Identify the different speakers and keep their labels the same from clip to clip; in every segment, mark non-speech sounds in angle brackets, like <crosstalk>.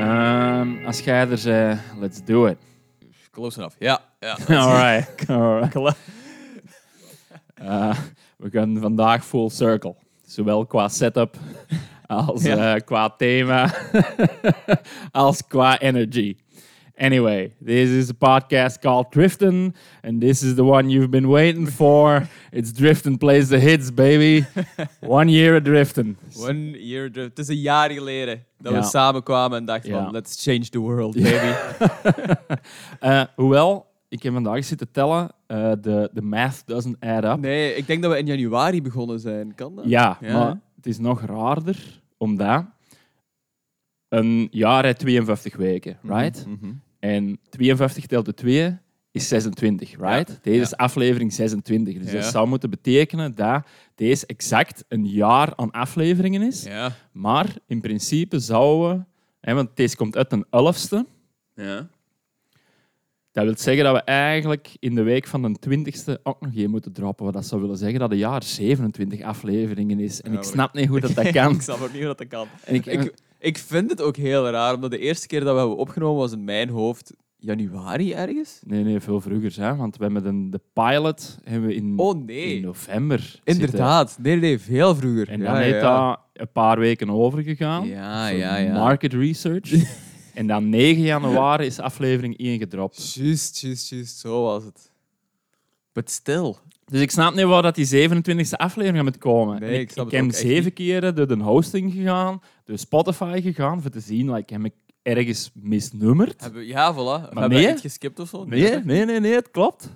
Speaker 1: Ehm, scheiders, eh, let's do it.
Speaker 2: Close enough. Ja, ja.
Speaker 1: <laughs> all right, <laughs> all right. Eh, we gaan vandaag full circle. Zowel qua setup als
Speaker 2: Ja.
Speaker 1: eh, qua thema <laughs> als qua energy. Anyway, this is a podcast called Driftin', and this is the one you've been waiting <laughs> for. It's Driftin' plays the hits, baby. one year of Driftin'.
Speaker 2: One year drift. Het is een jaar geleden dat
Speaker 1: Ja.
Speaker 2: we samen kwamen en dachten
Speaker 1: Ja.
Speaker 2: van, let's change the world, baby.
Speaker 1: Eh, hoewel, ik heb vandaag zitten tellen, eh, de de math doesn't add up.
Speaker 2: Nee, ik denk dat we in januari begonnen zijn. Kan dat?
Speaker 1: Ja,
Speaker 2: Ja.
Speaker 1: maar het is nog raarder, omdat een jaar heeft 52 weken, right?
Speaker 2: Mhm.
Speaker 1: En 52 telt de 2 is 26, right? Deze
Speaker 2: ja.
Speaker 1: is aflevering 26, dus dat
Speaker 2: Ja.
Speaker 1: zou moeten betekenen dat deze exact een jaar aan afleveringen is.
Speaker 2: Ja.
Speaker 1: Maar in principe zouden we, hè, want deze komt uit een 11ste,
Speaker 2: Ja.
Speaker 1: dat wil zeggen dat we eigenlijk in de week van de 20ste ook nog één moeten droppen. Wat dat zou willen zeggen dat een jaar 27 afleveringen is. En
Speaker 2: Ja,
Speaker 1: ik
Speaker 2: maar-
Speaker 1: snap niet hoe dat,
Speaker 2: <laughs>
Speaker 1: dat kan.
Speaker 2: Ik snap ook niet hoe dat kan.
Speaker 1: En ik,
Speaker 2: Ik, ik vind het ook heel raar, omdat de eerste keer dat we hebben opgenomen was in mijn hoofd januari ergens.
Speaker 1: Nee, nee, veel vroeger, hè? want we hebben de, de pilot hebben we in,
Speaker 2: Oh
Speaker 1: in
Speaker 2: nee,
Speaker 1: november. zitten.
Speaker 2: inderdaad. Nee, nee, veel vroeger.
Speaker 1: En
Speaker 2: Ja,
Speaker 1: dan heeft
Speaker 2: ja.
Speaker 1: dat een paar weken overgegaan.
Speaker 2: Ja,
Speaker 1: Voor
Speaker 2: ja, ja.
Speaker 1: Market research.
Speaker 2: <laughs>
Speaker 1: en dan 9 januari is aflevering 1 gedropt.
Speaker 2: Juist, juist, juist. Zo was het. But still.
Speaker 1: Dus ik snap niet waar dat die 27e aflevering moet komen.
Speaker 2: Nee,
Speaker 1: En
Speaker 2: ik snap
Speaker 1: ik
Speaker 2: het
Speaker 1: heb
Speaker 2: ook echt
Speaker 1: zeven keren door de hosting gegaan, door Spotify gegaan, voor te zien, like, heb ik ergens misnummerd?
Speaker 2: Hebben we- ja, voilà.
Speaker 1: Maar
Speaker 2: hebben
Speaker 1: nee,
Speaker 2: we
Speaker 1: hè?
Speaker 2: iets geskipt of zo?
Speaker 1: Nee, nee, nee, nee, het klopt.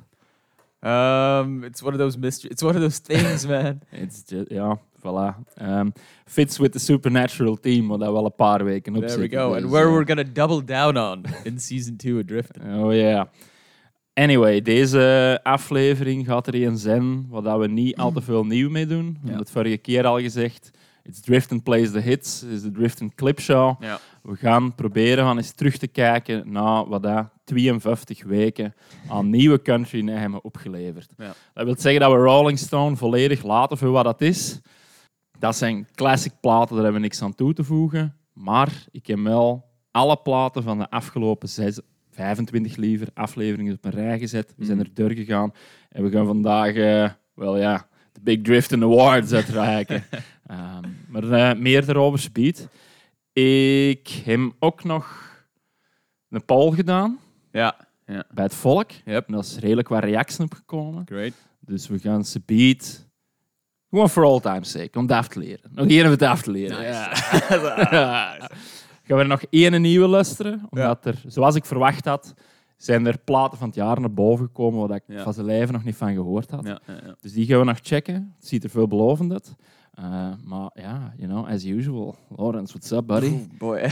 Speaker 2: Um, it's one of those mystery. It's one of those things, <laughs> man.
Speaker 1: It's ju- ja, voilà. Ehm, fits with the supernatural team, wat dat wel een paar weken op
Speaker 2: There we
Speaker 1: zit.
Speaker 2: go.
Speaker 1: Dus,
Speaker 2: And where
Speaker 1: eh,
Speaker 2: we're gonna double down on in season two of Drift.
Speaker 1: Oh ja. Anyway, deze aflevering gaat er een zijn wat dat we niet al te veel nieuw mee doen. We hebben
Speaker 2: Ja.
Speaker 1: het vorige keer al gezegd. It's Drift and Plays the Hits. Het is de Drift and Clip Show.
Speaker 2: Ja.
Speaker 1: We gaan proberen van eens terug te kijken naar wat dat 52 weken aan nieuwe country in hebben opgeleverd.
Speaker 2: Ja.
Speaker 1: Dat wil zeggen dat we Rolling Stone volledig laten voor wat dat is. Dat zijn classic platen, daar hebben we niks aan toe te voegen. Maar ik heb wel alle platen van de afgelopen zes, 25 liever afleveringen op een rij gezet. We zijn er door gegaan en we gaan vandaag, eh, wel ja, de Big Drift and Awards uitreiken. Ehm, maar eh, meer daarover speed. Ik heb ook nog een poll gedaan
Speaker 2: Ja. Ja.
Speaker 1: bij het volk.
Speaker 2: Yep.
Speaker 1: En daar is redelijk wat reacties op gekomen.
Speaker 2: Great.
Speaker 1: Dus we gaan ze beat. Gewoon for all time's sake, om het af te leren. Nog één om het af te leren. Ja. gaan we er nog één nieuwe luisteren? Omdat er, zoals ik verwacht had, zijn er platen van het jaar naar boven gekomen waar ik
Speaker 2: Ja.
Speaker 1: van zijn lijven nog niet van gehoord had.
Speaker 2: Ja, ja, <laughs> ja.
Speaker 1: Dus die gaan we nog checken. Het ziet er veelbelovend uit. Eh, maar ja, you know, as usual. Lawrence, what's up, buddy?
Speaker 2: Oeh, <laughs> boy.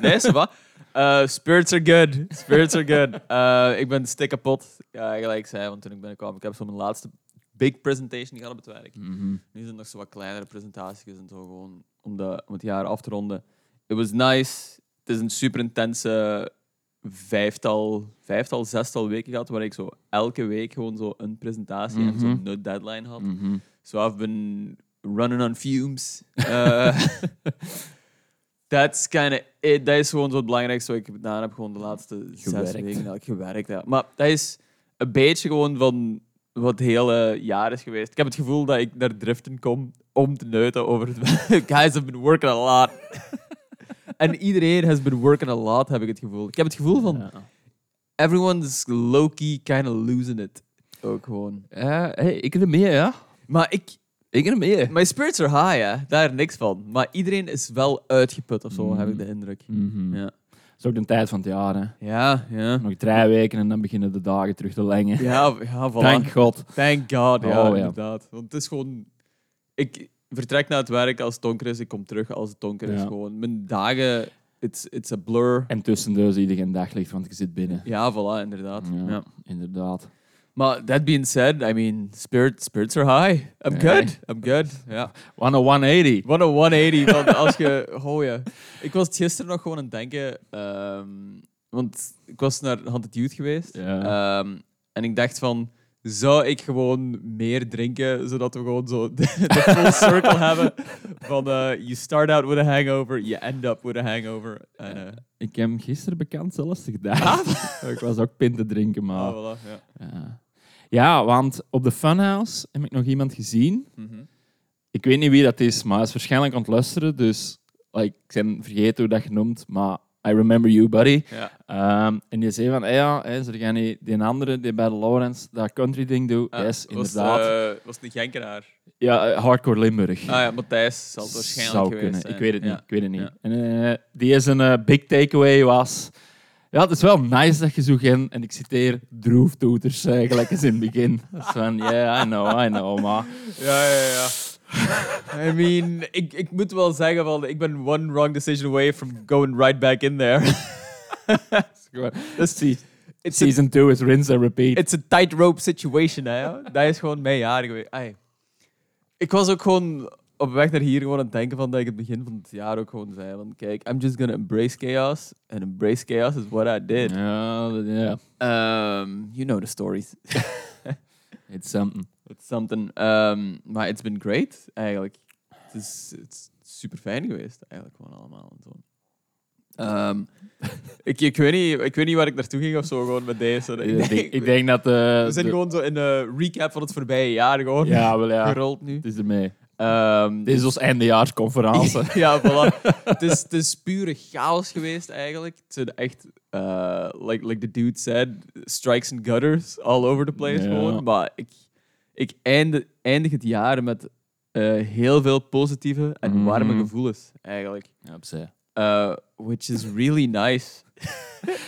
Speaker 2: nee, is wat? Eh, spirits are good. Spirits are <laughs> good. Eh, ik ben stik kapot. Ja, gelijk zei, want toen ik binnenkwam, ik heb zo mijn laatste big presentation gehad op het werk.
Speaker 1: Mhm.
Speaker 2: Nu zijn er nog zo wat kleinere presentaties en zo gewoon om, de, om het jaar af te ronden. It was nice. Het is een super intense vijftal, vijftal, zestal weken gehad waar ik zo elke week gewoon zo een presentatie en
Speaker 1: Mhm.
Speaker 2: zo'n no deadline had.
Speaker 1: Mhm.
Speaker 2: So I've been running on fumes. <laughs> Uh, that's kind of it. Dat is gewoon zo het belangrijkste wat ik gedaan heb. Gewoon de laatste zes
Speaker 1: Gewerkt.
Speaker 2: weken dat ik gewerkt heb. Maar dat is een beetje gewoon van wat het hele jaar is geweest. Ik heb het gevoel dat ik naar driften kom om te neuten over het... <laughs> Guys have been working a lot. <laughs> En iedereen has been working a lot, heb ik het gevoel. Ik heb het gevoel van...
Speaker 1: Ja.
Speaker 2: Everyone's low-key kind of losing it. Ook gewoon.
Speaker 1: Eh, hey, ik er mee, ja.
Speaker 2: Maar ik,
Speaker 1: Ik er mee.
Speaker 2: mijn spirits are high, hè. daar niks van. Maar iedereen is wel uitgeput of zo, heb ik de indruk.
Speaker 1: Mhm.
Speaker 2: Ja.
Speaker 1: Dat is ook de tijd van het jaar, hè.
Speaker 2: Ja, ja.
Speaker 1: Nog drie weken en dan beginnen de dagen terug te lengen.
Speaker 2: Ja, ja voilà.
Speaker 1: Dank God.
Speaker 2: Thank God, ja,
Speaker 1: Oh, ja.
Speaker 2: inderdaad. Want het is gewoon... Ik vertrek naar het werk als het donker is, ik kom terug als het donker is.
Speaker 1: Ja.
Speaker 2: Gewoon. Mijn dagen, it's, it's a blur.
Speaker 1: En tussendoor zie je geen daglicht, want je zit binnen.
Speaker 2: Ja, voilà, inderdaad. Ja.
Speaker 1: Inderdaad.
Speaker 2: Maar that being said, I mean, spirit, spirits are high. I'm
Speaker 1: Ja.
Speaker 2: good, I'm good. Ja.
Speaker 1: One of 180.
Speaker 2: Wat een
Speaker 1: <laughs>
Speaker 2: 180. Want als je. Oh ja. Ik was het gisteren nog gewoon aan het denken. ehm, want ik was naar Haunted Youth geweest.
Speaker 1: Ja.
Speaker 2: Ehm, en ik dacht van. zou ik gewoon meer drinken, zodat we gewoon zo <laughs> de, de full
Speaker 1: <laughs>
Speaker 2: circle hebben van eh, you start out with a hangover, you end up with a hangover. En, eh,
Speaker 1: Ik heb hem gisteren bekend zelfs gedaan. <laughs> ik was ook pint te drinken, maar...
Speaker 2: Ah. oh, voilà, ja.
Speaker 1: Ja. ja, want op de Funhouse heb ik nog iemand gezien.
Speaker 2: Mhm.
Speaker 1: Ik weet niet wie dat is, maar hij is waarschijnlijk aan het luisteren. Dus like, ik ben vergeten hoe dat genoemd, maar I remember you, buddy.
Speaker 2: ja.
Speaker 1: Ehm, en je zei van, hey, ja, hè, ze gaan die, die andere die bij de Lawrence dat country ding doet.
Speaker 2: Ah,
Speaker 1: yes,
Speaker 2: was,
Speaker 1: inderdaad.
Speaker 2: eh, was het een Genkenaar?
Speaker 1: Ja, eh, Hardcore Limburg.
Speaker 2: Ah ja, Matthijs zal het waarschijnlijk
Speaker 1: Zou
Speaker 2: geweest
Speaker 1: kunnen.
Speaker 2: zijn.
Speaker 1: Ik weet het niet.
Speaker 2: Ja.
Speaker 1: Ik weet het niet.
Speaker 2: Ja.
Speaker 1: En, eh, die is een eh, big takeaway was. Ja, het is wel nice dat je zo geen, en ik citeer, droeftoeters, eh, gelijk als in het begin. <laughs> Dat is van, yeah, I know, I know, maar...
Speaker 2: Ja, ja, ja. I mean, ik, ik moet wel zeggen, van, ik ben one wrong decision away from going right back in there. <laughs>
Speaker 1: Dus se-
Speaker 2: It's a,
Speaker 1: season 2 is rinse and repeat.
Speaker 2: it's a tightrope situation, hè. ja. Dat is gewoon mijn jaar geweest. Ai. Ik was ook gewoon op weg naar hier gewoon aan het denken van dat ik het begin van het jaar ook gewoon zei van kijk, I'm just gonna embrace chaos and embrace chaos is what I did.
Speaker 1: Ja, dat- ja,
Speaker 2: Um, you know the stories.
Speaker 1: it's something.
Speaker 2: It's something. Um, maar it's been great, eigenlijk. Het is, het is super fijn geweest, eigenlijk gewoon allemaal. En zo. Ehm,
Speaker 1: <laughs>
Speaker 2: ik, ik, weet niet, ik weet niet waar ik naartoe ging of zo, gewoon met deze. Ik
Speaker 1: Ik denk,
Speaker 2: denk,
Speaker 1: ik denk dat... eh,
Speaker 2: we zijn
Speaker 1: de-
Speaker 2: gewoon zo in de recap van het voorbije jaar gewoon
Speaker 1: Ja, wel
Speaker 2: <laughs>
Speaker 1: ja.
Speaker 2: gerold nu.
Speaker 1: Het is ermee.
Speaker 2: Ehm,
Speaker 1: Dit is ons eindejaarsconferentie.
Speaker 2: ja, voilà. het, is, het is pure chaos geweest eigenlijk. Het zijn echt, eh, like, like the dude said, strikes and gutters all over the place
Speaker 1: Ja.
Speaker 2: gewoon. Maar ik, ik einde, eindig het jaar met eh, heel veel positieve en warme
Speaker 1: Mhm.
Speaker 2: gevoelens eigenlijk.
Speaker 1: <laughs> ja, opzij.
Speaker 2: Eh, which is really nice. <laughs>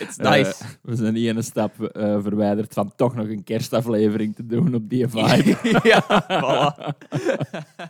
Speaker 2: It's nice.
Speaker 1: Eh, we zijn niet een stap eh, verwijderd van toch nog een kerstaflevering te doen op die vibe.
Speaker 2: <laughs> ja, voilà.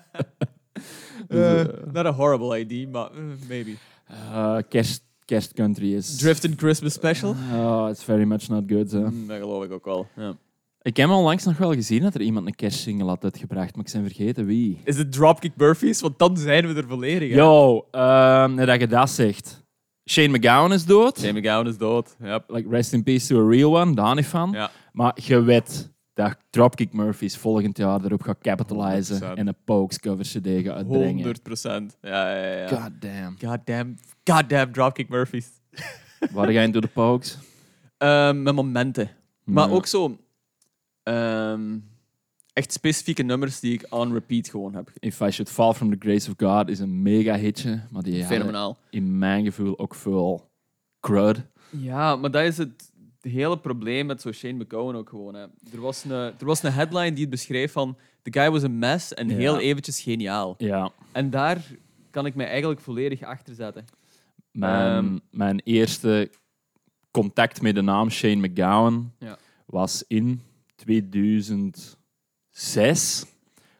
Speaker 1: Dus,
Speaker 2: <laughs> Eh, not a horrible idea, maar eh, maybe.
Speaker 1: eh, kerst, kerstcountry is...
Speaker 2: Drift and Christmas special?
Speaker 1: Oh, it's very much not good. hè.
Speaker 2: Mm, dat geloof ik ook wel. ja.
Speaker 1: Ik heb onlangs nog wel gezien dat er iemand een kerstsingle had uitgebracht, maar ik ben vergeten wie.
Speaker 2: Is het Dropkick Murphys? Want dan zijn we er volledig. hè.
Speaker 1: Yo, ehm, nee, dat je dat zegt. Shane McGowan is dood.
Speaker 2: Jamie Gown is dood. Ja.
Speaker 1: Like, rest in peace to a real one, daar niet van.
Speaker 2: Ja.
Speaker 1: Maar je weet dat Dropkick Murphys volgend jaar erop gaat capitalizen
Speaker 2: 100%.
Speaker 1: en een Pokes cover CD gaat uitbrengen.
Speaker 2: 100 procent. Ja, ja, ja. ja.
Speaker 1: God damn.
Speaker 2: Goddamn, goddamn Dropkick Murphys.
Speaker 1: Waar ga je door de Pokes?
Speaker 2: Ehm, met momenten. Maar
Speaker 1: Ja.
Speaker 2: ook zo... ehm, echt specifieke nummers die ik on repeat gewoon heb.
Speaker 1: If I Should Fall From The Grace of God is een mega hitje, maar die hadden
Speaker 2: Fenomenaal.
Speaker 1: in mijn gevoel ook veel crud.
Speaker 2: Ja, maar dat is het hele probleem met zo Shane McCowan ook gewoon. Hè. Er, was een, er was een headline die het beschreef van... The guy was a mess en
Speaker 1: Ja.
Speaker 2: heel eventjes geniaal.
Speaker 1: Ja.
Speaker 2: En daar kan ik mij eigenlijk volledig achter zetten.
Speaker 1: Mijn,
Speaker 2: Ehm.
Speaker 1: mijn eerste contact met de naam Shane McGowan
Speaker 2: Ja.
Speaker 1: was in 2006,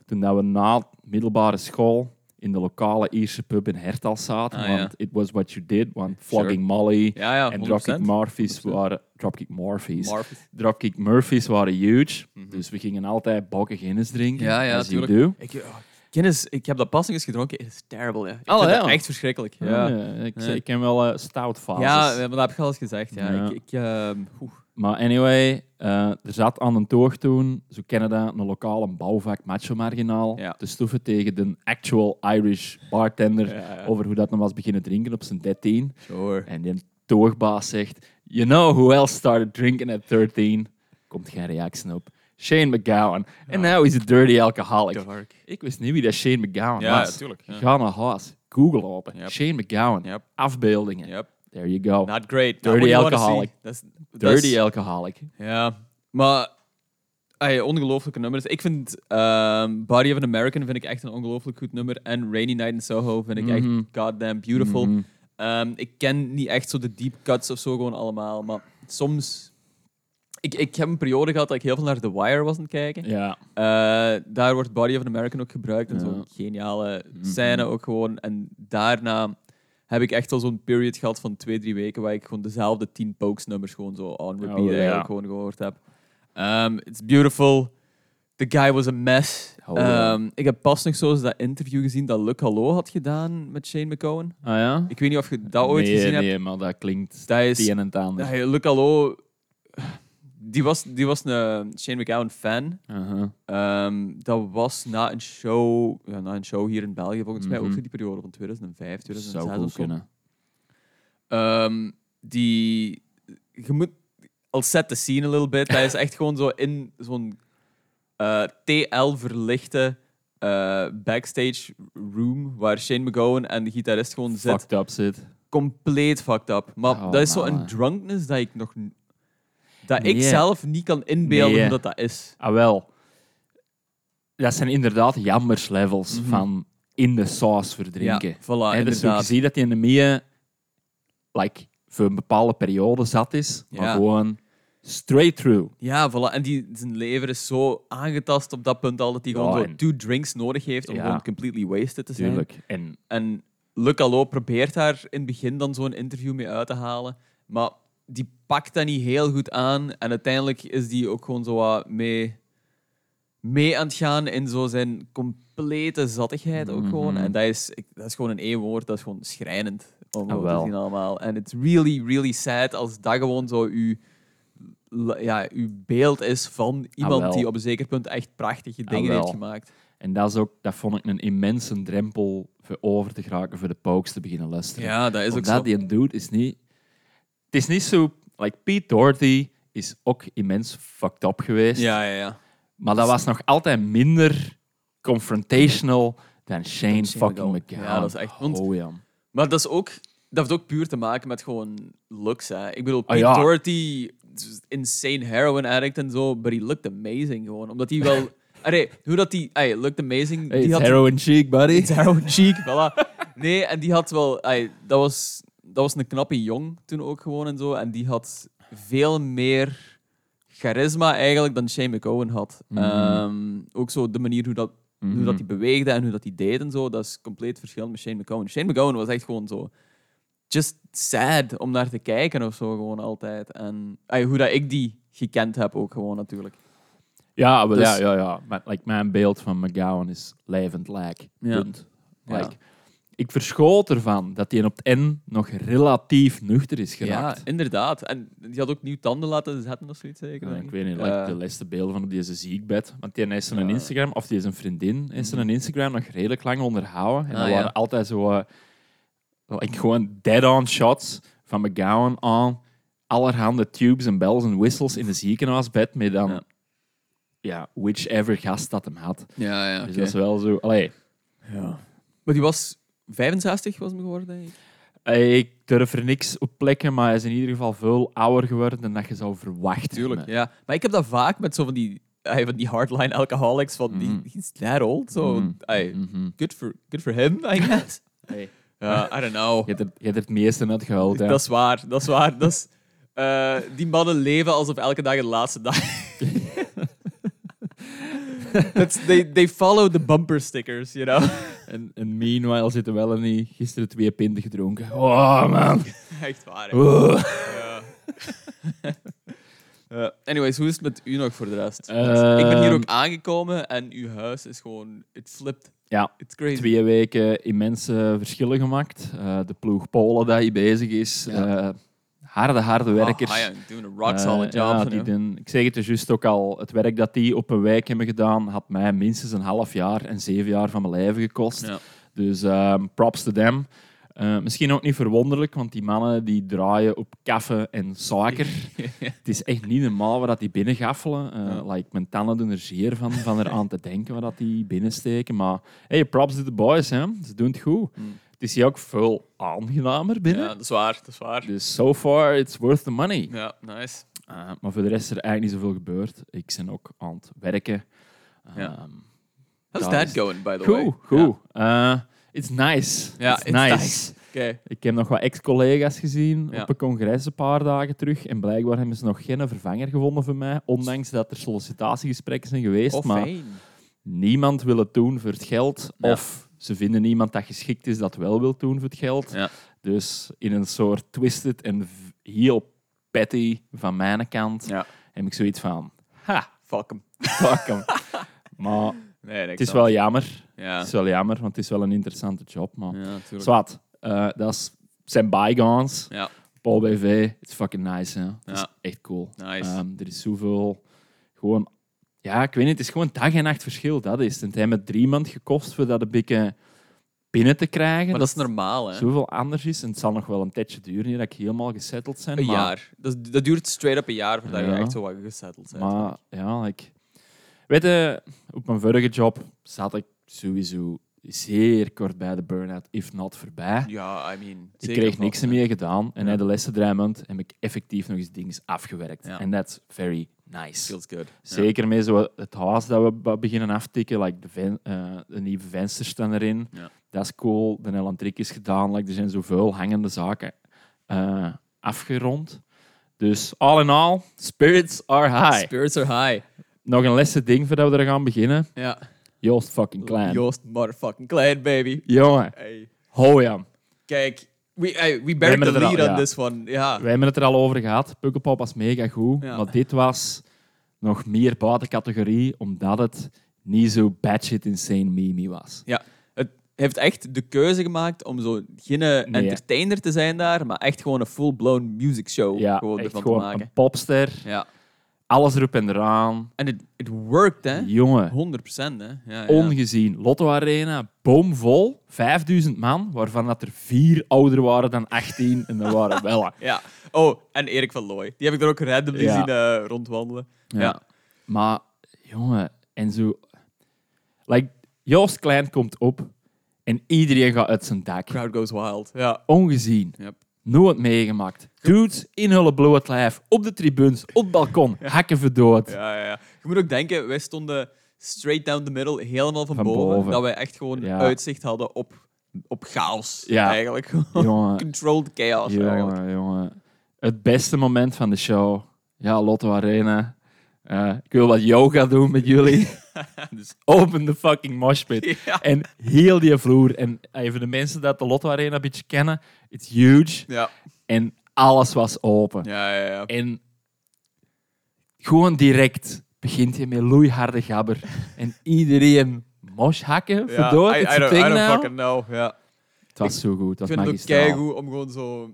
Speaker 1: toen dat we na middelbare school in de lokale Ierse pub in Hertal zaten.
Speaker 2: Ah, ja.
Speaker 1: want it was what you did, want Flogging Molly
Speaker 2: Ja, ja, 100%.
Speaker 1: en Dropkick Murphys
Speaker 2: 100%.
Speaker 1: waren... Dropkick Murphys.
Speaker 2: Marv-
Speaker 1: Dropkick Murphys waren huge. Dus we gingen altijd bakken Guinness drinken.
Speaker 2: Mhm. Ja, ja,
Speaker 1: as you
Speaker 2: tuurlijk.
Speaker 1: do.
Speaker 2: Ik, oh, Guinness, ik heb dat pas nog eens gedronken. Het is terrible, ja. Ik
Speaker 1: Oh,
Speaker 2: vind
Speaker 1: ja.
Speaker 2: dat echt verschrikkelijk. Ja, ja,
Speaker 1: Ja, ik,
Speaker 2: Ja.
Speaker 1: ik ken wel eh, stout fases.
Speaker 2: maar dat heb je al eens gezegd. Ja.
Speaker 1: Ja.
Speaker 2: Ik, ik, ehm, oeh.
Speaker 1: Maar anyway, eh, er zat aan een toog toen, zo kennen dat, een lokale bouwvak macho marginaal,
Speaker 2: Ja.
Speaker 1: te stoeven tegen de actual Irish bartender
Speaker 2: Ja, ja.
Speaker 1: over hoe dat nog was beginnen drinken op zijn 13.
Speaker 2: Sure.
Speaker 1: En die toogbaas zegt, you know who else started drinking at 13? Komt geen reactie op. Shane McGowan. And now he's a dirty alcoholic. Ik wist niet wie dat Shane McGowan
Speaker 2: Ja,
Speaker 1: was.
Speaker 2: ja, tuurlijk, ja.
Speaker 1: Ga naar huis. Google open.
Speaker 2: Yep.
Speaker 1: Shane McGowan.
Speaker 2: Yep.
Speaker 1: Afbeeldingen.
Speaker 2: Yep. Nou,
Speaker 1: There you go.
Speaker 2: Not great.
Speaker 1: Dirty
Speaker 2: Not what you wanna
Speaker 1: alcoholic.
Speaker 2: see. That's- that's-
Speaker 1: Dirty alcoholic.
Speaker 2: Ja, maar ey, ongelooflijke nummers. Ik vind ehm, Body of an American vind ik echt een ongelooflijk goed nummer. En Rainy Night in Soho vind ik
Speaker 1: Mhm.
Speaker 2: echt goddamn beautiful. Ehm, ik ken niet echt zo de deep cuts of zo gewoon allemaal. Maar soms... Ik, ik heb een periode gehad dat ik heel veel naar The Wire was aan het kijken.
Speaker 1: Ja.
Speaker 2: Eh, daar wordt Body of an American ook gebruikt. En
Speaker 1: Ja. Mhm.
Speaker 2: zo'n geniale scène ook gewoon. En daarna heb ik echt al zo'n period gehad van twee, drie weken waar ik gewoon dezelfde tien Pokes nummers gewoon zo on repeat
Speaker 1: Oh, ja.
Speaker 2: eigenlijk gewoon gehoord heb. Ehm, it's beautiful. The guy was a mess.
Speaker 1: Oh, ja.
Speaker 2: Ehm, ik heb pas nog zo eens dat interview gezien dat Luc Hallo had gedaan met Shane McCowan.
Speaker 1: Ah ja?
Speaker 2: Ik weet niet of je dat ooit
Speaker 1: nee,
Speaker 2: gezien
Speaker 1: nee,
Speaker 2: hebt.
Speaker 1: maar dat klinkt
Speaker 2: Dat
Speaker 1: het
Speaker 2: is
Speaker 1: een en het ander.
Speaker 2: Hey, Luc Allo, Die was, die was een Shane McGowan fan.
Speaker 1: Aha.
Speaker 2: Ehm, dat was na een show, ja, na een show hier in België, volgens mij
Speaker 1: Mhm.
Speaker 2: ook zo die periode van 2005, 2006
Speaker 1: Zou goed
Speaker 2: of zo.
Speaker 1: kunnen.
Speaker 2: Ehm, die, je moet al set the scene a little bit. Dat is echt gewoon zo in zo'n eh, TL verlichte eh, backstage room waar Shane McGowan en de gitarist gewoon zitten.
Speaker 1: Fucked up zit.
Speaker 2: Compleet fucked up. Maar
Speaker 1: Oh,
Speaker 2: dat is zo'n
Speaker 1: man.
Speaker 2: drunkness dat ik nog n- dat ik
Speaker 1: Nee.
Speaker 2: zelf niet kan inbeelden
Speaker 1: Nee.
Speaker 2: hoe dat dat is.
Speaker 1: Ah, wel. Dat zijn inderdaad jammerslevels
Speaker 2: Mhm.
Speaker 1: van in de saus verdrinken.
Speaker 2: Ja,
Speaker 1: Hè,
Speaker 2: voilà,
Speaker 1: dus je
Speaker 2: inderdaad.
Speaker 1: ziet dat hij in de midden like, voor een bepaalde periode zat is, maar
Speaker 2: Ja.
Speaker 1: gewoon straight through.
Speaker 2: Ja, voilà. En die, zijn lever is zo aangetast op dat punt al dat hij
Speaker 1: Ja,
Speaker 2: gewoon zo
Speaker 1: en-
Speaker 2: two drinks nodig heeft om
Speaker 1: Ja.
Speaker 2: gewoon completely wasted te zijn.
Speaker 1: Tuurlijk. En
Speaker 2: En Luc Allo probeert daar in het begin dan zo'n interview mee uit te halen. Maar die pakt dat niet heel goed aan. En uiteindelijk is die ook gewoon zo wat mee, mee aan het gaan in zo zijn complete zattigheid ook gewoon.
Speaker 1: Mhm.
Speaker 2: En dat is, ik- dat is gewoon in één woord, dat is gewoon schrijnend om
Speaker 1: Ah,
Speaker 2: gewoon
Speaker 1: wel.
Speaker 2: te zien allemaal. En it's really, really sad als dat gewoon zo uw, la- ja, uw beeld is van iemand
Speaker 1: Ah, wel.
Speaker 2: die op een zeker punt echt prachtige
Speaker 1: Ah,
Speaker 2: dingen heeft
Speaker 1: wel.
Speaker 2: gemaakt.
Speaker 1: En dat, is ook, dat vond ik een immense drempel voor over te geraken voor de pokes te beginnen luisteren.
Speaker 2: Ja, dat is ook
Speaker 1: Omdat
Speaker 2: zo.
Speaker 1: die een dude is niet... Het is niet zo... Like, Pete Doherty is ook immens fucked up geweest.
Speaker 2: Ja, ja, ja.
Speaker 1: Maar dat was nog altijd minder confrontational dan Shane
Speaker 2: Shane
Speaker 1: fucking
Speaker 2: McGowan.
Speaker 1: McGowan.
Speaker 2: Ja, dat is echt- want-
Speaker 1: Oh, ja.
Speaker 2: Maar dat is ook... Dat heeft ook puur te maken met gewoon looks, hè. Ik bedoel, Pete
Speaker 1: Ah, ja.
Speaker 2: Doherty, is insane heroin addict en zo, but he looked amazing gewoon. Omdat hij wel...
Speaker 1: <laughs>
Speaker 2: Allee, hoe dat die... Allee, looked amazing.
Speaker 1: Hey,
Speaker 2: die
Speaker 1: it's
Speaker 2: had
Speaker 1: heroin chic, buddy.
Speaker 2: It's heroin cheek, voilà. Nee, en die had wel... Allee, dat, was, dat was een knappe jong toen ook gewoon en zo. En die had veel meer charisma eigenlijk dan Shane McGowan had.
Speaker 1: Mhm.
Speaker 2: Ehm, ook zo de manier hoe dat
Speaker 1: Mhm.
Speaker 2: hoe dat hij beweegde en hoe dat hij deed en zo, dat is compleet verschillend met Shane McGowan. Shane McGowan was echt gewoon zo, just sad om naar te kijken of zo, gewoon altijd. En ey, hoe dat ik die gekend heb ook gewoon natuurlijk.
Speaker 1: Ja, wel,
Speaker 2: Dus-
Speaker 1: ja, ja, ja. Maar, like, mijn beeld van McGowan is levend lijk.
Speaker 2: Ja.
Speaker 1: Punt.
Speaker 2: Ja.
Speaker 1: Like, Ik verschoot ervan dat hij op het N nog relatief nuchter is geraakt.
Speaker 2: Ja, inderdaad. En die had ook nieuw tanden laten zetten of zoiets zeker.
Speaker 1: Ja,
Speaker 2: denk
Speaker 1: Ah, ik weet niet,
Speaker 2: Eh,
Speaker 1: like, de laatste beelden van op deze ziekbed. Want die heeft zijn
Speaker 2: Ja. Mhm.
Speaker 1: Instagram, of die is een vriendin, heeft zijn Instagram nog redelijk lang onderhouden. En
Speaker 2: Ah,
Speaker 1: dat
Speaker 2: ja.
Speaker 1: waren altijd zo... eh, like, gewoon dead-on shots van McGowan aan allerhande tubes en bells en whistles in de ziekenhuisbed met dan... Ja.
Speaker 2: Ja.
Speaker 1: whichever gast dat hem had.
Speaker 2: ja, ja,
Speaker 1: Dus
Speaker 2: oké.
Speaker 1: dat is wel zo... Allee,
Speaker 2: ja. Maar die was 65 was hem geworden, denk ik.
Speaker 1: eh, ik durf er niks op plekken, maar hij is in ieder geval veel ouder geworden dan dat je zou verwachten. hebben.
Speaker 2: Ja. Maar ik heb dat vaak met zo van die, ey, van die hardline alcoholics, van
Speaker 1: Mhm.
Speaker 2: die, he's that old, so
Speaker 1: Mhm.
Speaker 2: ey,
Speaker 1: Mhm.
Speaker 2: good, for, good for him, I guess.
Speaker 1: Hey,
Speaker 2: <laughs> Ja, I don't know.
Speaker 1: Je hebt er, je hebt er het meeste uit gehaald, hè.
Speaker 2: Dat is waar, dat is waar. Dat is, eh, die mannen leven alsof elke dag de laatste dag <laughs> is. They, they follow the bumper stickers, you know. <laughs>
Speaker 1: En, en meanwhile zitten wel en niet gisteren twee pinten gedronken. Oh man.
Speaker 2: Echt waar. hè.
Speaker 1: Oeh.
Speaker 2: Ja. Eh, anyways, hoe is het met u nog voor de rest? Want ik ben hier
Speaker 1: Ehm.
Speaker 2: ook aangekomen en uw huis is gewoon... It flipped.
Speaker 1: Ja,
Speaker 2: It's crazy.
Speaker 1: twee weken immense verschillen gemaakt. Eh, de ploeg Polen die hier bezig is.
Speaker 2: Ja.
Speaker 1: Eh, harde, harde werkers.
Speaker 2: Ah, ja, doing a rock solid
Speaker 1: Eh, ja,
Speaker 2: job.
Speaker 1: die
Speaker 2: you know.
Speaker 1: doen, ik zeg het er juist ook al. Het werk dat die op een wijk hebben gedaan, had mij minstens een half jaar en zeven jaar van mijn leven gekost.
Speaker 2: Ja.
Speaker 1: Dus ehm, props to them. Eh, misschien ook niet verwonderlijk, want die mannen die draaien op kaffe en
Speaker 2: <laughs>
Speaker 1: suiker. Het is echt niet normaal wat dat die binnengaffelen. Eh,
Speaker 2: Ja.
Speaker 1: like, mijn tanden doen er zeer van, van eraan te denken wat dat die binnensteken. Maar hey, props to the boys, hè. ze doen het goed.
Speaker 2: Mm.
Speaker 1: Het is hier ook veel aangenamer binnen.
Speaker 2: ja, dat is waar, dat is waar.
Speaker 1: Dus so far, it's worth the money.
Speaker 2: Ja, nice.
Speaker 1: Eh, maar voor de rest is er eigenlijk niet zoveel gebeurd. Ik ben ook aan het werken.
Speaker 2: Ja.
Speaker 1: Ehm,
Speaker 2: How's
Speaker 1: Daar
Speaker 2: that
Speaker 1: is-
Speaker 2: going, by the way?
Speaker 1: Goed, goed. Eh, it's nice.
Speaker 2: Ja,
Speaker 1: it's,
Speaker 2: it's
Speaker 1: nice.
Speaker 2: nice. Oké.
Speaker 1: Ik heb nog wat ex-collega's gezien
Speaker 2: Ja.
Speaker 1: op een congres een paar dagen terug. En blijkbaar hebben ze nog geen vervanger gevonden voor mij. Ondanks dat er sollicitatiegesprekken zijn geweest.
Speaker 2: Of
Speaker 1: maar
Speaker 2: fijn.
Speaker 1: niemand wil het doen voor het geld.
Speaker 2: Ja.
Speaker 1: Of ze vinden niemand dat geschikt is dat wel wil doen voor het geld.
Speaker 2: Ja.
Speaker 1: Dus in een soort twisted en v- heel petty van mijn kant
Speaker 2: Ja.
Speaker 1: heb ik zoiets van...
Speaker 2: Ha, fuck hem.
Speaker 1: Fuck hem. maar
Speaker 2: Nee,
Speaker 1: het is wel jammer.
Speaker 2: Ja,
Speaker 1: Het is wel jammer, want het is wel een interessante job. Maar...
Speaker 2: ja natuurlijk.
Speaker 1: Zwat, eh, dat is- zijn bygones.
Speaker 2: Ja.
Speaker 1: Paul BV, it's fucking nice. Hè. Het is
Speaker 2: Ja.
Speaker 1: echt cool.
Speaker 2: Nice.
Speaker 1: Ehm, er is zoveel... Gewoon... Ja, ik weet niet. Het is gewoon dag en nacht verschil. Dat is het. En het heeft me drie maand gekost voor dat een beetje binnen te krijgen.
Speaker 2: Maar dat is normaal, hè?
Speaker 1: zoveel anders is. En het zal nog wel een tijdje duren hier dat ik helemaal gesetteld ben.
Speaker 2: Een
Speaker 1: maar,
Speaker 2: jaar. Dat, dat duurt straight up een jaar voordat je
Speaker 1: Ja.
Speaker 2: echt zo wat gesetteld bent.
Speaker 1: Maar ja, ik... Weet je, op mijn vorige job zat ik sowieso zeer kort bij de burn-out, if not voorbij.
Speaker 2: ja, I mean...
Speaker 1: Ik
Speaker 2: zeker
Speaker 1: kreeg
Speaker 2: nog,
Speaker 1: niks
Speaker 2: hè.
Speaker 1: meer gedaan. En
Speaker 2: Ja.
Speaker 1: na de lessen drie maanden heb ik effectief nog eens dingen afgewerkt.
Speaker 2: Ja.
Speaker 1: En that's very nice.
Speaker 2: Feels good.
Speaker 1: Zeker met zo het huis dat we be- beginnen aftikken. Like de, ven- eh, de nieuwe vensters staan erin.
Speaker 2: Ja.
Speaker 1: Dat is cool. De elantriek is gedaan. Like, er zijn zoveel hangende zaken eh, afgerond. Dus all in all, spirits are
Speaker 2: Ja.
Speaker 1: high.
Speaker 2: Spirits are high.
Speaker 1: Nog een lessen ding voordat we er gaan beginnen.
Speaker 2: Ja.
Speaker 1: Joost fucking Klein.
Speaker 2: Oh, Joost motherfucking Klein, baby.
Speaker 1: Jongen,
Speaker 2: Hey.
Speaker 1: hojam.
Speaker 2: Kijk, we, hey, we buried
Speaker 1: hebben
Speaker 2: the
Speaker 1: het er
Speaker 2: lead
Speaker 1: al,
Speaker 2: on
Speaker 1: ja.
Speaker 2: this one. Ja.
Speaker 1: Wij hebben het er al over gehad. Pukkelpop was mega goed.
Speaker 2: Ja.
Speaker 1: Maar dit was nog meer buiten categorie, omdat het niet zo batshit insane mimi was.
Speaker 2: ja. Het heeft echt de keuze gemaakt om zo geen eh,
Speaker 1: Nee, hè.
Speaker 2: entertainer te zijn daar, maar echt gewoon een full-blown music show
Speaker 1: Ja,
Speaker 2: gewoon
Speaker 1: echt
Speaker 2: ervan
Speaker 1: gewoon
Speaker 2: te maken.
Speaker 1: een popster.
Speaker 2: Ja.
Speaker 1: Alles erop en eraan.
Speaker 2: En het, het worked, hè. 100%,
Speaker 1: Jongen,
Speaker 2: hè. Ja, ja.
Speaker 1: ongezien. Lotto Arena, boomvol. 5000 man, waarvan dat er vier ouder waren dan 18. en dat waren wel...
Speaker 2: Ja. Oh, en Erik van Looy. Die heb ik er ook randomly
Speaker 1: Ja.
Speaker 2: zien eh, rondwandelen. Ja.
Speaker 1: Ja. Maar, jongen, en zo... Like, Joost Klein komt op en iedereen gaat uit zijn dak.
Speaker 2: Crowd goes wild. Ja.
Speaker 1: Ongezien.
Speaker 2: Yep.
Speaker 1: Nooit meegemaakt. Dudes in hun bloot lijf, op de tribunes, op het balkon, hakken verdood.
Speaker 2: Ja, ja, ja. Je moet ook denken, wij stonden straight down the middle, helemaal van,
Speaker 1: Van
Speaker 2: boven,
Speaker 1: boven.
Speaker 2: Dat wij echt gewoon
Speaker 1: Ja.
Speaker 2: uitzicht hadden op, op chaos.
Speaker 1: Ja.
Speaker 2: Eigenlijk.
Speaker 1: <laughs>
Speaker 2: <laughs>
Speaker 1: Jongen,
Speaker 2: Controlled chaos. Eigenlijk.
Speaker 1: jongen, jongen. Het beste moment van de show. Ja, Lotto Arena. Eh, ik wil wat yoga doen met
Speaker 2: <laughs>
Speaker 1: jullie. dus open de fucking moshpit.
Speaker 2: Ja.
Speaker 1: En heel die vloer. En even de mensen dat de Lotto Arena een beetje kennen. It's huge.
Speaker 2: Ja.
Speaker 1: En alles was open.
Speaker 2: Ja, ja, ja.
Speaker 1: En gewoon direct begint je met loeiharde
Speaker 2: <laughs>
Speaker 1: gabber. En iedereen mosh hakken,
Speaker 2: Ja,
Speaker 1: verdoord.
Speaker 2: I, I
Speaker 1: it's a
Speaker 2: don't,
Speaker 1: thing
Speaker 2: I don't
Speaker 1: now.
Speaker 2: fucking know. Ja.
Speaker 1: nou. Het was zo goed,
Speaker 2: Ik
Speaker 1: het was
Speaker 2: vind het ook
Speaker 1: magistraal.
Speaker 2: keigoed om gewoon zo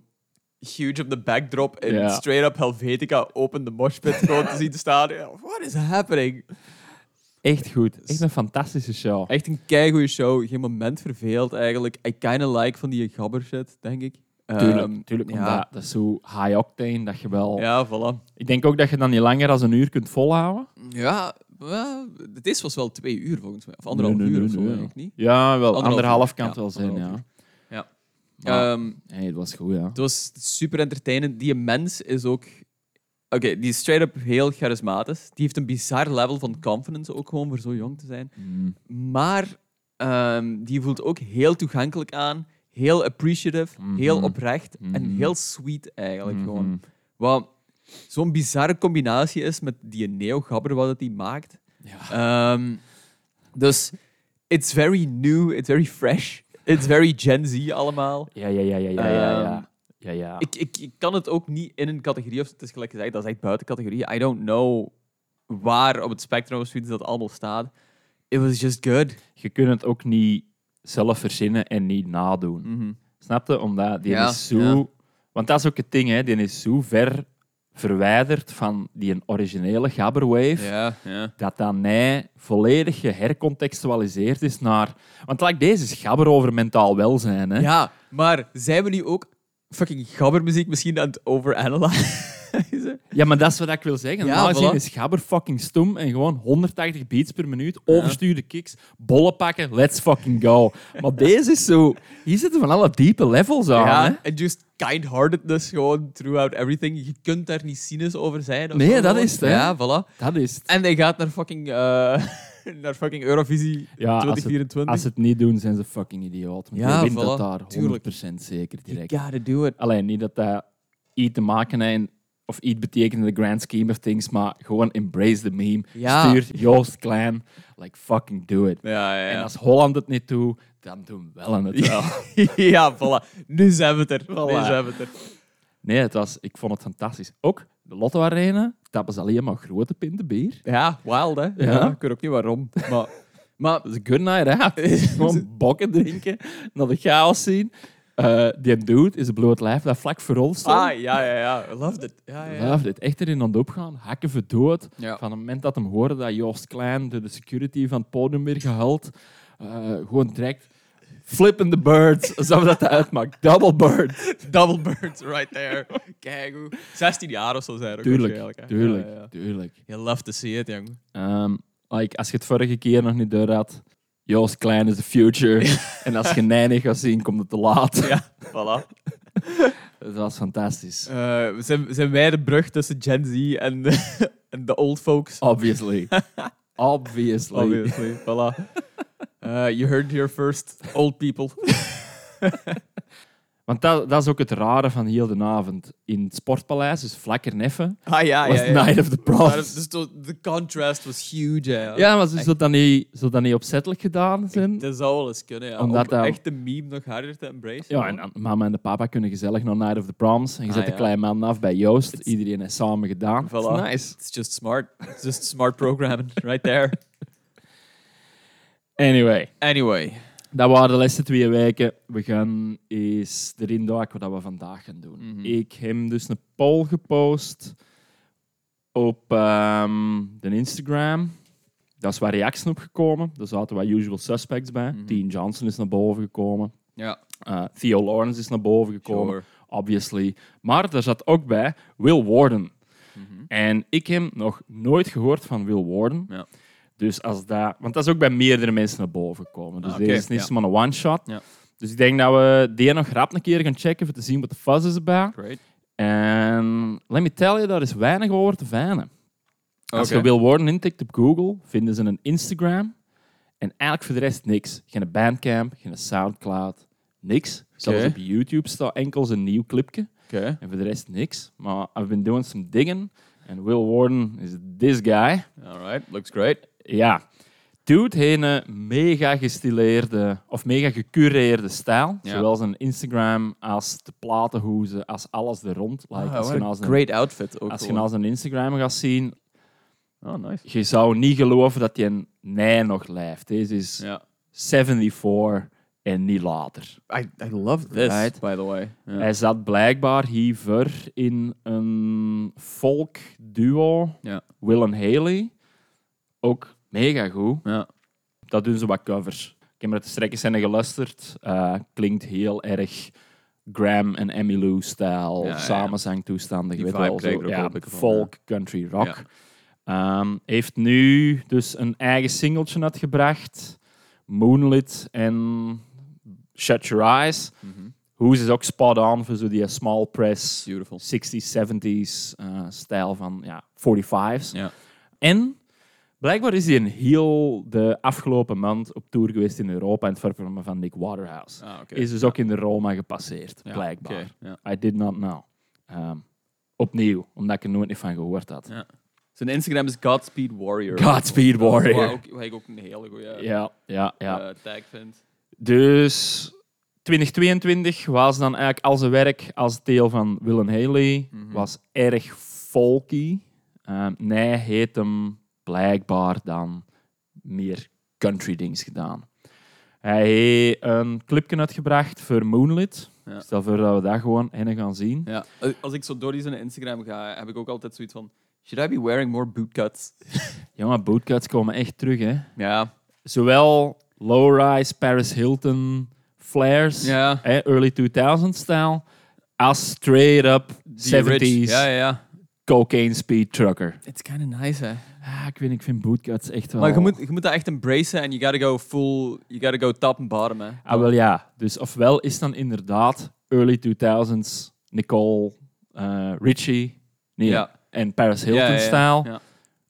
Speaker 2: huge op de backdrop en
Speaker 1: Ja.
Speaker 2: straight up Helvetica open de
Speaker 1: <laughs>
Speaker 2: moshpit gewoon te zien te staan. Ja, what is happening?
Speaker 1: Echt goed, echt een fantastische show.
Speaker 2: Echt een keigoede show. Geen moment verveeld eigenlijk. I kinda like van die gabber shit, denk ik. Ehm,
Speaker 1: Tuurlijk, tuurlijk
Speaker 2: ja.
Speaker 1: omdat dat is zo high octane dat je wel...
Speaker 2: Ja, voilà.
Speaker 1: Ik denk ook dat je dan niet langer dan een uur kunt volhouden.
Speaker 2: Ja, wel, het is was wel twee uur volgens mij. Of anderhalf
Speaker 1: Nee, nee,
Speaker 2: uur
Speaker 1: nee,
Speaker 2: of zo,
Speaker 1: nee.
Speaker 2: denk ik niet.
Speaker 1: Ja, wel, anderhalf,
Speaker 2: Anderhalf
Speaker 1: kan
Speaker 2: uur,
Speaker 1: het
Speaker 2: ja,
Speaker 1: wel zijn,
Speaker 2: anderhalf
Speaker 1: ja.
Speaker 2: Ja.
Speaker 1: Maar,
Speaker 2: Ehm,
Speaker 1: nee, het was goed, ja.
Speaker 2: het was super entertainend. Die mens is ook... Oké, die is straight up heel charismatisch. Die heeft een bizar level van confidence ook gewoon voor zo jong te zijn.
Speaker 1: Mm.
Speaker 2: Maar ehm, die voelt ook heel toegankelijk aan. Heel appreciative, heel
Speaker 1: Mhm.
Speaker 2: oprecht en
Speaker 1: Mhm.
Speaker 2: heel sweet eigenlijk gewoon.
Speaker 1: Mhm.
Speaker 2: Wat zo'n bizarre combinatie is met die neo-gabber wat het die maakt. Ehm, dus it's very new, it's very fresh, it's very Gen Z allemaal.
Speaker 1: Ja, ja, ja, ja, ja, ja,
Speaker 2: Ehm,
Speaker 1: ja. ja, ja.
Speaker 2: Ik, ik, ik kan het ook niet in een categorie, of het is gelijk gezegd, dat is echt buiten categorie. I don't know waar op het spectrum of zoiets dat allemaal staat. It was just good.
Speaker 1: je kunt het ook niet zelf verzinnen en niet nadoen. Snap je? Omdat die
Speaker 2: Mhm. Ja,
Speaker 1: is zo...
Speaker 2: ja.
Speaker 1: Want dat is ook het ding, hè. Die is zo ver verwijderd van die een originele gabberwave,
Speaker 2: Ja, ja.
Speaker 1: dat dan hij volledig gehercontextualiseerd is naar... Want like, deze is gabber over mentaal welzijn, hè.
Speaker 2: Ja, maar zijn we nu ook fucking gabbermuziek misschien aan het overanalyzen? <laughs>
Speaker 1: Ja, maar dat is wat ik wil zeggen.
Speaker 2: Ja,
Speaker 1: Normaal gezien
Speaker 2: voilà.
Speaker 1: is gabber fucking stom en gewoon 180 beats per minuut, overstuurde kicks, bollen pakken, let's fucking go. Maar <laughs> deze is zo... Hier zitten van alle diepe levels aan, hè.
Speaker 2: Ja, en just kind-heartedness gewoon throughout everything. Je kunt daar niet cynisch over zijn. of
Speaker 1: Nee,
Speaker 2: zo
Speaker 1: dat
Speaker 2: gewoon.
Speaker 1: is het, hè.
Speaker 2: Ja, voilà.
Speaker 1: Dat is het.
Speaker 2: En hij gaat naar fucking, eh, <laughs> naar fucking Eurovisie
Speaker 1: Ja, als het-
Speaker 2: 2024.
Speaker 1: Als ze het niet doen, zijn ze fucking idioot. Want
Speaker 2: Ja,
Speaker 1: je wint
Speaker 2: voilà.
Speaker 1: dat daar 100%
Speaker 2: Tuurlijk.
Speaker 1: zeker direct.
Speaker 2: You gotta do it.
Speaker 1: Alleen niet dat dat iets te maken heeft, of iets betekent in the grand scheme of things, maar gewoon embrace the meme.
Speaker 2: Ja.
Speaker 1: Stuur Joost Klein, like fucking do it.
Speaker 2: Ja, ja,
Speaker 1: En
Speaker 2: ja.
Speaker 1: als Holland het niet doet, dan doen Wellen het wel.
Speaker 2: Oh. <laughs> ja, voilà. Nu zijn we het er. Nu
Speaker 1: Voilà.
Speaker 2: zijn we het er.
Speaker 1: Nee, het was, ik vond het fantastisch. Ook de Lotto Arena, dat was alleen maar grote pinten bier.
Speaker 2: Ja, wild, hè? Ja. ik weet ook niet <laughs> waarom. Maar, maar <laughs>
Speaker 1: Dat is een good night out. Gewoon bokken drinken, naar de chaos zien. eh, die dude is een bloot lijf dat vlak voor ons stond.
Speaker 2: Ah, ja, ja, ja. I loved it. Ja, ja, ja.
Speaker 1: Laat dit echt erin aan de opgaan, hakken verdood.
Speaker 2: Ja.
Speaker 1: Van het moment dat hem hoorde dat Joost Klein door de security van het podium weer gehaald, eh, gewoon direct flipping the birds, <laughs> alsof dat dat uitmaakt. Double bird.
Speaker 2: Double birds right <laughs> there. Kijk hoe. 16 jaar of zo zijn er ook
Speaker 1: Tuurlijk,
Speaker 2: waarschijnlijk, hè.
Speaker 1: tuurlijk,
Speaker 2: Ja, ja, ja.
Speaker 1: tuurlijk.
Speaker 2: You love to see it, jong.
Speaker 1: Ehm, like, als je het vorige keer nog niet door had, Joost Klein is the
Speaker 2: <laughs>
Speaker 1: future. en als je Nijnig gaat zien, komt het te laat.
Speaker 2: Ja, voilà.
Speaker 1: Dat was fantastisch.
Speaker 2: Eh, zijn, zijn wij de brug tussen Gen Z en de, <laughs> en de old folks? <laughs>
Speaker 1: Obviously. Obviously.
Speaker 2: Obviously, voilà. Eh, you heard here first, old people.
Speaker 1: Want dat, dat is ook het rare van heel de avond. In het Sportpaleis, dus vlakker neffen,
Speaker 2: Ah ja,
Speaker 1: was
Speaker 2: ja, ja.
Speaker 1: Night of the
Speaker 2: <laughs> Maar
Speaker 1: Proms.
Speaker 2: het- dus to- de contrast was huge. Ja,
Speaker 1: Ja, maar ze zullen dat niet, zullen dat niet opzettelijk gedaan zijn.
Speaker 2: Dat zou wel eens kunnen, ja.
Speaker 1: Omdat
Speaker 2: Om
Speaker 1: dat-
Speaker 2: echt de meme nog harder te embracen.
Speaker 1: Ja, en en mama en de papa kunnen gezellig naar Night of the Proms. En je
Speaker 2: Ah,
Speaker 1: zet de
Speaker 2: ja.
Speaker 1: kleine man af bij Joost.
Speaker 2: It's-
Speaker 1: Iedereen is samen gedaan.
Speaker 2: Voilà.
Speaker 1: It's nice.
Speaker 2: It's just smart. It's just smart programming, <laughs> right there.
Speaker 1: Anyway,
Speaker 2: Anyway.
Speaker 1: dat waren de laatste twee weken. We gaan eens erin duiken wat we vandaag gaan doen.
Speaker 2: Mhm.
Speaker 1: Ik heb dus een poll gepost op ehm, de Instagram. Daar is wat reacties op gekomen. Daar zaten wat usual suspects bij.
Speaker 2: Mhm.
Speaker 1: Dean Johnson is naar boven gekomen.
Speaker 2: Ja,
Speaker 1: Eh, Theo Lawrence is naar boven gekomen.
Speaker 2: sure.
Speaker 1: obviously. Maar daar zat ook bij Will Warden.
Speaker 2: Mhm.
Speaker 1: En ik heb nog nooit gehoord van Will Warden.
Speaker 2: Ja.
Speaker 1: Dus als dat... Want dat is ook bij meerdere mensen naar boven gekomen. Dus
Speaker 2: Ah, oké,
Speaker 1: deze is niet
Speaker 2: ja.
Speaker 1: maar een one-shot.
Speaker 2: Ja.
Speaker 1: Dus ik denk dat we die nog rap een keer gaan checken om te zien wat de fuzz is erbij.
Speaker 2: Great.
Speaker 1: En let me tell you, daar is weinig over te vinden. Als
Speaker 2: Oké.
Speaker 1: je Will Warden intikt op Google, vinden ze een Instagram. En eigenlijk voor de rest niks. Geen Bandcamp, geen Soundcloud, niks. Zelfs
Speaker 2: Oké.
Speaker 1: op YouTube staat enkel zijn nieuw clipje.
Speaker 2: Oké.
Speaker 1: En voor de rest niks. Maar I've been doing some digging. En Will Warden is this guy.
Speaker 2: Alright, looks great.
Speaker 1: Ja. Dude heeft een mega gestileerde of mega gecureerde stijl.
Speaker 2: Ja.
Speaker 1: Zowel zijn Instagram als de platenhoezen, als alles er rond. Like, als je nou zijn,
Speaker 2: Ah, Oh, great outfit ook.
Speaker 1: als je nou zijn Instagram gaat zien,
Speaker 2: Oh, nice.
Speaker 1: je zou niet geloven dat hij een nee nog leeft. Deze is
Speaker 2: Ja.
Speaker 1: 74 en niet later.
Speaker 2: I, I love this,
Speaker 1: Right.
Speaker 2: by the way. Ja.
Speaker 1: Hij zat blijkbaar hiervoor in een folk-duo,
Speaker 2: Ja.
Speaker 1: Will en Haley. Ook mega goed.
Speaker 2: Ja.
Speaker 1: Dat doen ze wat covers. Ik heb naar de strekken zijn geluisterd. Eh, klinkt heel erg Graham en Emmylou-stijl,
Speaker 2: Ja, ja, ja.
Speaker 1: samenzangtoestanden. Je
Speaker 2: Die
Speaker 1: weet
Speaker 2: vibe
Speaker 1: wel,
Speaker 2: krijg
Speaker 1: zo,
Speaker 2: ik er ook
Speaker 1: ja,
Speaker 2: wel een beetje van,
Speaker 1: folk, country, rock. Ehm, heeft nu dus een eigen singeltje uitgebracht. Moonlit en Shut Your Eyes.
Speaker 2: Mhm.
Speaker 1: Hoes is ook spot on voor zo die small press,
Speaker 2: Beautiful.
Speaker 1: 60s, 70s eh, stijl van ja, 45s.
Speaker 2: Ja.
Speaker 1: En blijkbaar is hij een heel de afgelopen maand op tour geweest in Europa en het vervormen van Nick Waterhouse.
Speaker 2: Ah, oké.
Speaker 1: Is dus ook in de Roma gepasseerd,
Speaker 2: Ja,
Speaker 1: blijkbaar.
Speaker 2: oké, ja.
Speaker 1: I did not know. Ehm, opnieuw, omdat ik er nooit niet van gehoord had.
Speaker 2: Ja. Oh, Zijn Instagram is Godspeed Warrior.
Speaker 1: Godspeed Warrior.
Speaker 2: Waar, ook, waar ik ook een hele goede
Speaker 1: Ja, ja, ja.
Speaker 2: tag vind.
Speaker 1: Dus 2022 was dan eigenlijk al zijn werk als deel van Willem Haley.
Speaker 2: Mhm.
Speaker 1: Was erg folky. Ehm nee, heeft hem blijkbaar dan meer country dings gedaan. Hij heeft een clipje uitgebracht voor Moonlit.
Speaker 2: Ja.
Speaker 1: Stel voor dat we dat gewoon in gaan zien.
Speaker 2: Ja. Eh, Als- Als ik zo door die zijn Instagram ga, heb ik ook altijd zoiets van... Should I be wearing more bootcuts?
Speaker 1: Jongen, bootcuts komen echt terug, hè.
Speaker 2: ja.
Speaker 1: Zowel low-rise, Paris Hilton, flares.
Speaker 2: Ja.
Speaker 1: hè, early 2000 stijl, als straight up
Speaker 2: Die rich.
Speaker 1: 70s
Speaker 2: Ja, ja, ja.
Speaker 1: cocaine speed trucker.
Speaker 2: It's kind of nice, hè. Oh.
Speaker 1: Ah, ik weet niet, ik vind bootcuts echt wel.
Speaker 2: Maar je moet, je moet dat echt embracen en you gotta go full... You gotta go top and bottom, hè.
Speaker 1: Ah, wel ja. Dus ofwel is dan inderdaad early 2000s Nicole eh, Richie nee,
Speaker 2: Ja.
Speaker 1: en Paris Hilton
Speaker 2: Ja, ja, ja.
Speaker 1: stijl,
Speaker 2: Ja.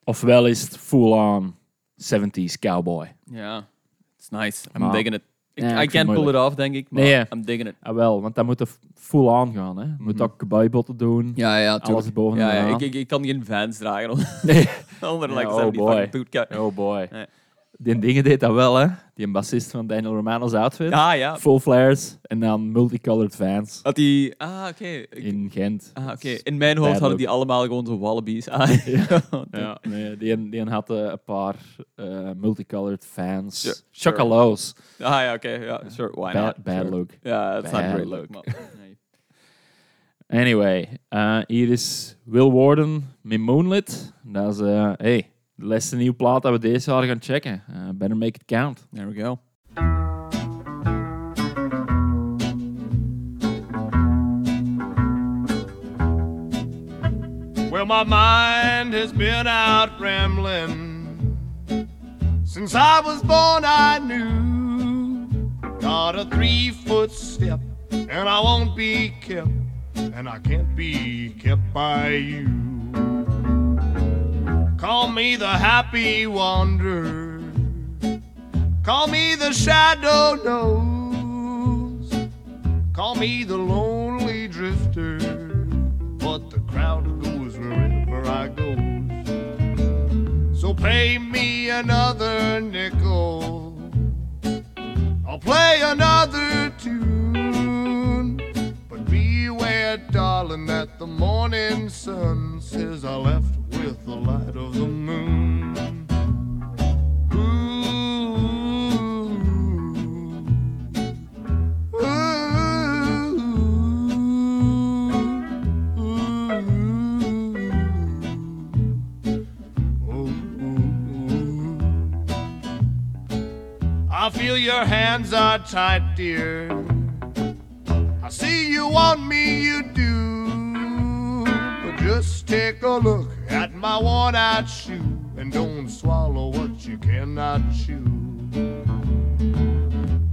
Speaker 1: ofwel is het full on 70s cowboy.
Speaker 2: Ja. It's nice. I'm
Speaker 1: Maar-
Speaker 2: digging it. Ik,
Speaker 1: Ja, ik
Speaker 2: I
Speaker 1: vind het
Speaker 2: can't pull it
Speaker 1: moeilijk.
Speaker 2: off, denk ik. Maar
Speaker 1: Nee, ja.
Speaker 2: I'm digging it.
Speaker 1: Ah, wel, want dat moet er full on gaan. Hè. Je moet ook cowboybotten doen.
Speaker 2: Mhm. Ja, ja,
Speaker 1: Alles boven
Speaker 2: ja,
Speaker 1: en
Speaker 2: ja,
Speaker 1: eraan.
Speaker 2: <laughs> ik, ik, ik kan geen vans dragen
Speaker 1: <laughs> Nee.
Speaker 2: onder
Speaker 1: Ja,
Speaker 2: like
Speaker 1: oh
Speaker 2: 75
Speaker 1: boy.
Speaker 2: bootcut.
Speaker 1: Oh boy.
Speaker 2: Nee.
Speaker 1: Die dingen deed dat wel, hè. Die bassist van Daniel Romano's outfit.
Speaker 2: Ah ja.
Speaker 1: Full flares en dan multicolored vans
Speaker 2: Had die... Ah, oké. Ik-
Speaker 1: in Gent.
Speaker 2: Ah, oké. In mijn hoofd hadden die allemaal gewoon zo wallabies Ah, aan.
Speaker 1: Ja, nee, die, die had eh, een paar eh, multicolored fans.
Speaker 2: Sure, sure.
Speaker 1: Chocolo's.
Speaker 2: Ah ja, oké. Ja, sure, why
Speaker 1: Bad,
Speaker 2: not?
Speaker 1: bad
Speaker 2: Sure.
Speaker 1: look.
Speaker 2: Ja, that's not
Speaker 1: Bad
Speaker 2: very
Speaker 1: look. <laughs>
Speaker 2: look. man.
Speaker 1: Anyway, eh, hier is Will Warden met Moonlit. Dat is, eh, hey, de laatste nieuwe plaat dat we deze jaar gaan checken. Eh, better make it count.
Speaker 2: There we go.
Speaker 3: Well, my mind has been out rambling. Since I was born, I knew. Got a three foot step, and I won't be kept, and I can't be kept by you. Call me the happy wanderer. Call me the shadow knows. Call me the lonely drifter, but the crowd goes wherever I goes. So pay me another nickel. I'll play another tune. But beware, darling, that the morning sun says I left with the light of the moon. Ooh. Ooh, ooh, ooh. Ooh, ooh. I feel your hands are tight, dear. I see you want me, you do. But just take a look at my worn out shoe and don't swallow what you cannot chew.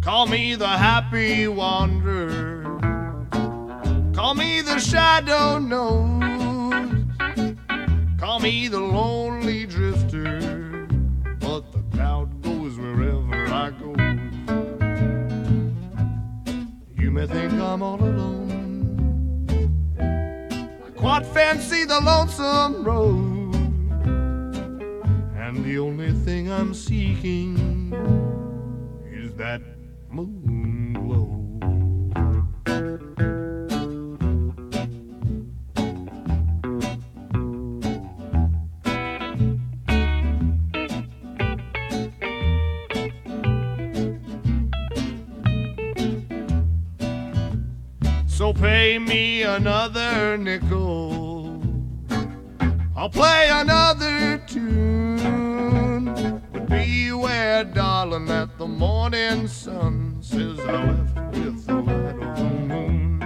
Speaker 3: Call me the happy wanderer. Call me the shadow knows. Call me the lonely drifter. But the cloud goes wherever I go. You may think I'm all alone. I quite fancy the lonesome road. And the only thing I'm seeking is that moon glow. So pay me another nickel. I'll play another tune. But beware, darling, that the morning sun says I left with the light of the moon.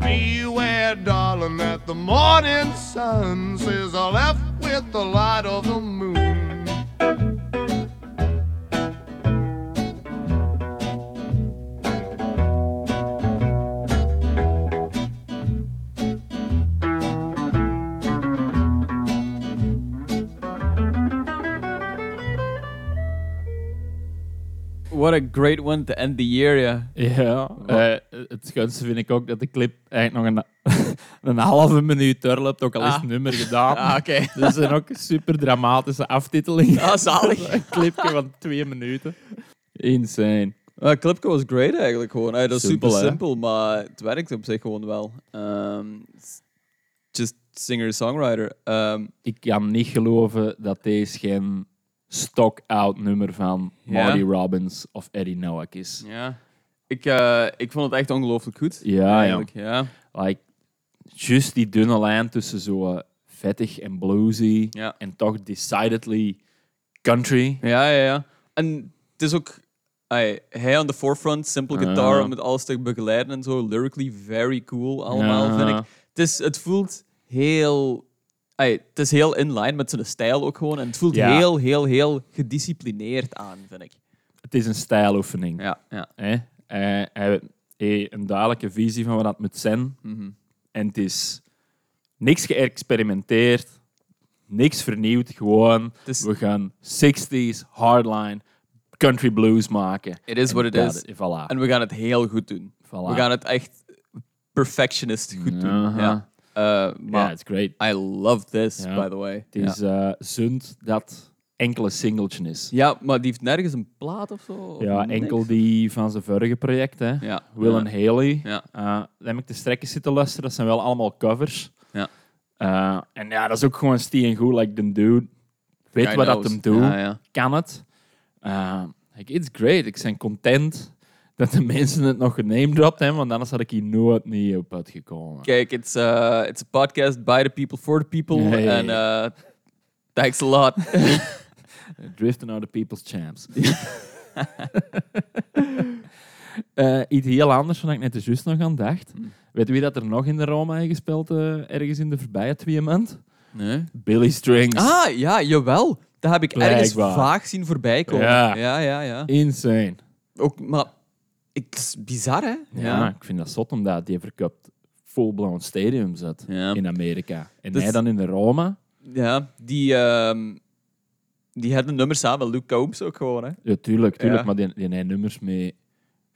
Speaker 3: Beware, darling, that the morning sun says I left with the light of the moon.
Speaker 2: What a great one to end the year, ja.
Speaker 1: Ja, eh, het schoonste vind ik ook dat de clip eigenlijk nog een, <laughs> een halve minuut doorloopt, ook al is
Speaker 2: Ah.
Speaker 1: het nummer gedaan.
Speaker 2: Ah, oké. <laughs>
Speaker 1: Dus er zijn ook super dramatische aftitelingen.
Speaker 2: Ah, zalig.
Speaker 1: een clipje van twee minuten. Insane.
Speaker 2: <laughs> Uh, Clipco was great eigenlijk gewoon. Hey, dat is
Speaker 1: Simpel,
Speaker 2: super
Speaker 1: hè?
Speaker 2: simpel, maar het werkt op zich gewoon wel. Ehm, s- just singer-songwriter. Ehm,
Speaker 1: Ik kan niet geloven dat deze geen stock-out nummer van
Speaker 2: Ja.
Speaker 1: Marty Robbins of Eddie Noack is.
Speaker 2: ja. Ik, eh, ik vond het echt ongelooflijk goed.
Speaker 1: Ah, Ja,
Speaker 2: eigenlijk. Ja.
Speaker 1: Like, just die dunne lijn tussen zo eh, vettig en bluesy
Speaker 2: Ja.
Speaker 1: en toch decidedly country.
Speaker 2: Ja, ja, ja. En het is ook ai, hij aan de forefront, simple guitar
Speaker 1: Ja.
Speaker 2: om het alles te begeleiden en zo. Lyrically very cool allemaal,
Speaker 1: Ja.
Speaker 2: vind ik. Het, is, het voelt heel. ai, het is heel in line met zijn stijl ook gewoon. En het voelt
Speaker 1: Ja.
Speaker 2: heel, heel, heel gedisciplineerd aan, vind ik.
Speaker 1: Het is een stijloefening.
Speaker 2: Ja, ja.
Speaker 1: Hè? Eh, hij heeft een duidelijke visie van wat dat moet zijn.
Speaker 2: Mhm.
Speaker 1: En het is niks geëxperimenteerd, niks vernieuwd, gewoon
Speaker 2: is-
Speaker 1: we gaan 60s hardline country blues maken.
Speaker 2: It is
Speaker 1: En
Speaker 2: what it
Speaker 1: dat-
Speaker 2: is.
Speaker 1: Voilà.
Speaker 2: En we gaan het heel goed doen.
Speaker 1: Voilà.
Speaker 2: We gaan het echt perfectionist goed doen.
Speaker 1: Aha.
Speaker 2: Ja. Eh,
Speaker 1: Ja,
Speaker 2: maar
Speaker 1: it's great.
Speaker 2: I love this,
Speaker 1: Ja.
Speaker 2: by the way.
Speaker 1: Het is eh, zund dat enkele singeltje is.
Speaker 2: Ja, maar die heeft nergens een plaat of zo? of
Speaker 1: Ja,
Speaker 2: niks?
Speaker 1: enkel die van zijn vorige project, hè.
Speaker 2: Ja.
Speaker 1: Will
Speaker 2: ja.
Speaker 1: and Haley.
Speaker 2: Ja.
Speaker 1: Eh, dan heb ik de strekken zitten luisteren. Dat zijn wel allemaal covers.
Speaker 2: Ja.
Speaker 1: Eh, en ja, dat is ook gewoon Steen Goed, like the dude. Weet
Speaker 2: Guy
Speaker 1: wat dat
Speaker 2: knows.
Speaker 1: hem doet.
Speaker 2: Ja, ja.
Speaker 1: Kan het. Eh, like, it's great. Ik ben content dat de mensen het nog genamedropt hebben, want anders had ik hier nooit niet op uitgekomen.
Speaker 2: Kijk, it's, uh, it's a podcast by the people, for the people.
Speaker 1: Ja, ja,
Speaker 2: En eh, thanks
Speaker 1: <laughs>
Speaker 2: a lot.
Speaker 1: Drifting are the people's champs. <laughs> Eh, iets heel anders dan ik net dus juist nog aan dacht.
Speaker 2: Hmm.
Speaker 1: Weet wie dat er nog in de Roma heeft gespeeld eh, ergens in de voorbije twee maanden?
Speaker 2: nee.
Speaker 1: Billy Strings.
Speaker 2: Ah, ja, jawel. Dat heb ik
Speaker 1: Blijkbaar.
Speaker 2: ergens vaag zien voorbij komen.
Speaker 1: Ja.
Speaker 2: ja, ja. ja.
Speaker 1: Insane.
Speaker 2: Ook, maar... Het is bizar, hè?
Speaker 1: Ja. ik vind dat zot omdat die verkapt full-blown stadium zat
Speaker 2: Ja.
Speaker 1: in Amerika. En
Speaker 2: Dus-
Speaker 1: hij dan in de Roma.
Speaker 2: Ja, die, ehm die hadden een nummer samen, Luke Combs ook gewoon. Hè?
Speaker 1: Ja, tuurlijk, tuurlijk
Speaker 2: Ja.
Speaker 1: maar die, die heeft nummers mee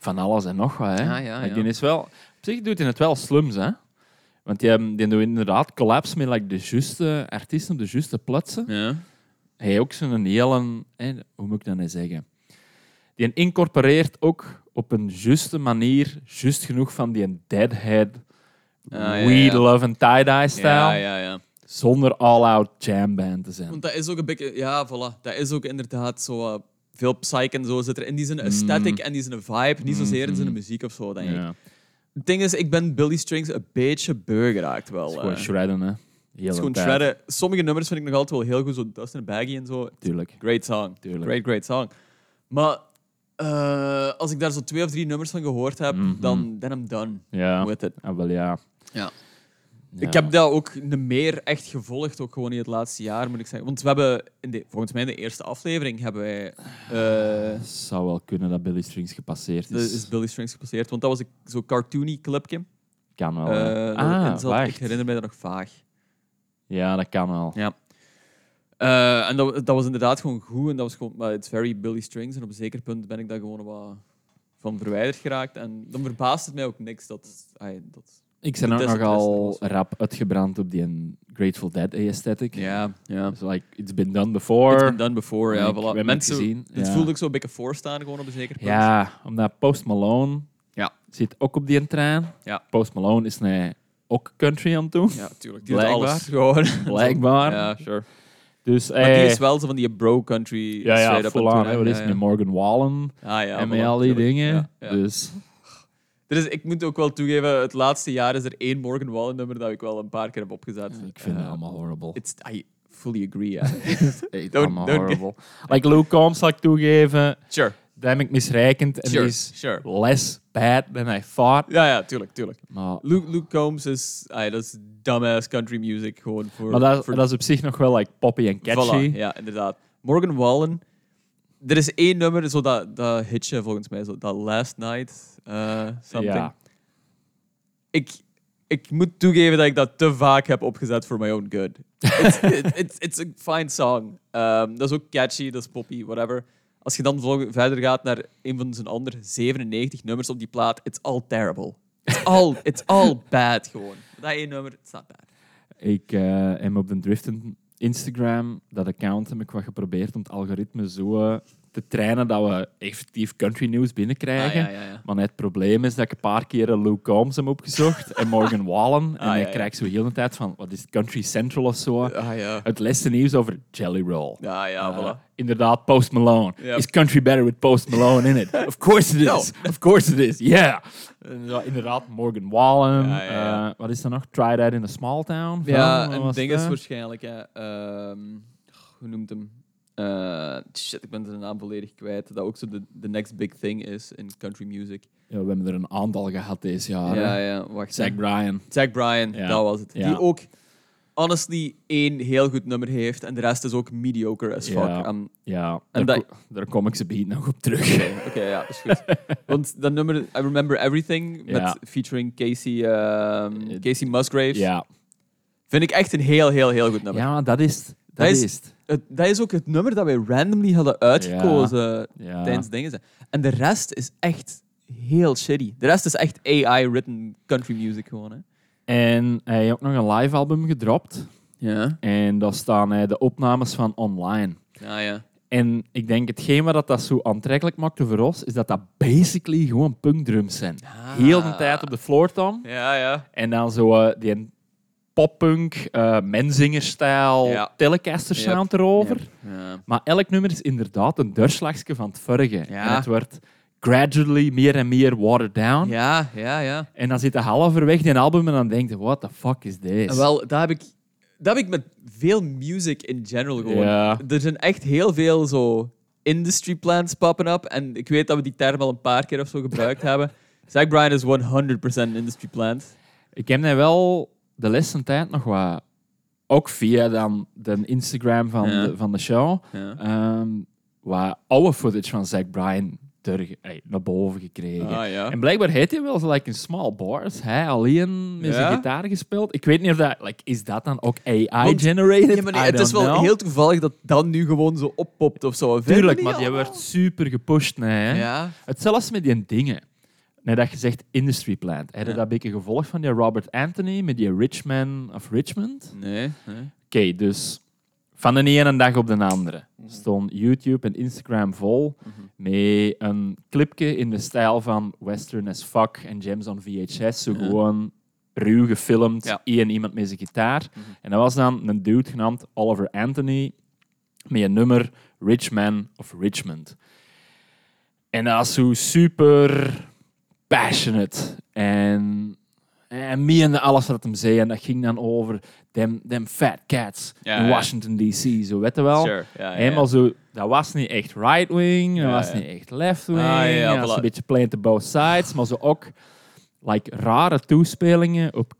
Speaker 1: van alles en nog wat. Hè.
Speaker 2: Ja, ja,
Speaker 1: Like,
Speaker 2: ja.
Speaker 1: Die is wel, op zich doet hij het wel slums, hè. Want die, hebben- die doen inderdaad collabs met like, de juiste artiesten op de juiste plaatsen.
Speaker 2: Ja.
Speaker 1: Hij heeft ook zo'n hele... Hè, hoe moet ik dat nou zeggen? Die incorporeert ook op een juiste manier, juist genoeg van die deadhead,
Speaker 2: Ah, ja, ja.
Speaker 1: weed, love and tie-dye-stijl.
Speaker 2: ja, ja, ja.
Speaker 1: zonder all-out jamband te zijn.
Speaker 2: Want dat is ook een beetje, ja, voilà. Dat is ook inderdaad zo. eh, veel psych en zo zit er in die zijn aesthetic en die zijn vibe, niet zozeer in zijn muziek of zo, denk ik.
Speaker 1: Mm. Mm-hmm. Ja,
Speaker 2: Het ding is, ik ben Billy Strings een beetje beu geraakt wel.
Speaker 1: het is
Speaker 2: eh.
Speaker 1: gewoon shredden, hè. Heel
Speaker 2: Het is gewoon shredden. Sommige nummers vind ik nog altijd wel heel goed, zo Dustin Baggy en zo.
Speaker 1: Tuurlijk.
Speaker 2: Great song.
Speaker 1: Tuurlijk.
Speaker 2: Great, great song. Maar eh, als ik daar zo twee of drie nummers van gehoord heb, dan then I'm done
Speaker 1: Mm-hmm. Ja,
Speaker 2: with it.
Speaker 1: ah, wel ja.
Speaker 2: Ja.
Speaker 1: Ja.
Speaker 2: Ik heb dat ook niet meer echt gevolgd, ook gewoon in het laatste jaar, moet ik zeggen. Want we hebben, in de, volgens mij in de eerste aflevering, hebben wij, eh,
Speaker 1: zou wel kunnen dat Billy Strings gepasseerd
Speaker 2: de,
Speaker 1: is.
Speaker 2: is Billy Strings gepasseerd. Want dat was een- zo'n cartoony clipje.
Speaker 1: Kan wel.
Speaker 2: Eh,
Speaker 1: hè.
Speaker 2: dat
Speaker 1: ah,
Speaker 2: erin zat.
Speaker 1: wacht.
Speaker 2: ik herinner mij dat nog vaag.
Speaker 1: Ja, dat kan wel.
Speaker 2: Ja. Eh, en dat, dat was inderdaad gewoon goed. En dat was gewoon, maar it's very Billy Strings. En op een zeker punt ben ik daar gewoon wat van verwijderd geraakt. En dan verbaast het mij ook niks dat... ai, dat
Speaker 1: Ik ben
Speaker 2: De
Speaker 1: ook
Speaker 2: Desert
Speaker 1: nogal
Speaker 2: Western was-
Speaker 1: rap uitgebrand op die Grateful Dead aesthetic.
Speaker 2: ja, ja.
Speaker 1: It's Dus, like, it's been done before.
Speaker 2: It's been done before, ja.
Speaker 1: Ik- we hebben
Speaker 2: Voilà.
Speaker 1: het
Speaker 2: Mensen,
Speaker 1: gezien,
Speaker 2: Dit
Speaker 1: ja.
Speaker 2: voelde ik zo een beetje voorstaan gewoon op een zeker punt.
Speaker 1: Ja, omdat Post Malone
Speaker 2: Ja.
Speaker 1: zit ook op die trein.
Speaker 2: Ja.
Speaker 1: Post Malone is nu ook country aan het doen.
Speaker 2: Ja, tuurlijk. Die
Speaker 1: Blijkbaar.
Speaker 2: doet alles gewoon.
Speaker 1: <laughs> Blijkbaar.
Speaker 2: ja, sure.
Speaker 1: Dus,
Speaker 2: Maar die
Speaker 1: eh,
Speaker 2: is wel zo van die bro-country
Speaker 1: Ja, ja,
Speaker 2: straight-up
Speaker 1: full on.
Speaker 2: toe,
Speaker 1: hè. Wat is het
Speaker 2: ja.
Speaker 1: met Morgan Wallen
Speaker 2: Ah, ja,
Speaker 1: en
Speaker 2: voilà,
Speaker 1: met al die
Speaker 2: tuurlijk.
Speaker 1: dingen.
Speaker 2: Ja, ja.
Speaker 1: Dus
Speaker 2: Er is, ik moet ook wel toegeven, het laatste jaar is er één Morgan Wallen nummer dat ik wel een paar keer heb opgezet.
Speaker 1: ik vind
Speaker 2: Eh,
Speaker 1: het allemaal horrible.
Speaker 2: It's, I fully agree. ja.
Speaker 1: It's
Speaker 2: <laughs> don't-
Speaker 1: allemaal
Speaker 2: don't-
Speaker 1: horrible. Like Luke Combs, zal ik toegeven,
Speaker 2: <laughs> sure.
Speaker 1: dat heb ik misreikend. En
Speaker 2: Sure,
Speaker 1: die is
Speaker 2: sure.
Speaker 1: less bad than I thought.
Speaker 2: Ja, ja, tuurlijk, tuurlijk.
Speaker 1: Maar,
Speaker 2: Luke, Luke Combs is, ah, dat is dumbass country music gewoon voor...
Speaker 1: maar dat,
Speaker 2: voor
Speaker 1: dat is op zich nog wel like poppy en catchy.
Speaker 2: Voilà, ja, inderdaad. Morgan Wallen. Er is één nummer, zo dat, dat hitje volgens mij, zo, dat Last Night eh, something.
Speaker 1: Ja.
Speaker 2: Ik, ik moet toegeven dat ik dat te vaak heb opgezet voor my own good. <laughs> It's, it- it's, it's a fine song. Ehm, dat is ook catchy, dat is poppy, whatever. Als je dan vol- verder gaat naar een van zijn andere 97 nummers op die plaat, it's all terrible. It's all, it's all bad gewoon. Dat één nummer, it's not bad.
Speaker 1: Ik eh, heb op de Driften Instagram, dat account, heb ik wat geprobeerd om het algoritme zo eh, te trainen dat we effectief country nieuws binnenkrijgen.
Speaker 2: Ah, ja, ja, ja.
Speaker 1: Maar net het probleem is dat ik een paar keren Luke Combs heb opgezocht en
Speaker 2: <laughs>
Speaker 1: Morgan Wallen. En
Speaker 2: Ah, ja,
Speaker 1: ik
Speaker 2: ja.
Speaker 1: krijg zo heel de tijd van, wat is het, Country Central of zo?
Speaker 2: Ah ja.
Speaker 1: Het laatste nieuws over Jelly Roll.
Speaker 2: Ja, ja,
Speaker 1: Eh,
Speaker 2: Ah, voilà.
Speaker 1: inderdaad, Post Malone.
Speaker 2: Ja. Nou.
Speaker 1: Is country better with Post Malone in
Speaker 2: <laughs>
Speaker 1: it? Of course it is. Of course it is. Yeah. Inderdaad- Inderdaad, Morgan Wallen.
Speaker 2: Ja, ja, ja.
Speaker 1: Eh, wat is er nog? Try That in a Small Town.
Speaker 2: Ja,
Speaker 1: Van, wat
Speaker 2: en
Speaker 1: was
Speaker 2: het ding
Speaker 1: dat?
Speaker 2: is waarschijnlijk, hè, ehm, hoe noemt hem? Eh, shit, ik ben zijn naam volledig kwijt. Dat ook zo de, de next big thing is in country music.
Speaker 1: Ja, we hebben er een aantal gehad deze jaar.
Speaker 2: ja,
Speaker 1: hè.
Speaker 2: ja, wacht.
Speaker 1: Zach Bryan.
Speaker 2: Zach Bryan,
Speaker 1: Ja.
Speaker 2: dat was het.
Speaker 1: Ja.
Speaker 2: Die ook, honestly, één heel goed nummer heeft en de rest is ook mediocre as fuck.
Speaker 1: Ja.
Speaker 2: Ehm,
Speaker 1: Ja,
Speaker 2: En
Speaker 1: daar,
Speaker 2: dat-
Speaker 1: ko- daar kom ik ze beat nog op terug.
Speaker 2: Oké, ja, is goed. Want dat nummer, I Remember Everything,
Speaker 1: Ja. Eh,
Speaker 2: met featuring Casey, ehm, Casey Musgraves,
Speaker 1: <laughs> Ja,
Speaker 2: vind ik echt een heel, heel, heel goed nummer.
Speaker 1: ja maar dat is het. Dat
Speaker 2: is-
Speaker 1: is het.
Speaker 2: Het- dat is ook het nummer dat wij randomly hadden uitgekozen
Speaker 1: Ja.
Speaker 2: tijdens dingen. zijn. En de rest is echt heel shitty. De rest is echt AI-written country music gewoon. Hè?
Speaker 1: En hij heeft ook nog een live album gedropt.
Speaker 2: Ja.
Speaker 1: En daar staan eh, de opnames van online.
Speaker 2: Ah ja.
Speaker 1: En ik denk, hetgeen wat dat zo aantrekkelijk maakte voor ons, is dat dat basically gewoon punkdrums zijn.
Speaker 2: Ah.
Speaker 1: Heel de tijd op de floor tom.
Speaker 2: Ja, ja.
Speaker 1: En dan zo eh, die poppunk, eh menzingerstijl,
Speaker 2: Ja.
Speaker 1: telecaster sound erover.
Speaker 2: Ja.
Speaker 1: Maar elk nummer is inderdaad een doorslagje van het vorige.
Speaker 2: Ja.
Speaker 1: En het wordt gradually meer en meer watered down.
Speaker 2: Ja, ja, ja.
Speaker 1: En dan zit je halverwege in een album en dan denk je, what the fuck is this?
Speaker 2: En wel, dat heb ik, dat heb ik met veel music in general gewoon.
Speaker 1: Ja.
Speaker 2: Er zijn echt heel veel zo industry plans popping up. En ik weet dat we die term al een paar keer of zo
Speaker 1: <laughs>
Speaker 2: gebruikt hebben. Zach Bryan is 100% een industry plant.
Speaker 1: Ik heb net wel de laatste tijd nog wat... Ook via dan de Instagram van,
Speaker 2: Ja.
Speaker 1: de, van de show.
Speaker 2: Ja.
Speaker 1: ehm, wat oude footage van Zach Bryan terug, ey, naar boven gekregen.
Speaker 2: Ah, ja.
Speaker 1: En blijkbaar heeft hij wel zo like, in small bars. Hij alleen met zijn
Speaker 2: Ja?
Speaker 1: gitaar gespeeld. Ik weet niet of dat... Like, is dat dan ook
Speaker 2: Want-
Speaker 1: AI-generated?
Speaker 2: Ja, maar nee, het is wel heel toevallig dat dat nu gewoon zo oppopt of zo. Vind je
Speaker 1: Tuurlijk,
Speaker 2: niet
Speaker 1: maar die
Speaker 2: allemaal?
Speaker 1: werd super gepusht. Nee, hè.
Speaker 2: Ja.
Speaker 1: Hetzelfde met die dingen. Nee, dat je zegt industry plant. Heb je
Speaker 2: Ja.
Speaker 1: dat een beetje gevolgd van die Robert Anthony met die Richman of Richmond?
Speaker 2: Nee, nee.
Speaker 1: Oké, dus van de ene dag op de andere
Speaker 2: Mhm.
Speaker 1: stond YouTube en Instagram vol met een clipje in de stijl van Western as fuck en Gems on VHS. Zo gewoon ruw gefilmd,
Speaker 2: Ja. Mhm.
Speaker 1: één iemand met zijn gitaar. En dat was dan een dude genaamd Oliver Anthony met een nummer Rich Man of Richmond. En dat is zo super passionate. En, en meende alles wat hem zei. En dat ging dan over them, them fat cats
Speaker 2: Ja,
Speaker 1: in
Speaker 2: ja.
Speaker 1: Washington D.C. Zo, weet je wel?
Speaker 2: Sure, ja, ja,
Speaker 1: Helemaal
Speaker 2: ja.
Speaker 1: zo... Dat was niet echt right wing, dat
Speaker 2: Ja,
Speaker 1: was
Speaker 2: ja.
Speaker 1: niet echt left wing.
Speaker 2: Ah, ja,
Speaker 1: dat was
Speaker 2: voilà.
Speaker 1: een beetje playing to both sides. Maar zo ook like, rare toespelingen op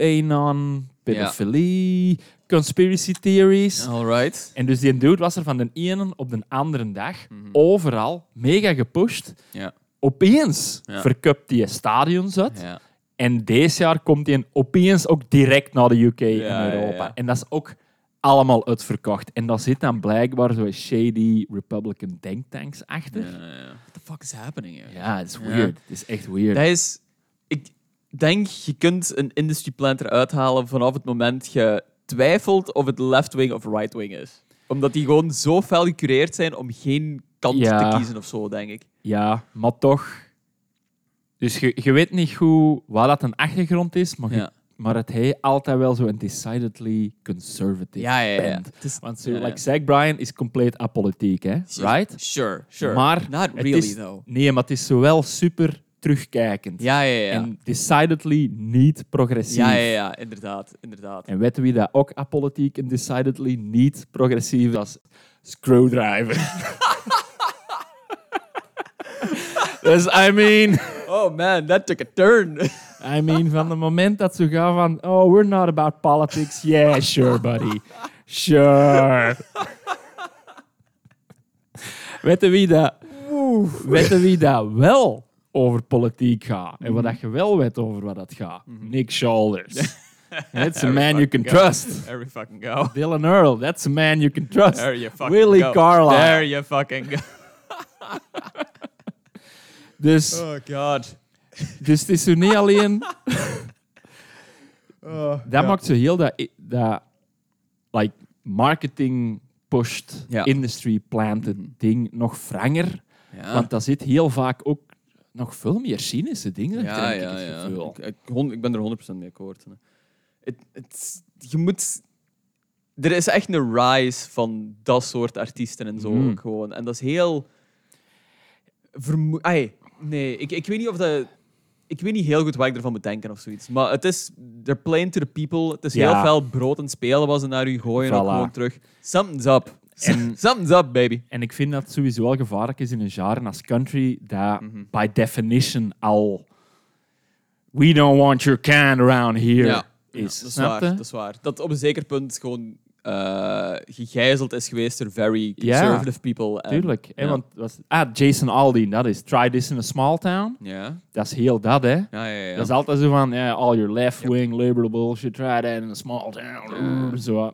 Speaker 1: QAnon, pedofilie, conspiracy theories.
Speaker 2: Alright.
Speaker 1: En dus die dude was er van de ene op de andere dag
Speaker 2: Mhm.
Speaker 1: overal mega gepusht.
Speaker 2: Ja.
Speaker 1: Opeens
Speaker 2: Ja.
Speaker 1: verkupt die stadions uit.
Speaker 2: Ja.
Speaker 1: En deze jaar komt hij opeens ook direct naar de UK
Speaker 2: Ja,
Speaker 1: en Europa.
Speaker 2: ja, ja.
Speaker 1: En dat is ook allemaal uitverkocht. En daar zit dan blijkbaar zo'n shady Republican denktanks achter. Ja,
Speaker 2: What the fuck is happening here?
Speaker 1: het is weird. Het is echt weird.
Speaker 2: Dat is... Ik denk, je kunt een industry plant eruit halen vanaf het moment je twijfelt of het left wing of right wing is. Omdat die gewoon zo fel gecureerd zijn om geen kant
Speaker 1: Ja.
Speaker 2: te kiezen of zo, denk ik.
Speaker 1: Ja, maar toch... Dus je, je weet niet goed waar dat een achtergrond is, maar, je-
Speaker 2: Ja.
Speaker 1: maar dat hij altijd wel zo'n decidedly conservative
Speaker 2: Ja, ja, ja.
Speaker 1: bent.
Speaker 2: Het is-
Speaker 1: Want zo,
Speaker 2: ja, ja.
Speaker 1: like Zach Bryan is compleet apolitiek, hè? Right?
Speaker 2: Sure, sure.
Speaker 1: Maar
Speaker 2: Not
Speaker 1: het
Speaker 2: really,
Speaker 1: is-
Speaker 2: though.
Speaker 1: Nee, maar het is zowel super terugkijkend.
Speaker 2: Ja, ja, ja.
Speaker 1: En decidedly niet progressief.
Speaker 2: Ja, ja, ja, inderdaad. inderdaad.
Speaker 1: En weten wie dat ook apolitiek en decidedly niet progressief was? Screwdriver. <laughs> dus I mean,
Speaker 2: Oh man, that took a turn.
Speaker 1: <laughs> I mean, van het moment dat ze gaan van, oh, we're not about politics. Yeah, sure, buddy. <laughs> Sure. Weet je wie dat, weet je wie dat wel over politiek gaat? En wat dat je wel weet over wat dat gaat? Nick <laughs> Shoulders. That's a man you can trust.
Speaker 2: There we fucking go.
Speaker 1: Dylan Earl, that's a man you can trust.
Speaker 2: There you fucking
Speaker 1: Willie
Speaker 2: go.
Speaker 1: Carlisle.
Speaker 2: There you fucking go.
Speaker 1: Dus,
Speaker 2: Oh god.
Speaker 1: dus het is zo niet
Speaker 2: <laughs>
Speaker 1: alleen...
Speaker 2: Oh,
Speaker 1: dat maakt zo heel dat, i- dat like, marketing pushed,
Speaker 2: Ja. Mhm.
Speaker 1: industry planted ding nog franger.
Speaker 2: Ja.
Speaker 1: Want daar zit heel vaak ook nog veel meer cynische dingen achter,
Speaker 2: Ja,
Speaker 1: heb ik
Speaker 2: ja,
Speaker 1: het
Speaker 2: ja.
Speaker 1: gevoel.
Speaker 2: Ik, ik, hon- ik ben er 100% mee akkoord. hè. Het, het, je moet. Er is echt een rise van dat soort artiesten en zo
Speaker 1: Mhm.
Speaker 2: ook gewoon. En dat is heel. Vermoe Ai, nee, ik, ik weet niet of dat. Ik weet niet heel goed wat ik ervan moet denken of zoiets. Maar het is. They're playing to the people. Het is
Speaker 1: Ja.
Speaker 2: heel veel brood en spelen was en naar u gooien. En ook
Speaker 1: Voilà.
Speaker 2: gewoon terug. Something's up. Something's up, baby.
Speaker 1: En ik vind dat het sowieso wel gevaarlijk is in een genre als country, dat
Speaker 2: Mhm.
Speaker 1: by definition al we don't want your can around here is.
Speaker 2: dat is,
Speaker 1: Snap
Speaker 2: waar,
Speaker 1: je?
Speaker 2: dat is waar. Dat op een zeker punt gewoon eh, gegijzeld is geweest door very
Speaker 1: Ja.
Speaker 2: conservative people. en-
Speaker 1: Tuurlijk. hè,
Speaker 2: ja.
Speaker 1: want, was, ah, Jason Aldean, dat is Try This in a Small Town.
Speaker 2: Ja,
Speaker 1: Dat is heel dat, hè.
Speaker 2: ja, ja. ja.
Speaker 1: Dat is altijd zo van, ja, all your left-wing liberal bullshit, try that in a small town. Zo.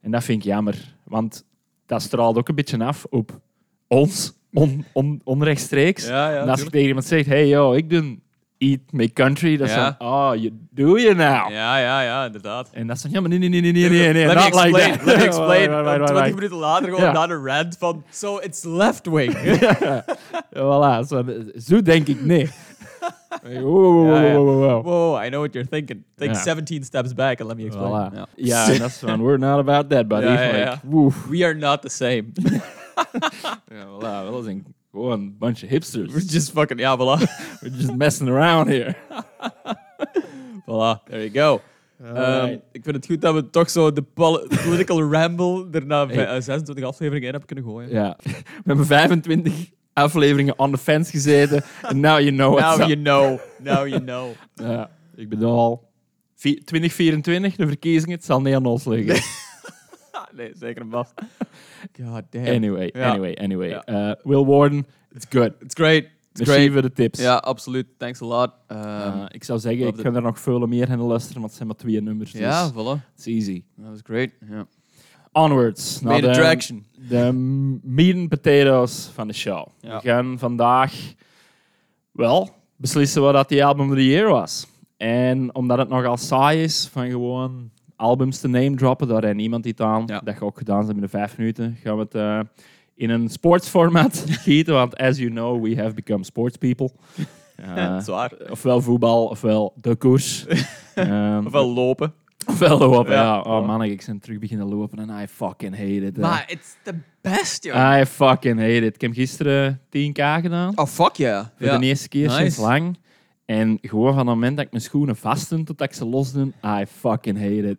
Speaker 1: En dat vind ik jammer, want dat straalt ook een beetje af op ons, on, on, onrechtstreeks.
Speaker 2: Ja, ja,
Speaker 1: en als je
Speaker 2: tuurlijk.
Speaker 1: tegen iemand zegt, hey yo, ik doe Eat Me Country. Dat is
Speaker 2: Ja.
Speaker 1: van, oh, you, do you now?
Speaker 2: Ja, ja, ja, inderdaad.
Speaker 1: En dat is van, ja, maar nee, nee, nee, nee, nee, nee, nee, not
Speaker 2: let me explain.
Speaker 1: like that.
Speaker 2: Let me
Speaker 1: <laughs> Right,
Speaker 2: explain.
Speaker 1: right, right, right,
Speaker 2: 20
Speaker 1: right.
Speaker 2: minuten later gewoon
Speaker 1: Ja.
Speaker 2: naar een rant van... So it's left
Speaker 1: <laughs>
Speaker 2: wing.
Speaker 1: Voilà, zo, zo denk ik, nee. Wow, wow,
Speaker 2: Ja,
Speaker 1: wow,
Speaker 2: ja.
Speaker 1: wow, wow, wow.
Speaker 2: Whoa, I know what you're thinking. Take
Speaker 1: Ja.
Speaker 2: 17 steps back and let me explain.
Speaker 1: Voilà.
Speaker 2: Ja.
Speaker 1: Ja, en dat is van, we're not about that, buddy.
Speaker 2: Ja, ja,
Speaker 1: Like,
Speaker 2: ja.
Speaker 1: woef.
Speaker 2: We are not the same. <laughs>
Speaker 1: Ja, voilà, dat is een, gewoon een bunch of hipsters.
Speaker 2: We're just fucking... Ja, voilà.
Speaker 1: We're just messing around here.
Speaker 2: voilà, there you go. Ehm,
Speaker 1: Alright.
Speaker 2: ik vind het goed dat we toch zo de <laughs> pol- political ramble er na
Speaker 1: Hey.
Speaker 2: eh, 26 afleveringen in hebben kunnen gooien.
Speaker 1: Ja. We hebben 25 afleveringen on the fence gezeten. En now you know what's
Speaker 2: Now
Speaker 1: up.
Speaker 2: you know. Now you know.
Speaker 1: Ja, ik bedoel, vi- 2024, de verkiezingen, het zal niet aan ons liggen.
Speaker 2: <laughs> Ah, nee, zeker een vast. God damn.
Speaker 1: Anyway,
Speaker 2: Ja.
Speaker 1: anyway, anyway.
Speaker 2: Ja.
Speaker 1: Eh, Will Warden, it's good.
Speaker 2: It's great. It's
Speaker 1: Merci
Speaker 2: great.
Speaker 1: voor de tips.
Speaker 2: Ja, absoluut. Thanks a lot. Ehm,
Speaker 1: Eh, ik zou zeggen, ik
Speaker 2: Love
Speaker 1: kan er nog veel meer gaan luisteren, want het zijn maar twee nummers. Dus
Speaker 2: ja, voilà.
Speaker 1: it's easy.
Speaker 2: That was great. Ja.
Speaker 1: Onwards. naar
Speaker 2: Main
Speaker 1: de-
Speaker 2: attraction.
Speaker 1: De meat and potatoes van de show.
Speaker 2: Ja.
Speaker 1: We gaan vandaag wel beslissen wat dat die album of the year was. En omdat het nogal saai is van gewoon albums te name droppen, daar rijdt niemand iets aan.
Speaker 2: Ja.
Speaker 1: Dat ga ik ook gedaan zijn binnen vijf minuten. Gaan we het eh, in een sportsformat <laughs> gieten, want as you know, we have become sports
Speaker 2: <laughs>
Speaker 1: people. Eh,
Speaker 2: Zwaar.
Speaker 1: ofwel voetbal, ofwel de
Speaker 2: <laughs>
Speaker 1: koers. Ehm,
Speaker 2: Ofwel lopen.
Speaker 1: ofwel lopen, ja.
Speaker 2: Ja.
Speaker 1: Oh man, ik ben terug beginnen lopen en I fucking hate it. eh.
Speaker 2: Maar it's the best, joh.
Speaker 1: I fucking hate it. Ik heb gisteren 10k gedaan.
Speaker 2: Ah. oh, fuck yeah.
Speaker 1: Voor de eerste keer sinds
Speaker 2: Nice.
Speaker 1: lang. En gewoon van het moment dat ik mijn schoenen vastdoen tot dat ik ze losdoen, I fucking hate it.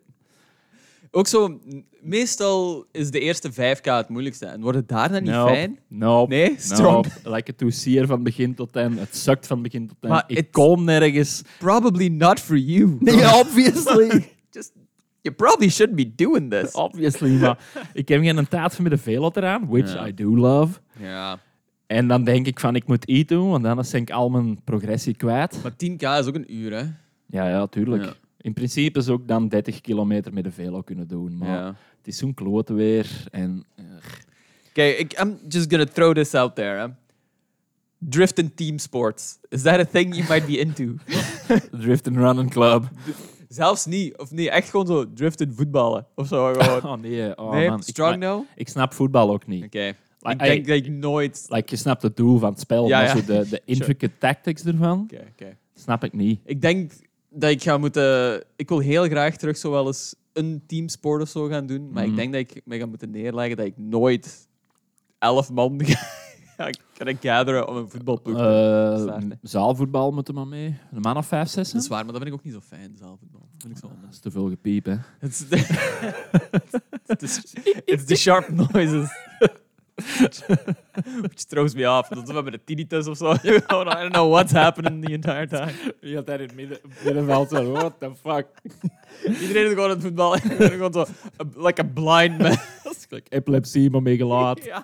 Speaker 2: Ook zo, m- meestal is de eerste 5k het moeilijkste. En wordt het daar dan niet
Speaker 1: Nope.
Speaker 2: fijn?
Speaker 1: Nope.
Speaker 2: Nee, strong.
Speaker 1: Nope. Like het dossier van begin tot eind. Het sukt van begin tot eind.
Speaker 2: Maar
Speaker 1: ik
Speaker 2: it's-
Speaker 1: kom nergens.
Speaker 2: Probably not for <laughs> you.
Speaker 1: obviously.
Speaker 2: Just, you probably shouldn't be doing this.
Speaker 1: Oh. obviously, maar ik heb geen taart van met de velo eraan, which I do love.
Speaker 2: Ja.
Speaker 1: En dan denk ik van, ik moet iets doen, want anders ben ik al mijn progressie kwijt.
Speaker 2: Maar 10k is ook een uur, hè?
Speaker 1: Ja, ja, tuurlijk.
Speaker 2: Ja.
Speaker 1: In principe is ook dan 30 kilometer met de velo kunnen doen. Maar
Speaker 2: Ja.
Speaker 1: het is zo'n klote weer. En, eh,
Speaker 2: Okay, ik- I'm just gonna throw this out there. Huh? Drift and team sports. Is that a thing you might be into?
Speaker 1: drift and run and club.
Speaker 2: <laughs> Zelfs niet. Of nee, echt gewoon zo drift and voetballen. Of zo. <laughs> Gewoon.
Speaker 1: Oh nee, oh,
Speaker 2: nee,
Speaker 1: man. Ik-
Speaker 2: strong
Speaker 1: ik,
Speaker 2: now? Oké.
Speaker 1: ik snap voetbal ook niet.
Speaker 2: ik
Speaker 1: Like,
Speaker 2: denk dat ik nooit...
Speaker 1: Like, je snapt het doel van het spel,
Speaker 2: Ja,
Speaker 1: maar
Speaker 2: ja.
Speaker 1: zo
Speaker 2: <laughs>
Speaker 1: de, de intricate tactics ervan
Speaker 2: Oké, oké.
Speaker 1: snap ik niet.
Speaker 2: Ik denk dat ik ga moeten... Ik wil heel graag terug zo wel eens een teamsport of zo gaan doen. Maar
Speaker 1: Mhm.
Speaker 2: ik denk dat ik me ga moeten neerleggen dat ik nooit elf man <laughs> ga kunnen gatheren om een voetbalploeg te
Speaker 1: Eh
Speaker 2: Staart, hè.
Speaker 1: zaalvoetbal moet er maar mee. Een man of vijf, zes. hè?
Speaker 2: Dat is waar, maar dat vind ik ook niet zo fijn, zaalvoetbal. Dat vind ik zo
Speaker 1: Dat
Speaker 2: <laughs>
Speaker 1: is te veel gepiep, <laughs> hè.
Speaker 2: It's the, <laughs> it's the- it's the sharp noises. <laughs> Which throws me off. Dat is wat met de tinnitus of zo. <laughs> I don't know what's happening the entire time.
Speaker 1: Je had daar in het midden, middenveld zo, what the fuck.
Speaker 2: Iedereen is gewoon aan het voetballen. <laughs> Iedereen is gewoon zo, a- like a blind
Speaker 1: <laughs>
Speaker 2: man.
Speaker 1: Epilepsie, maar mee gelaat.
Speaker 2: ja.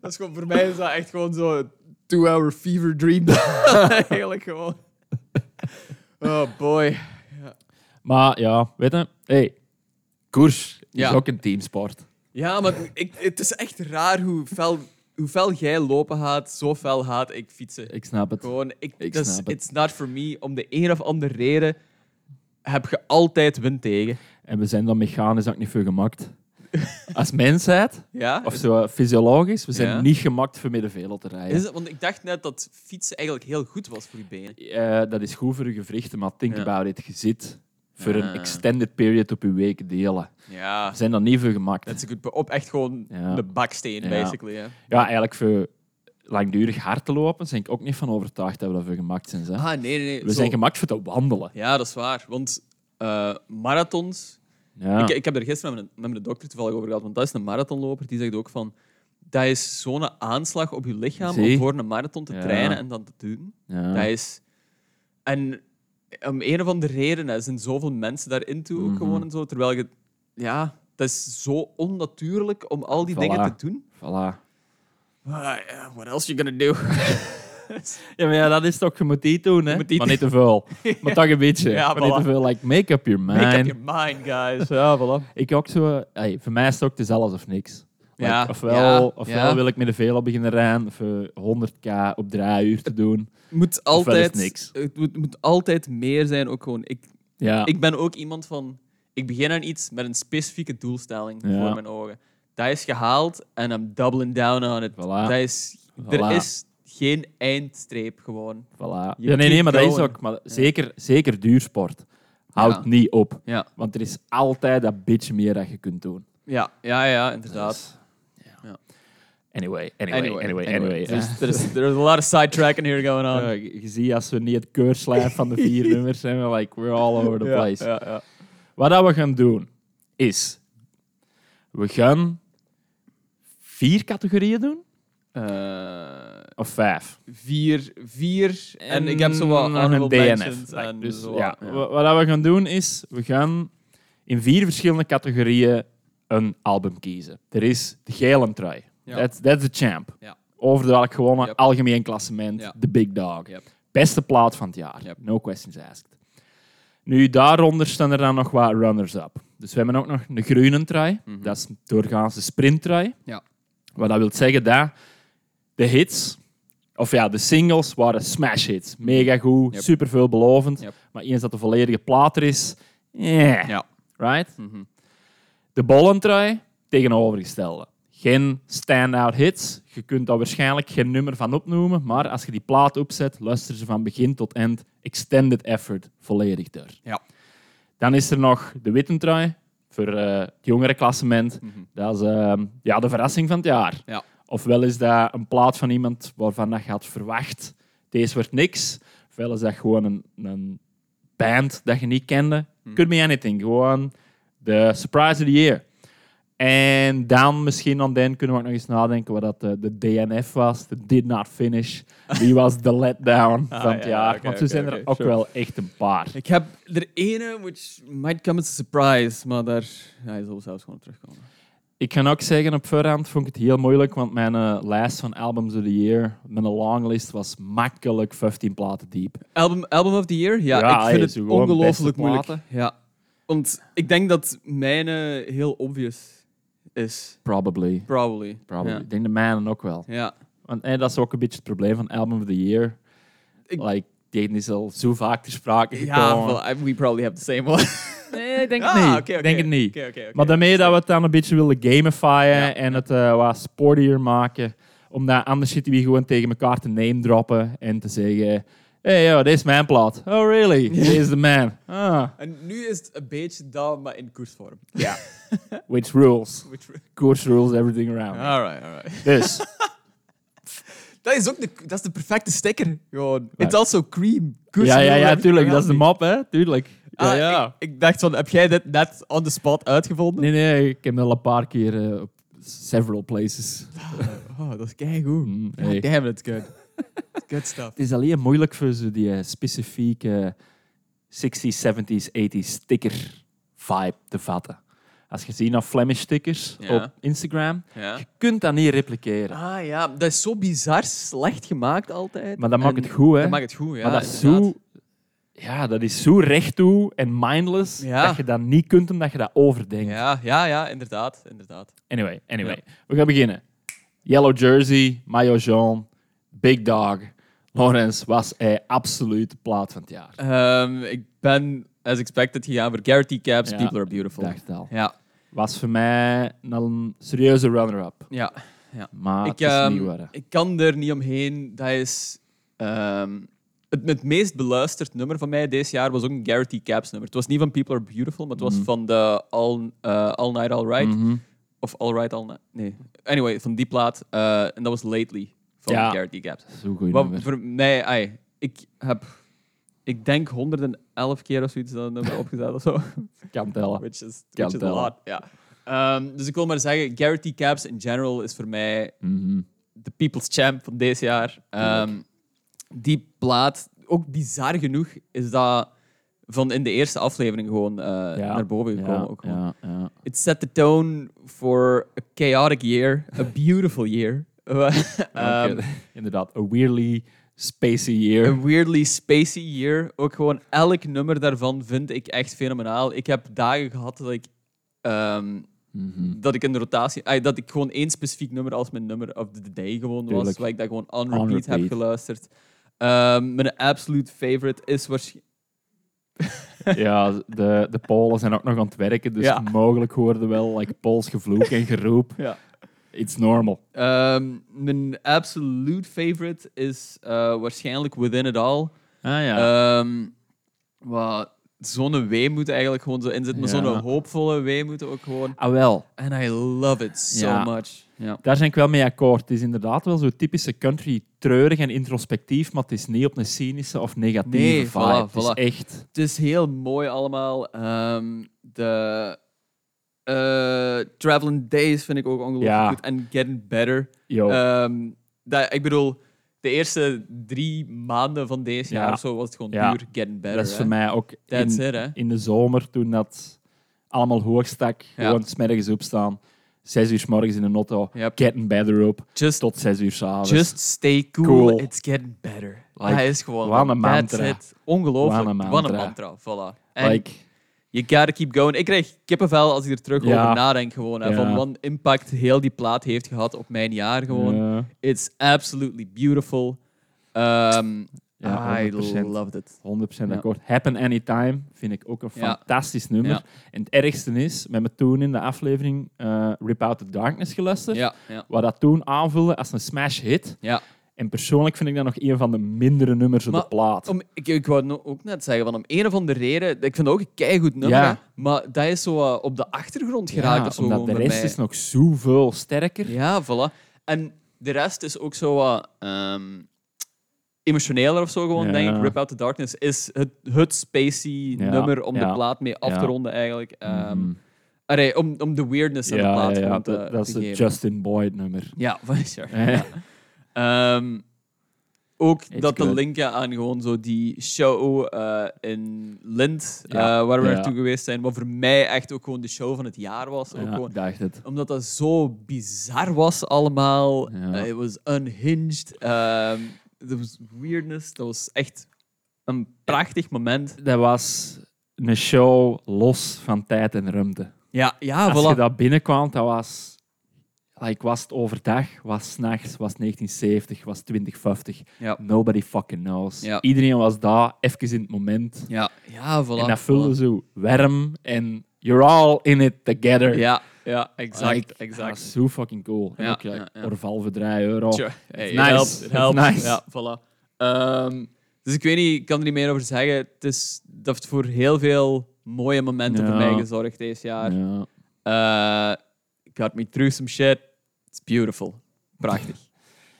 Speaker 2: Dat is gewoon, voor mij is dat echt gewoon zo'n two-hour
Speaker 1: <laughs>
Speaker 2: fever dream. <laughs> Eigenlijk gewoon. Oh boy.
Speaker 1: Maar ja, weet je, hey, koers
Speaker 2: Ja.
Speaker 1: is ook een teamsport.
Speaker 2: Ja, maar ik, het is echt raar hoe fel, hoe fel jij lopen haat, zo fel haat ik fietsen.
Speaker 1: Ik snap het.
Speaker 2: Gewoon, ik,
Speaker 1: Ik
Speaker 2: dat is-
Speaker 1: snap het.
Speaker 2: it's not for me. Om de een of andere reden heb je altijd wind tegen.
Speaker 1: En we zijn dan mechanisch ook niet voor
Speaker 2: <laughs>
Speaker 1: gemaakt. Als mensheid,
Speaker 2: Ja?
Speaker 1: of zo eh, fysiologisch, we zijn
Speaker 2: Ja.
Speaker 1: niet gemaakt voor middenvelo te rijden.
Speaker 2: Is het- want ik dacht net dat fietsen eigenlijk heel goed was voor je benen.
Speaker 1: Eh, dat is goed voor je gewrichten, maar think
Speaker 2: Ja.
Speaker 1: about it. Je zit voor een
Speaker 2: Ah.
Speaker 1: extended period op je weken delen.
Speaker 2: Ja.
Speaker 1: We zijn dan niet voor gemaakt.
Speaker 2: Dat is een goed... be- Op echt gewoon
Speaker 1: Ja.
Speaker 2: de baksteen,
Speaker 1: Ja.
Speaker 2: basically. Hè.
Speaker 1: Ja, eigenlijk voor langdurig hard te lopen, ben ik ook niet van overtuigd dat we daarvoor gemaakt zijn. Zeg.
Speaker 2: Ah, nee, nee, nee.
Speaker 1: we
Speaker 2: Zo-
Speaker 1: zijn gemaakt voor te wandelen.
Speaker 2: Ja, dat is waar. Want eh, marathons,
Speaker 1: Ja.
Speaker 2: Ik, ik heb er gisteren met mijn, met mijn dokter toevallig over gehad, want dat is een marathonloper. Die zegt ook van, dat is zo'n aanslag op je lichaam
Speaker 1: Zie?
Speaker 2: om voor een marathon te
Speaker 1: Ja.
Speaker 2: trainen en dan te doen.
Speaker 1: Ja.
Speaker 2: Dat is... En om een of andere reden hè, zijn zoveel mensen daarin toe ook
Speaker 1: Mhm.
Speaker 2: gewoon en zo, terwijl je... Ja, dat is zo onnatuurlijk om al die
Speaker 1: Voilà.
Speaker 2: dingen te doen.
Speaker 1: Voilà.
Speaker 2: Ah, ja, what else you gonna do?
Speaker 1: Ja, maar ja, dat is toch, je moet die doen, hè?
Speaker 2: Je moet die
Speaker 1: maar niet te
Speaker 2: <laughs>
Speaker 1: veel. Maar toch een beetje.
Speaker 2: Ja,
Speaker 1: maar niet te
Speaker 2: voilà.
Speaker 1: veel. Like, make up your mind.
Speaker 2: Make up your mind, guys. Ja, voilà.
Speaker 1: Ik ook zo... eh, hey, voor mij is het ook, het is alles of niks. Like,
Speaker 2: Ja,
Speaker 1: ofwel
Speaker 2: ja,
Speaker 1: ofwel
Speaker 2: ja.
Speaker 1: wil ik met de velo beginnen rijden, of eh, 100k op draaiuur te doen.
Speaker 2: moet
Speaker 1: is
Speaker 2: altijd,
Speaker 1: niks.
Speaker 2: Het moet, moet altijd meer zijn ook gewoon. Ik,
Speaker 1: Ja,
Speaker 2: ik ben ook iemand van... Ik begin aan iets met een specifieke doelstelling
Speaker 1: Ja.
Speaker 2: voor mijn ogen. Dat is gehaald en I'm doubling down on it.
Speaker 1: Voilà.
Speaker 2: Dat is, Er
Speaker 1: Voilà.
Speaker 2: is geen eindstreep gewoon.
Speaker 1: voilà.
Speaker 2: you
Speaker 1: Ja, nee, nee,
Speaker 2: keep
Speaker 1: maar dat is
Speaker 2: going.
Speaker 1: ook. Maar zeker, zeker duursport. Houd
Speaker 2: Ja.
Speaker 1: niet op.
Speaker 2: Ja,
Speaker 1: Want er is altijd dat beetje meer dat je kunt doen. Dus-
Speaker 2: ja, ja, ja inderdaad.
Speaker 1: Ja.
Speaker 2: Ja.
Speaker 1: Anyway, anyway, anyway, anyway.
Speaker 2: There's, there's, there's a lot of sidetracking here going on.
Speaker 1: Ja, je je ziet als we niet het keurslijf van de
Speaker 2: <laughs>
Speaker 1: vier nummers zijn, we like, we're all over the
Speaker 2: Ja,
Speaker 1: place.
Speaker 2: ja, ja.
Speaker 1: Wat dat we gaan doen, is... We gaan vier categorieën doen,
Speaker 2: Eh,
Speaker 1: of vijf?
Speaker 2: vier, vier. En, ik heb zo wat
Speaker 1: nog
Speaker 2: honorable
Speaker 1: een DNF.
Speaker 2: mentions en
Speaker 1: dus
Speaker 2: zo wat,
Speaker 1: ja, wa- Wat dat we gaan doen, is... We gaan in vier verschillende categorieën een album kiezen. Er is de gele trui.
Speaker 2: Ja.
Speaker 1: That's, that's the champ.
Speaker 2: Ja.
Speaker 1: Overduidelijk gewonnen,
Speaker 2: Yep.
Speaker 1: algemeen klassement,
Speaker 2: Ja.
Speaker 1: de big dog.
Speaker 2: Yep.
Speaker 1: Beste plaat van het jaar.
Speaker 2: Yep.
Speaker 1: No questions asked. Nu, daaronder staan er dan nog wat runners-up. Dus we hebben ook nog een groene trui.
Speaker 2: Mhm.
Speaker 1: Dat is doorgaans de sprinttrui.
Speaker 2: Ja.
Speaker 1: Wat dat wil zeggen dat de hits, of ja, de singles waren smash hits. Mega goed,
Speaker 2: Yep.
Speaker 1: super veelbelovend.
Speaker 2: Yep.
Speaker 1: Maar eens dat de volledige plaat er is, eh,
Speaker 2: Ja.
Speaker 1: right? De bollentrui, tegenovergestelde. Geen standout hits. Je kunt daar waarschijnlijk geen nummer van opnoemen, maar als je die plaat opzet, luister ze van begin tot eind. Extended effort, volledig door.
Speaker 2: Ja.
Speaker 1: Dan is er nog de wittentrui voor eh, het jongere klassement. Dat is ehm, ja, de verrassing van het jaar.
Speaker 2: Ja.
Speaker 1: Ofwel is dat een plaat van iemand waarvan dat je had verwacht, deze wordt niks. Ofwel is dat gewoon een, een band dat je niet kende.
Speaker 2: Hmm.
Speaker 1: Could be anything. Gewoon de surprise of the year. En dan misschien aan den kunnen we ook nog eens nadenken wat dat de, de DNF was. De did not finish. Die was de letdown
Speaker 2: <laughs> Ah,
Speaker 1: van het
Speaker 2: ja,
Speaker 1: jaar.
Speaker 2: oké,
Speaker 1: Want zo
Speaker 2: oké,
Speaker 1: zijn er
Speaker 2: oké,
Speaker 1: ook
Speaker 2: sure.
Speaker 1: wel echt een paar.
Speaker 2: Ik heb er ene, which might come as a surprise, maar daar hij zal zelfs gewoon terugkomen.
Speaker 1: Ik kan ook zeggen, op voorhand vond ik het heel moeilijk, want mijn eh, lijst van albums of the year, mijn longlist, was makkelijk 15 platen diep.
Speaker 2: Album, album of the Year? Ja,
Speaker 1: Ja, hij
Speaker 2: ik vind
Speaker 1: is
Speaker 2: het
Speaker 1: gewoon
Speaker 2: ongelooflijk
Speaker 1: beste
Speaker 2: moeilijk.
Speaker 1: platen.
Speaker 2: Ja. Want ik denk dat mijn eh, heel obvious is.
Speaker 1: Probably.
Speaker 2: Probably.
Speaker 1: Probably.
Speaker 2: Ja.
Speaker 1: Ik denk de mijnen ook wel.
Speaker 2: Ja.
Speaker 1: Want eh, dat is ook een beetje het probleem van album of the year.
Speaker 2: Ik-
Speaker 1: Like, die is al zo vaak ter sprake
Speaker 2: Ja,
Speaker 1: gekomen.
Speaker 2: well, I- we probably have the same one. <laughs>
Speaker 1: Nee, ik denk
Speaker 2: Ah,
Speaker 1: het niet.
Speaker 2: oké,
Speaker 1: Ik
Speaker 2: oké.
Speaker 1: denk het niet.
Speaker 2: Oké, oké, oké.
Speaker 1: Maar daarmee dat we het dan een beetje willen gamifiën
Speaker 2: Ja,
Speaker 1: en het eh, wat sportier maken. Omdat anders zitten we gewoon tegen elkaar te name droppen en te zeggen... Hey, yo, dit is mijn plaat. Oh, really? This is the man. Ah.
Speaker 2: En nu is het een beetje dat, maar in koersvorm. <laughs>
Speaker 1: Which rules?
Speaker 2: Which-
Speaker 1: <laughs> Course rules everything around. me.
Speaker 2: Alright, alright. <laughs>
Speaker 1: Dus,
Speaker 2: Dat is ook de, dat is de perfecte sticker. Gewoon.
Speaker 1: Right.
Speaker 2: It's also cream.
Speaker 1: ja, ja, ja, tuurlijk. Dat is de
Speaker 2: man.
Speaker 1: mop, hè? Tuurlijk. Ja, ja.
Speaker 2: Ah, Ik, ik dacht van, heb jij dit net on the spot uitgevonden?
Speaker 1: Nee, nee, ik heb dat al een paar keer eh, op several places.
Speaker 2: Oh, dat is keigoed.
Speaker 1: Mm,
Speaker 2: God
Speaker 1: hey.
Speaker 2: Damn, that's good. good stuff.
Speaker 1: Het is alleen moeilijk voor zo die eh, specifieke 60s, 70s, 80s sticker vibe te vatten. Als je ziet naar Flemish stickers
Speaker 2: Ja.
Speaker 1: op Instagram,
Speaker 2: Ja.
Speaker 1: je kunt dat niet repliceren.
Speaker 2: Ah ja, dat is zo bizar slecht gemaakt altijd.
Speaker 1: Maar dat maakt
Speaker 2: En
Speaker 1: het goed, hè?
Speaker 2: Dat maakt het goed, ja.
Speaker 1: maar dat is,
Speaker 2: inderdaad.
Speaker 1: zo, ja, dat is zo recht toe en mindless
Speaker 2: Ja.
Speaker 1: dat je dat niet kunt omdat je dat overdenkt.
Speaker 2: Ja, ja, ja, inderdaad. inderdaad.
Speaker 1: Anyway, anyway.
Speaker 2: Ja.
Speaker 1: We gaan beginnen. Yellow Jersey, Mayo Jean, Big Dog. Lawrence was hij absoluut de plaat van het jaar.
Speaker 2: Ehm, ik ben, as expected, gegaan voor Garrity Caps,
Speaker 1: Ja,
Speaker 2: People Are Beautiful.
Speaker 1: dacht het al.
Speaker 2: Ja,
Speaker 1: Was voor mij een serieuze runner-up.
Speaker 2: ja.
Speaker 1: Maar Ah,
Speaker 2: ik,
Speaker 1: het is
Speaker 2: ehm,
Speaker 1: niet waar. hè.
Speaker 2: ik kan er niet omheen. Dat is ehm, het, het meest beluisterd nummer van mij deze jaar was ook een Garrity Caps nummer. Het was niet van People Are Beautiful, maar het
Speaker 1: Mhm.
Speaker 2: was van de All, eh, all Night All Right. Of All Right All Night. Nee. Anyway, van die plaat. eh, en dat was Lately van
Speaker 1: Ja.
Speaker 2: Garrity Caps.
Speaker 1: Zo'n goeie
Speaker 2: Wat
Speaker 1: nummer.
Speaker 2: voor mij, ai, ik heb, ik denk 111 keer of zoiets dat nummer opgezet of zo.
Speaker 1: Kan tellen.
Speaker 2: Which is,
Speaker 1: Kan
Speaker 2: which is a
Speaker 1: tellen.
Speaker 2: lot, ja. Ehm, dus ik wil maar zeggen, Garrity Caps in general is voor mij
Speaker 1: Mhm.
Speaker 2: de people's champ van deze jaar. Ehm, die plaat, ook bizar genoeg, is dat van in de eerste aflevering gewoon eh, naar boven gekomen.
Speaker 1: Ja,
Speaker 2: ook gewoon.
Speaker 1: ja, ja.
Speaker 2: It set the tone for a chaotic year, a beautiful
Speaker 1: <laughs>
Speaker 2: year. Ehm,
Speaker 1: Oké, <laughs> Inderdaad, a weirdly spacey year.
Speaker 2: Een weirdly spacey year. Ook gewoon elk nummer daarvan vind ik echt fenomenaal. Ik heb dagen gehad dat ik ehm,
Speaker 1: Mhm.
Speaker 2: dat ik een rotatie, ay, dat ik gewoon één specifiek nummer als mijn nummer of the day gewoon was,
Speaker 1: Tuurlijk.
Speaker 2: waar ik dat gewoon on
Speaker 1: On
Speaker 2: repeat, heb
Speaker 1: repeat.
Speaker 2: geluisterd. Ehm, mijn absolute favorite is waarschijnlijk...
Speaker 1: <laughs> Ja, de, de Polen zijn ook nog aan het werken, dus
Speaker 2: Ja.
Speaker 1: mogelijk hoorden wel like, Pools gevloek en geroep.
Speaker 2: Ja.
Speaker 1: It's normal.
Speaker 2: Ehm, mijn absolute favorite is eh, waarschijnlijk Within It All.
Speaker 1: Ah ja.
Speaker 2: Ehm wat zo'n weemoed eigenlijk gewoon zo in zit, maar
Speaker 1: Ja.
Speaker 2: zo'n hoopvolle weemoed ook gewoon.
Speaker 1: ah wel,
Speaker 2: And I love it so
Speaker 1: Ja.
Speaker 2: much. Ja.
Speaker 1: daar zijn ik wel mee akkoord. Het is inderdaad wel zo typische country, treurig en introspectief, maar het is niet op een cynische of negatieve
Speaker 2: Nee,
Speaker 1: vibe.
Speaker 2: voilà,
Speaker 1: Het is
Speaker 2: voilà.
Speaker 1: echt...
Speaker 2: Het is heel mooi allemaal. Ehm, de eh, Traveling Days vind ik ook ongelooflijk
Speaker 1: Ja. Oh.
Speaker 2: goed. En Getting Better.
Speaker 1: Yo.
Speaker 2: Ehm, dat, ik bedoel, de eerste drie maanden van deze
Speaker 1: Ja.
Speaker 2: jaar of zo was het gewoon
Speaker 1: Ja.
Speaker 2: puur Getting Better.
Speaker 1: Dat is
Speaker 2: hè.
Speaker 1: voor mij ook
Speaker 2: That's
Speaker 1: in,
Speaker 2: it, hè.
Speaker 1: in de zomer, toen dat allemaal hoog stak,
Speaker 2: Ja.
Speaker 1: gewoon smergens opstaan, zes uur 's morgens in de auto,
Speaker 2: Yep.
Speaker 1: getting better up,
Speaker 2: Just,
Speaker 1: tot zes uur s'avonds.
Speaker 2: just stay cool.
Speaker 1: Cool.
Speaker 2: it's getting better.
Speaker 1: Like,
Speaker 2: Hij is gewoon
Speaker 1: wat een
Speaker 2: that's
Speaker 1: mantra.
Speaker 2: it. Ongelooflijk.
Speaker 1: Wat een
Speaker 2: Wat een
Speaker 1: mantra.
Speaker 2: mantra. Voilà. En
Speaker 1: like,
Speaker 2: You gotta keep going. Ik krijg kippenvel als ik er terug
Speaker 1: Ja.
Speaker 2: over nadenk. Gewoon, hè, Van
Speaker 1: Ja.
Speaker 2: wat een impact heel die plaat heeft gehad op mijn jaar. Gewoon.
Speaker 1: ja,
Speaker 2: It's absolutely beautiful. Ehm,
Speaker 1: ja,
Speaker 2: I
Speaker 1: 100%.
Speaker 2: loved it.
Speaker 1: 100%
Speaker 2: Ja.
Speaker 1: akkoord. Happen Anytime vind ik ook een
Speaker 2: Ja.
Speaker 1: fantastisch nummer.
Speaker 2: Ja.
Speaker 1: En het ergste is, we hebben toen in de aflevering eh, Rip Out the Darkness geluisterd.
Speaker 2: Ja, ja,
Speaker 1: Wat dat toen aanvulde als een smash hit.
Speaker 2: ja.
Speaker 1: En persoonlijk vind ik dat nog een van de mindere nummers op
Speaker 2: Maar
Speaker 1: de plaat.
Speaker 2: Om, ik, ik wou no- ook net zeggen, van om een of andere reden... Ik vind het ook een keigoed nummer,
Speaker 1: Ja.
Speaker 2: hè, maar dat is zo eh, op de achtergrond
Speaker 1: Ja,
Speaker 2: geraakt of zo.
Speaker 1: omdat
Speaker 2: gewoon
Speaker 1: de
Speaker 2: bij
Speaker 1: rest
Speaker 2: mij.
Speaker 1: is nog zoveel sterker.
Speaker 2: Ja, voilà. En de rest is ook zo wat ehm, emotioneler of zo gewoon,
Speaker 1: Ja.
Speaker 2: denk ik. Rip Out the Darkness is het, het spacey
Speaker 1: Ja,
Speaker 2: nummer om
Speaker 1: ja,
Speaker 2: de plaat mee af
Speaker 1: ja.
Speaker 2: te ronden eigenlijk. Ehm,
Speaker 1: Mhm.
Speaker 2: allee, om, om de weirdness aan de plaat gewoon te,
Speaker 1: dat, dat
Speaker 2: te
Speaker 1: is het
Speaker 2: geven.
Speaker 1: Justin Boyd nummer.
Speaker 2: Ja, <laughs> van- sure.
Speaker 1: Eh,
Speaker 2: Ehm, ook dat te
Speaker 1: good.
Speaker 2: linken aan gewoon zo die show eh, in Lind,
Speaker 1: Ja,
Speaker 2: eh, waar we
Speaker 1: ja.
Speaker 2: naartoe geweest zijn. Wat voor mij echt ook gewoon de show van het jaar was. Ook
Speaker 1: ja,
Speaker 2: gewoon
Speaker 1: ik dacht het.
Speaker 2: omdat dat zo bizar was allemaal.
Speaker 1: Ja.
Speaker 2: Eh, it was unhinged. Ehm er was weirdness. Dat was echt een prachtig moment.
Speaker 1: Dat was een show los van tijd en ruimte.
Speaker 2: Ja, ja
Speaker 1: Als je
Speaker 2: voilà.
Speaker 1: dat binnenkwam, dat was... Like, was het overdag, was het 's nachts, was het 1970, was het 2050.
Speaker 2: Ja.
Speaker 1: Nobody fucking knows.
Speaker 2: Ja.
Speaker 1: Iedereen was daar, even in het moment.
Speaker 2: Ja, ja, voilà.
Speaker 1: en dat voelde
Speaker 2: voilà.
Speaker 1: zo warm en you're all in it together.
Speaker 2: Ja, ja, exact.
Speaker 1: Like, Dat
Speaker 2: exact.
Speaker 1: was zo fucking cool. En
Speaker 2: Ja,
Speaker 1: ook, like,
Speaker 2: ja, ja.
Speaker 1: Orval voor 3 euro.
Speaker 2: Sure. Hey,
Speaker 1: nice.
Speaker 2: It helpt. It
Speaker 1: It's
Speaker 2: helpt.
Speaker 1: nice.
Speaker 2: Ja, voilà. Ehm, dus ik weet niet, ik kan er niet meer over zeggen. Het is, dat heeft voor heel veel mooie momenten
Speaker 1: Ja.
Speaker 2: voor mij gezorgd deze jaar.
Speaker 1: Ja.
Speaker 2: Eh, got me through some shit. It's beautiful.
Speaker 1: <laughs>
Speaker 2: Prachtig.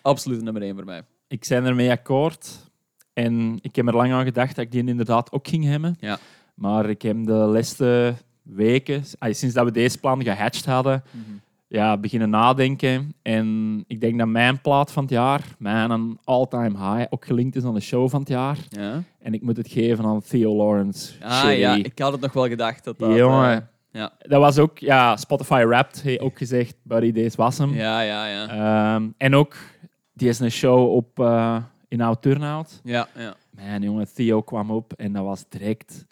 Speaker 2: Absoluut nummer 1 voor mij.
Speaker 1: ik zijn ermee akkoord. En ik heb er lang aan gedacht dat ik die inderdaad ook ging hebben.
Speaker 2: Ja.
Speaker 1: Maar ik heb de laatste weken, ah, sinds dat we deze plan gehatcht hadden,
Speaker 2: Mhm.
Speaker 1: ja, beginnen nadenken. En ik denk dat mijn plaat van het jaar, mijn all-time high, ook gelinkt is aan de show van het jaar.
Speaker 2: Ja.
Speaker 1: En ik moet het geven aan Theo Lawrence.
Speaker 2: Ah
Speaker 1: Sherry.
Speaker 2: ja, ik had het nog wel gedacht. Dat dat, eh,
Speaker 1: Jongen.
Speaker 2: ja.
Speaker 1: Dat was ook, ja, Spotify Wrapped heeft ook gezegd, buddy, deze was hem.
Speaker 2: ja, ja, ja.
Speaker 1: Ehm, en ook, die is een show op, eh, in Oud Turnhout.
Speaker 2: Ja, ja.
Speaker 1: Mijn jongen, Theo kwam op en dat was direct...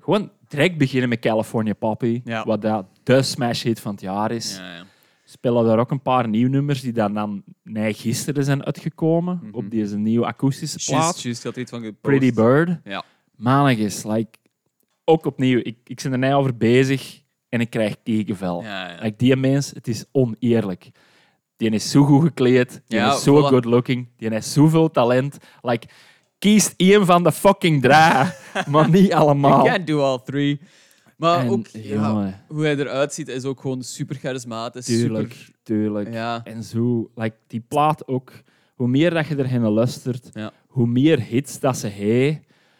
Speaker 1: Gewoon direct beginnen met California Poppy.
Speaker 2: Ja.
Speaker 1: Wat dat de smash hit van het jaar is.
Speaker 2: ja, ja.
Speaker 1: Spelen daar ook een paar nieuwe nummers die dan, dan nee, gisteren zijn uitgekomen.
Speaker 2: Mhm.
Speaker 1: Op deze nieuwe akoestische plaat.
Speaker 2: Juist, juist, ik had er iets van gepost.
Speaker 1: Pretty Bird.
Speaker 2: Ja.
Speaker 1: Manig is, like... Ook opnieuw, ik, ik ben er net over bezig en ik krijg kekenvel.
Speaker 2: Ja, ja.
Speaker 1: Like, die mens, het is oneerlijk. Die is zo goed gekleed, die
Speaker 2: Ja,
Speaker 1: is zo
Speaker 2: voilà.
Speaker 1: good looking, die heeft zoveel talent. Like, kiest één van de fucking drie,
Speaker 2: <laughs>
Speaker 1: maar niet
Speaker 2: You
Speaker 1: allemaal.
Speaker 2: can't do all three. Maar
Speaker 1: En,
Speaker 2: ook ja,
Speaker 1: jongen.
Speaker 2: hoe hij eruit ziet is ook gewoon super charismatisch.
Speaker 1: Tuurlijk,
Speaker 2: Super,
Speaker 1: tuurlijk.
Speaker 2: ja.
Speaker 1: En zo, like, die plaat ook. Hoe meer dat je erheen luistert,
Speaker 2: Ja.
Speaker 1: hoe meer hits dat ze heeft.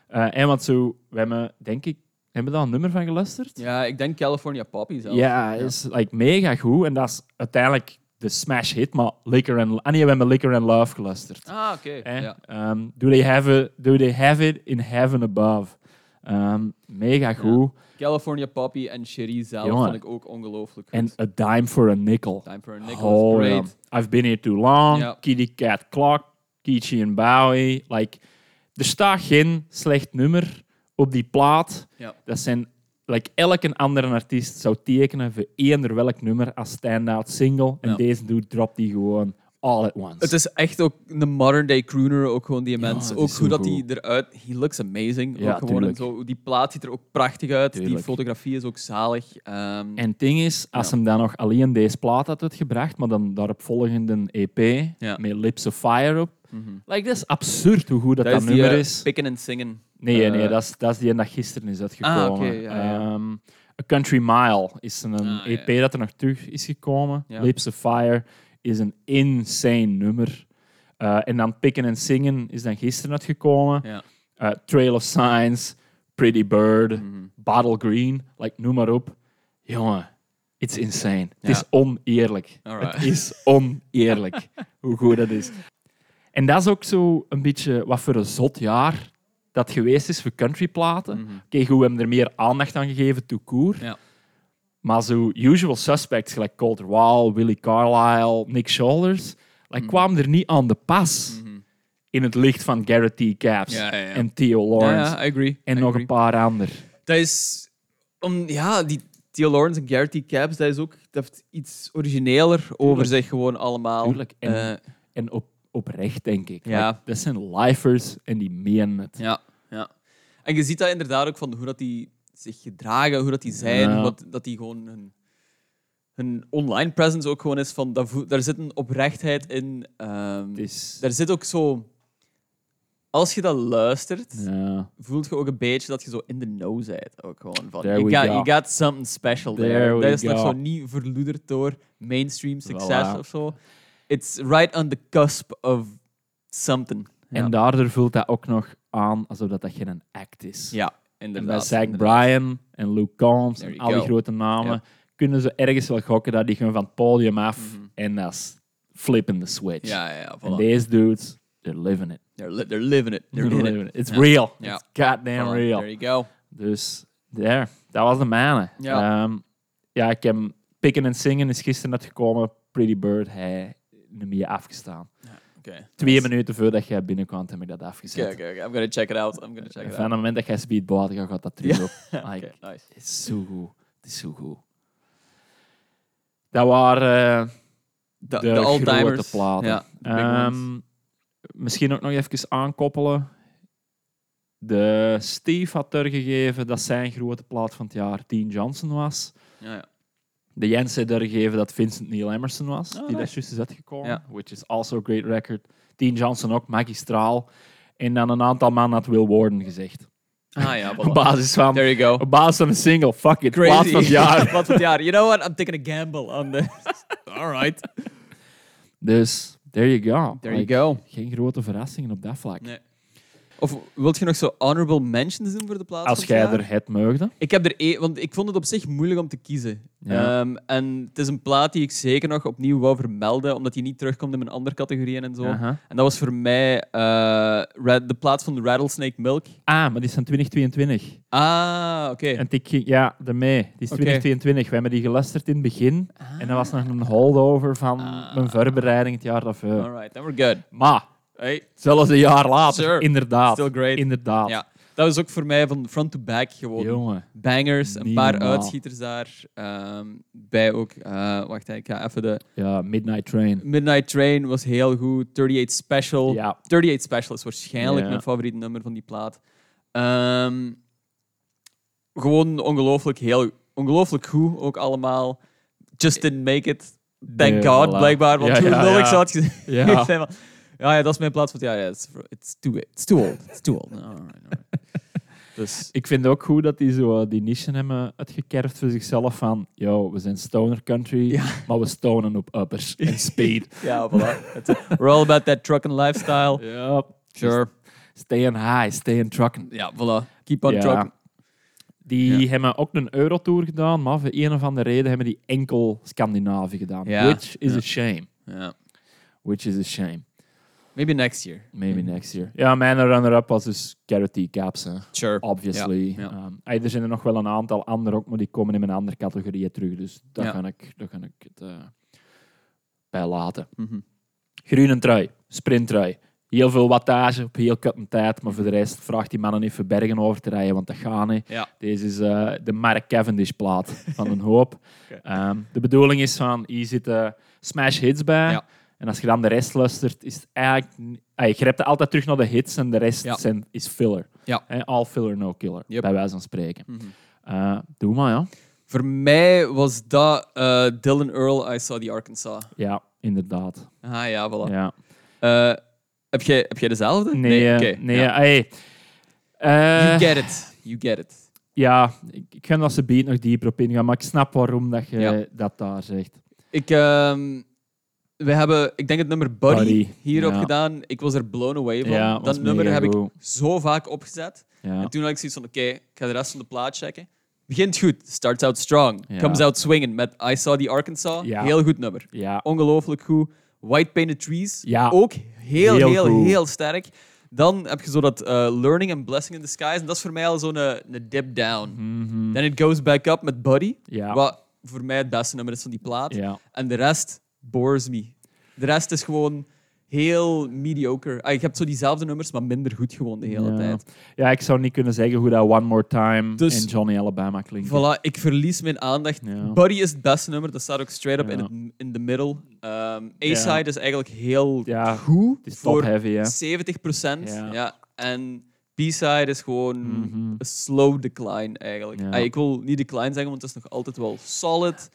Speaker 1: Eh, en want zo, we hebben, denk ik, hebben we daar een nummer van geluisterd?
Speaker 2: ja, ik denk California Poppy zelf.
Speaker 1: Ja, is like, mega goed. En dat is uiteindelijk de smash hit, maar Liquor and... Ah nee, we hebben Liquor and Love geluisterd.
Speaker 2: Ah, oké.
Speaker 1: Eh?
Speaker 2: Ja.
Speaker 1: Ehm, do, they have it, do they have it in heaven above? Ehm, mega goed.
Speaker 2: California Poppy en Cherie zelf
Speaker 1: Jongen.
Speaker 2: vond ik ook ongelooflijk goed.
Speaker 1: En A Dime for a Nickel.
Speaker 2: Time for a Nickel
Speaker 1: Oh,
Speaker 2: is
Speaker 1: ja.
Speaker 2: great.
Speaker 1: I've Been Here Too Long.
Speaker 2: Ja.
Speaker 1: Kitty Cat Clock. Keechie and Bowie. Like, er staat geen slecht nummer op die plaat.
Speaker 2: Ja.
Speaker 1: Dat zijn like elke andere artiest zou tekenen voor eender welk nummer als standout single. En
Speaker 2: Ja.
Speaker 1: deze dude dropt die gewoon all at once.
Speaker 2: Het is echt ook een modern day crooner, ook gewoon die mens.
Speaker 1: het
Speaker 2: ook
Speaker 1: is
Speaker 2: hoe
Speaker 1: zo
Speaker 2: dat die eruit. He looks amazing.
Speaker 1: Ja,
Speaker 2: ook gewoon en
Speaker 1: tuurlijk.
Speaker 2: zo, die plaat ziet er ook prachtig uit. Die
Speaker 1: Tuurlijk.
Speaker 2: fotografie is ook zalig. Ehm,
Speaker 1: En het ding is, als hem dan nog alleen deze plaat had uitgebracht, maar dan daarop volgende EP
Speaker 2: Ja. Mhm.
Speaker 1: met Lips of Fire op. Like, dat is absurd hoe goed dat dat,
Speaker 2: dat is die
Speaker 1: nummer
Speaker 2: eh,
Speaker 1: is.
Speaker 2: Pikken en Singen.
Speaker 1: Nee,
Speaker 2: Eh,
Speaker 1: nee, dat is, dat is die dat gisteren is uitgekomen.
Speaker 2: Ah, oké, ja, ja.
Speaker 1: Ehm, A Country Mile is een
Speaker 2: Ah,
Speaker 1: EP
Speaker 2: ja.
Speaker 1: dat er nog terug is gekomen.
Speaker 2: Ja.
Speaker 1: Lips of Fire is een insane nummer. Eh, en dan Picken and Singen is dan gisteren uitgekomen.
Speaker 2: Ja.
Speaker 1: Eh, Trail of Signs, Pretty Bird,
Speaker 2: Mhm.
Speaker 1: Bottle Green, like, noem maar op. Jongen, it's insane.
Speaker 2: Ja.
Speaker 1: Het is oneerlijk.
Speaker 2: Alright.
Speaker 1: Het is
Speaker 2: <laughs>
Speaker 1: oneerlijk hoe goed dat is. En dat is ook zo een beetje wat voor een zot jaar dat geweest is voor countryplaten. Oké, goed, we hebben er meer aandacht aan gegeven, to court.
Speaker 2: Mhm. Ja.
Speaker 1: Maar zo usual suspects, gelijk Colter Wall, Willie Carlisle, Nick Shoulders, like,
Speaker 2: Mhm.
Speaker 1: kwamen er niet aan de pas in het licht van Garrett T. Caps
Speaker 2: Ja, ja, ja.
Speaker 1: en Theo
Speaker 2: Ja,
Speaker 1: Lawrence
Speaker 2: ja, I agree.
Speaker 1: en
Speaker 2: I
Speaker 1: nog
Speaker 2: agree.
Speaker 1: een paar anderen.
Speaker 2: Dat is... Om, ja, die Theo Lawrence en Garrity Caps, dat is ook... Dat heeft iets origineler over
Speaker 1: Tuurlijk.
Speaker 2: zich gewoon allemaal.
Speaker 1: Tuurlijk, en-
Speaker 2: Eh,
Speaker 1: En op, oprecht, denk ik.
Speaker 2: Ja.
Speaker 1: Like, dat zijn lifers en die meen het.
Speaker 2: ja, ja. En je ziet dat inderdaad ook van hoe dat die zich gedragen, hoe dat die zijn,
Speaker 1: Ja.
Speaker 2: wat, dat die gewoon hun, hun online presence ook gewoon is van... Dat, voe- daar zit een oprechtheid in. ehm,
Speaker 1: Het is...
Speaker 2: Daar zit ook zo... Als je dat luistert,
Speaker 1: Ja.
Speaker 2: voelt je ook een beetje dat je zo in de know bent. Ook gewoon van,
Speaker 1: There
Speaker 2: you,
Speaker 1: we
Speaker 2: got,
Speaker 1: go.
Speaker 2: you got something special there.
Speaker 1: There we
Speaker 2: dat is nog
Speaker 1: go.
Speaker 2: zo niet verloederd door mainstream succes
Speaker 1: Voilà.
Speaker 2: of zo. It's right on the cusp of something.
Speaker 1: En
Speaker 2: ja.
Speaker 1: daardoor voelt dat ook nog aan alsof dat, dat geen act is.
Speaker 2: ja,
Speaker 1: en bij
Speaker 2: inderdaad.
Speaker 1: Zach
Speaker 2: inderdaad.
Speaker 1: Bryan en Luke Combs
Speaker 2: There
Speaker 1: en
Speaker 2: you
Speaker 1: al die
Speaker 2: go.
Speaker 1: grote namen
Speaker 2: Ja.
Speaker 1: kunnen ze ergens wel gokken dat die gaan van het podium af en dat is flipping the switch.
Speaker 2: Mhm. Ja, ja, ja.
Speaker 1: En
Speaker 2: Voilà.
Speaker 1: deze dudes, they're living it.
Speaker 2: They're, li- they're living it. They're
Speaker 1: They're <laughs>
Speaker 2: in
Speaker 1: living
Speaker 2: it.
Speaker 1: it. It's
Speaker 2: Ja.
Speaker 1: real.
Speaker 2: Ja.
Speaker 1: It's goddamn
Speaker 2: Voilà,
Speaker 1: real.
Speaker 2: There you go.
Speaker 1: Dus daar, dat was de mijne.
Speaker 2: Ja.
Speaker 1: Ehm, ja, ik heb Pikken en Singen is gisteren net gekomen. Pretty Bird, hij niet meer afgestaan.
Speaker 2: Oké.
Speaker 1: Twee minuten voordat jij binnenkwam, heb ik dat afgezet.
Speaker 2: Oké, oké, oké. I'm gonna check it out. I'm gonna check
Speaker 1: En
Speaker 2: it
Speaker 1: van het
Speaker 2: out.
Speaker 1: moment dat jij speed buiten gaat, gaat dat terug
Speaker 2: Ja. <laughs>
Speaker 1: op. Like,
Speaker 2: Oké, nice.
Speaker 1: Het is zo goed. Het is zo goed. Dat waren eh, de,
Speaker 2: De, de all-timers.
Speaker 1: grote platen.
Speaker 2: Ja, de big ones.
Speaker 1: Ehm, misschien ook nog even aankoppelen. De Steve had er gegeven dat zijn grote plaat van het jaar Dean Johnson was.
Speaker 2: ja, ja.
Speaker 1: De Jens had er gegeven dat Vincent Neil Emerson was, die
Speaker 2: Ah, nice.
Speaker 1: daar juist is uitgekomen.
Speaker 2: Ja.
Speaker 1: Which is also a great record. Dean Johnson ook, magistraal. En dan een aantal man had Will Warden gezegd. <laughs>
Speaker 2: Ah ja,
Speaker 1: Op <laughs>
Speaker 2: voilà.
Speaker 1: basis van,
Speaker 2: There you go.
Speaker 1: op basis van een single. Fuck it,
Speaker 2: Crazy.
Speaker 1: plaat van het
Speaker 2: <laughs>
Speaker 1: jaar.
Speaker 2: Plaat van het jaar. You know what? I'm taking a gamble on this. <laughs> All right.
Speaker 1: Dus, there you go.
Speaker 2: There you
Speaker 1: Like, <laughs>
Speaker 2: go.
Speaker 1: Geen grote verrassingen op dat vlak.
Speaker 2: Nee. Of wilt je nog zo honorable mentions doen voor de plaats?
Speaker 1: Als
Speaker 2: van het
Speaker 1: jij
Speaker 2: jaar?
Speaker 1: er het meugde.
Speaker 2: Ik heb er één, want ik vond het op zich moeilijk om te kiezen.
Speaker 1: Ja.
Speaker 2: Ehm, en het is een plaat die ik zeker nog opnieuw wou vermelden, omdat die niet terugkomt in mijn andere categorieën en zo.
Speaker 1: Aha.
Speaker 2: En dat was voor mij eh, Ra- de plaat van Rattlesnake Milk.
Speaker 1: Ah, maar die is van 2022.
Speaker 2: Ah, oké.
Speaker 1: En ik ging, ja, daarmee. Die is
Speaker 2: Oké. Ah.
Speaker 1: 2022. We hebben die geluisterd in het begin. En dat was nog een holdover van mijn voorbereiding het jaar daarvoor.
Speaker 2: All right, then we're good.
Speaker 1: Maar,
Speaker 2: Hey.
Speaker 1: zelfs een jaar later,
Speaker 2: Sure.
Speaker 1: inderdaad.
Speaker 2: Still great.
Speaker 1: Inderdaad.
Speaker 2: Ja, dat was ook voor mij van front to back gewoon.
Speaker 1: Jongen.
Speaker 2: bangers, een
Speaker 1: Niet
Speaker 2: paar
Speaker 1: normaal.
Speaker 2: uitschieters daar. ehm, bij ook, eh, wacht, ik ga even de
Speaker 1: Ja, Midnight Train.
Speaker 2: Midnight Train was heel goed. 38 Special.
Speaker 1: Ja.
Speaker 2: 38 Special is waarschijnlijk
Speaker 1: Ja.
Speaker 2: mijn favoriete nummer van die plaat. Ehm, gewoon ongelooflijk heel, ongelooflijk goed ook allemaal. Just didn't make it. Thank
Speaker 1: Nee,
Speaker 2: God,
Speaker 1: voilà.
Speaker 2: blijkbaar. Want
Speaker 1: Ja,
Speaker 2: hoe
Speaker 1: ja,
Speaker 2: lullig
Speaker 1: ja.
Speaker 2: zou het gezegd <laughs>
Speaker 1: Ja.
Speaker 2: zijn van, Ja, ja, dat is mijn plaats van het jaar. Ja, it's, it's, too, it's too old. It's too old. Alright, alright. Dus
Speaker 1: Ik vind ook goed dat die zo eh, die niche hebben uitgekerfd voor zichzelf van, yo, we zijn stoner country,
Speaker 2: Ja.
Speaker 1: maar we stonen op uppers
Speaker 2: <laughs>
Speaker 1: en speed.
Speaker 2: Ja, voilà. That's it. We're all about that trucking lifestyle.
Speaker 1: ja.
Speaker 2: Sure.
Speaker 1: Staying high, staying trucking.
Speaker 2: Ja, voilà. Keep on
Speaker 1: Ja.
Speaker 2: trucking.
Speaker 1: Die hebben ook een Eurotour gedaan, maar voor een of andere reden hebben die enkel Scandinavië gedaan.
Speaker 2: Ja.
Speaker 1: Which is
Speaker 2: Ja.
Speaker 1: a shame.
Speaker 2: Ja.
Speaker 1: Which is a shame.
Speaker 2: Maybe next year.
Speaker 1: Maybe next year. Ja, mijn runner-up was dus Carrot Caps, hè.
Speaker 2: Sure.
Speaker 1: obviously.
Speaker 2: Ja, ja.
Speaker 1: Ehm, ey, er zijn er nog wel een aantal andere ook, maar die komen in mijn andere categorieën terug. Dus daar
Speaker 2: Ja.
Speaker 1: ga ik, daar ga ik het eh, bij laten.
Speaker 2: Mhm.
Speaker 1: Groene trui, sprinttrui. Heel veel wattage op heel korte tijd, maar voor de rest vraagt die mannen niet voor bergen over te rijden, want dat gaat niet.
Speaker 2: Ja.
Speaker 1: Deze is eh, de Mark Cavendish-plaat van een hoop.
Speaker 2: <laughs> Oké.
Speaker 1: Ehm, de bedoeling is van, hier zitten smash hits bij.
Speaker 2: Ja.
Speaker 1: En als je dan de rest luistert, is het eigenlijk... n- Ah, je grept altijd terug naar de hits en de rest
Speaker 2: Ja.
Speaker 1: zijn, is filler.
Speaker 2: Ja.
Speaker 1: Hè, all filler, no killer,
Speaker 2: Yep. Mhm.
Speaker 1: bij wijze van spreken. Eh, doe maar, ja.
Speaker 2: Voor mij was dat eh, Dylan Earl, I Saw the Arkansas.
Speaker 1: Ja, inderdaad.
Speaker 2: Ah ja, voilà.
Speaker 1: Ja.
Speaker 2: Eh, heb, jij, heb jij dezelfde?
Speaker 1: Nee, nee,
Speaker 2: oké,
Speaker 1: nee
Speaker 2: ja.
Speaker 1: eh, hey. Eh,
Speaker 2: You get it. You get it.
Speaker 1: Ja, ik, ik ga dat ze beat nog dieper op ingaan, maar ik snap waarom dat je
Speaker 2: Ja.
Speaker 1: dat daar zegt.
Speaker 2: Ik, ehm, we hebben, ik denk het nummer Buddy,
Speaker 1: Buddy,
Speaker 2: hierop
Speaker 1: ja.
Speaker 2: gedaan. Ik was er blown away van.
Speaker 1: Ja, was
Speaker 2: dat nummer
Speaker 1: mega
Speaker 2: heb
Speaker 1: goed.
Speaker 2: ik zo vaak opgezet.
Speaker 1: Ja.
Speaker 2: En toen had ik zoiets van, oké, ik ga de rest van de plaat checken. Begint goed, starts out strong,
Speaker 1: Ja.
Speaker 2: comes out swinging met I Saw the Arkansas.
Speaker 1: Ja.
Speaker 2: Heel goed nummer.
Speaker 1: Ja.
Speaker 2: Ongelooflijk goed. White Painted Trees,
Speaker 1: Ja.
Speaker 2: ook heel,
Speaker 1: Heel
Speaker 2: heel, heel,
Speaker 1: goed.
Speaker 2: sterk. Dan heb je zo dat eh, Learning and Blessing in the Skies. En dat is voor mij al zo'n eh, een dip down. Then it goes back up met Buddy.
Speaker 1: Mhm. Ja.
Speaker 2: Wat voor mij het beste nummer is van die plaat.
Speaker 1: Ja.
Speaker 2: En de rest bores me. De rest is gewoon heel mediocre. Ah, je hebt zo diezelfde nummers, maar minder goed gewoon de hele
Speaker 1: ja.
Speaker 2: tijd.
Speaker 1: Ja, ik zou niet kunnen zeggen hoe dat One More Time
Speaker 2: Dus-
Speaker 1: en Johnny Alabama klinkt.
Speaker 2: Voilà, ik verlies mijn aandacht.
Speaker 1: Ja.
Speaker 2: Buddy is het beste nummer, dat staat ook straight up
Speaker 1: Ja.
Speaker 2: in, het, in the middle. Ehm,
Speaker 1: Ja.
Speaker 2: A-side is eigenlijk heel
Speaker 1: Ja,
Speaker 2: goed.
Speaker 1: het is top
Speaker 2: voor
Speaker 1: heavy, hè.
Speaker 2: 70
Speaker 1: Ja.
Speaker 2: Ja. En B-side is gewoon
Speaker 1: Mhm.
Speaker 2: een slow decline eigenlijk.
Speaker 1: Ja.
Speaker 2: Ah, ik wil niet decline zeggen, want het is nog altijd wel solid.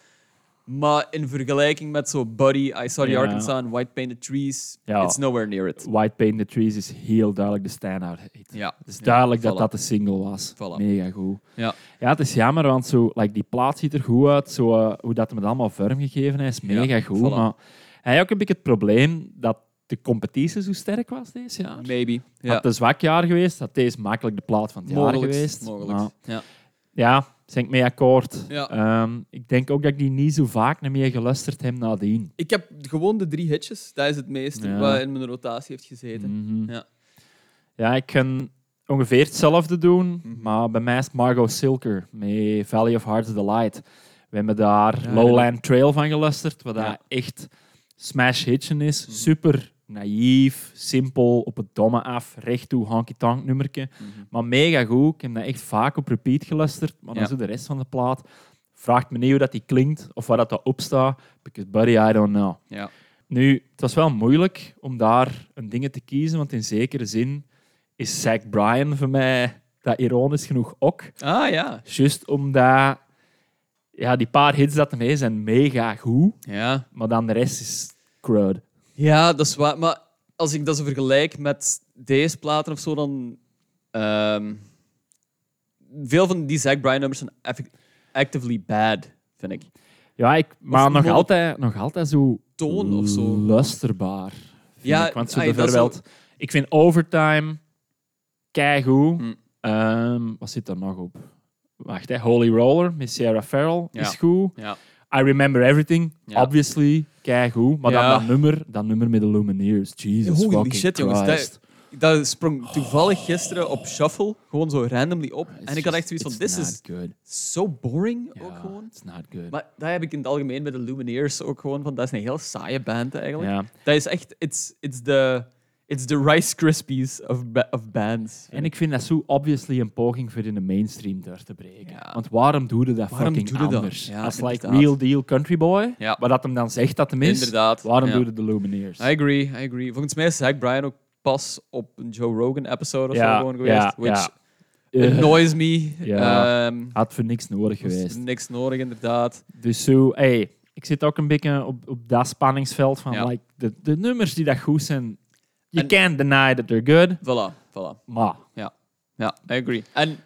Speaker 2: Maar in vergelijking met zo Buddy, I Saw the
Speaker 1: Ja.
Speaker 2: Arkansas en White Painted Trees,
Speaker 1: Ja.
Speaker 2: it's nowhere near it.
Speaker 1: White Paint the Trees is heel duidelijk de standout hit.
Speaker 2: Ja.
Speaker 1: Het is duidelijk dat
Speaker 2: voilà.
Speaker 1: dat de single was.
Speaker 2: Voilà.
Speaker 1: Mega goed.
Speaker 2: Ja.
Speaker 1: Ja, het is jammer, want zo, like, die plaat ziet er goed uit. Zo, eh, hoe dat hem het allemaal vormgegeven heeft, is
Speaker 2: Ja,
Speaker 1: mega goed.
Speaker 2: voilà.
Speaker 1: Maar hij had ook een beetje het probleem dat de competitie zo sterk was dit jaar.
Speaker 2: Maybe.
Speaker 1: Had
Speaker 2: Ja.
Speaker 1: het een zwak jaar geweest, had deze makkelijk de plaat van het jaar geweest.
Speaker 2: Mogelijk.
Speaker 1: Maar
Speaker 2: Ja.
Speaker 1: ja, ben ik mee akkoord.
Speaker 2: Ja.
Speaker 1: Ehm, ik denk ook dat ik die niet zo vaak naar meer geluisterd heb nadien.
Speaker 2: Ik heb gewoon de drie hitjes. Dat is het meeste
Speaker 1: Ja.
Speaker 2: wat in mijn rotatie heeft gezeten.
Speaker 1: Mhm.
Speaker 2: Ja.
Speaker 1: Ja, ik kan ongeveer hetzelfde doen,
Speaker 2: Mhm.
Speaker 1: maar bij mij is het Margot Silker met Valley of Hearts Delight. We hebben daar
Speaker 2: Ja,
Speaker 1: Lowland Trail van geluisterd, wat
Speaker 2: Ja. Mhm.
Speaker 1: daar echt smash hitchen is. Super naïef, simpel, op het domme af, recht toe, honky-tonk nummerke.
Speaker 2: Mhm.
Speaker 1: Maar mega goed. Ik heb dat echt vaak op repeat geluisterd. Maar dan
Speaker 2: Ja.
Speaker 1: zo de rest van de plaat. Vraagt me niet hoe dat die klinkt of waar dat daar op staat. Because buddy, I don't know.
Speaker 2: Ja.
Speaker 1: Nu, het was wel moeilijk om daar een dingen te kiezen, want in zekere zin is Zack Bryan voor mij dat ironisch genoeg ook.
Speaker 2: Ah ja.
Speaker 1: Juist omdat ja, die paar hits dat ermee zijn mega goed,
Speaker 2: Ja,
Speaker 1: maar dan de rest is crud.
Speaker 2: ja dat is waar. Maar als ik dat zo vergelijk met deze platen of zo, dan. ehm, veel van die Zack Bryan nummers zijn effe- actively bad, vind ik.
Speaker 1: Ja, ik, maar nog
Speaker 2: mooi-
Speaker 1: altijd, nog altijd zo
Speaker 2: Toon of zo.
Speaker 1: luisterbaar. vind
Speaker 2: Ja,
Speaker 1: ik. Want zo
Speaker 2: ai, dat
Speaker 1: bijvoorbeeld,
Speaker 2: zou-
Speaker 1: ik vind Overtime keigoed.
Speaker 2: Hm.
Speaker 1: Ehm, wat zit er nog op? Wacht, hè. Holy Roller met Sierra Farrell
Speaker 2: Ja.
Speaker 1: is goed.
Speaker 2: Ja.
Speaker 1: I Remember Everything,
Speaker 2: Ja.
Speaker 1: obviously, keigoed. Maar
Speaker 2: Ja.
Speaker 1: dan dat nummer, dat nummer met de Lumineers. Jesus
Speaker 2: Holy
Speaker 1: fucking
Speaker 2: shit, jongens, dat-
Speaker 1: Christ.
Speaker 2: Dat sprong toevallig gisteren op Shuffle, gewoon zo randomly op. En ik had echt zoiets van:
Speaker 1: dit
Speaker 2: this is
Speaker 1: not good.
Speaker 2: so boring ook
Speaker 1: Ja,
Speaker 2: gewoon.
Speaker 1: It's not good.
Speaker 2: Maar dat heb ik in het algemeen bij de Lumineers ook gewoon van. Dat is een heel saaie band eigenlijk.
Speaker 1: Ja.
Speaker 2: Dat is echt. It's, it's, the, it's the Rice Krispies of, ba- of bands.
Speaker 1: En ik vind dat zo obviously een poging voor in de mainstream door te breken.
Speaker 2: Ja.
Speaker 1: Want waarom doe je dat
Speaker 2: Waarom
Speaker 1: fucking
Speaker 2: doe je dat?
Speaker 1: anders?
Speaker 2: Ja,
Speaker 1: Als like
Speaker 2: inderdaad.
Speaker 1: real deal country boy,
Speaker 2: Ja.
Speaker 1: wat dat hem dan zegt dat hem is,
Speaker 2: Inderdaad,
Speaker 1: waarom
Speaker 2: ja.
Speaker 1: doe je de Lumineers?
Speaker 2: I agree, I agree. Volgens mij is Zach Bryan ook pas op een Joe Rogan episode of
Speaker 1: Ja,
Speaker 2: zo gewoon geweest.
Speaker 1: ja,
Speaker 2: which
Speaker 1: Eh,
Speaker 2: annoys me.
Speaker 1: Ja.
Speaker 2: Ehm,
Speaker 1: had voor niks nodig
Speaker 2: was
Speaker 1: geweest.
Speaker 2: Niks nodig, inderdaad.
Speaker 1: Dus zo, hey, ik zit ook een beetje op, op dat spanningsveld van
Speaker 2: Ja.
Speaker 1: like, de, de nummers die dat goed zijn. You
Speaker 2: En-
Speaker 1: can't deny that they're good,
Speaker 2: Voilà, voilà.
Speaker 1: maar
Speaker 2: Ja, I agree. En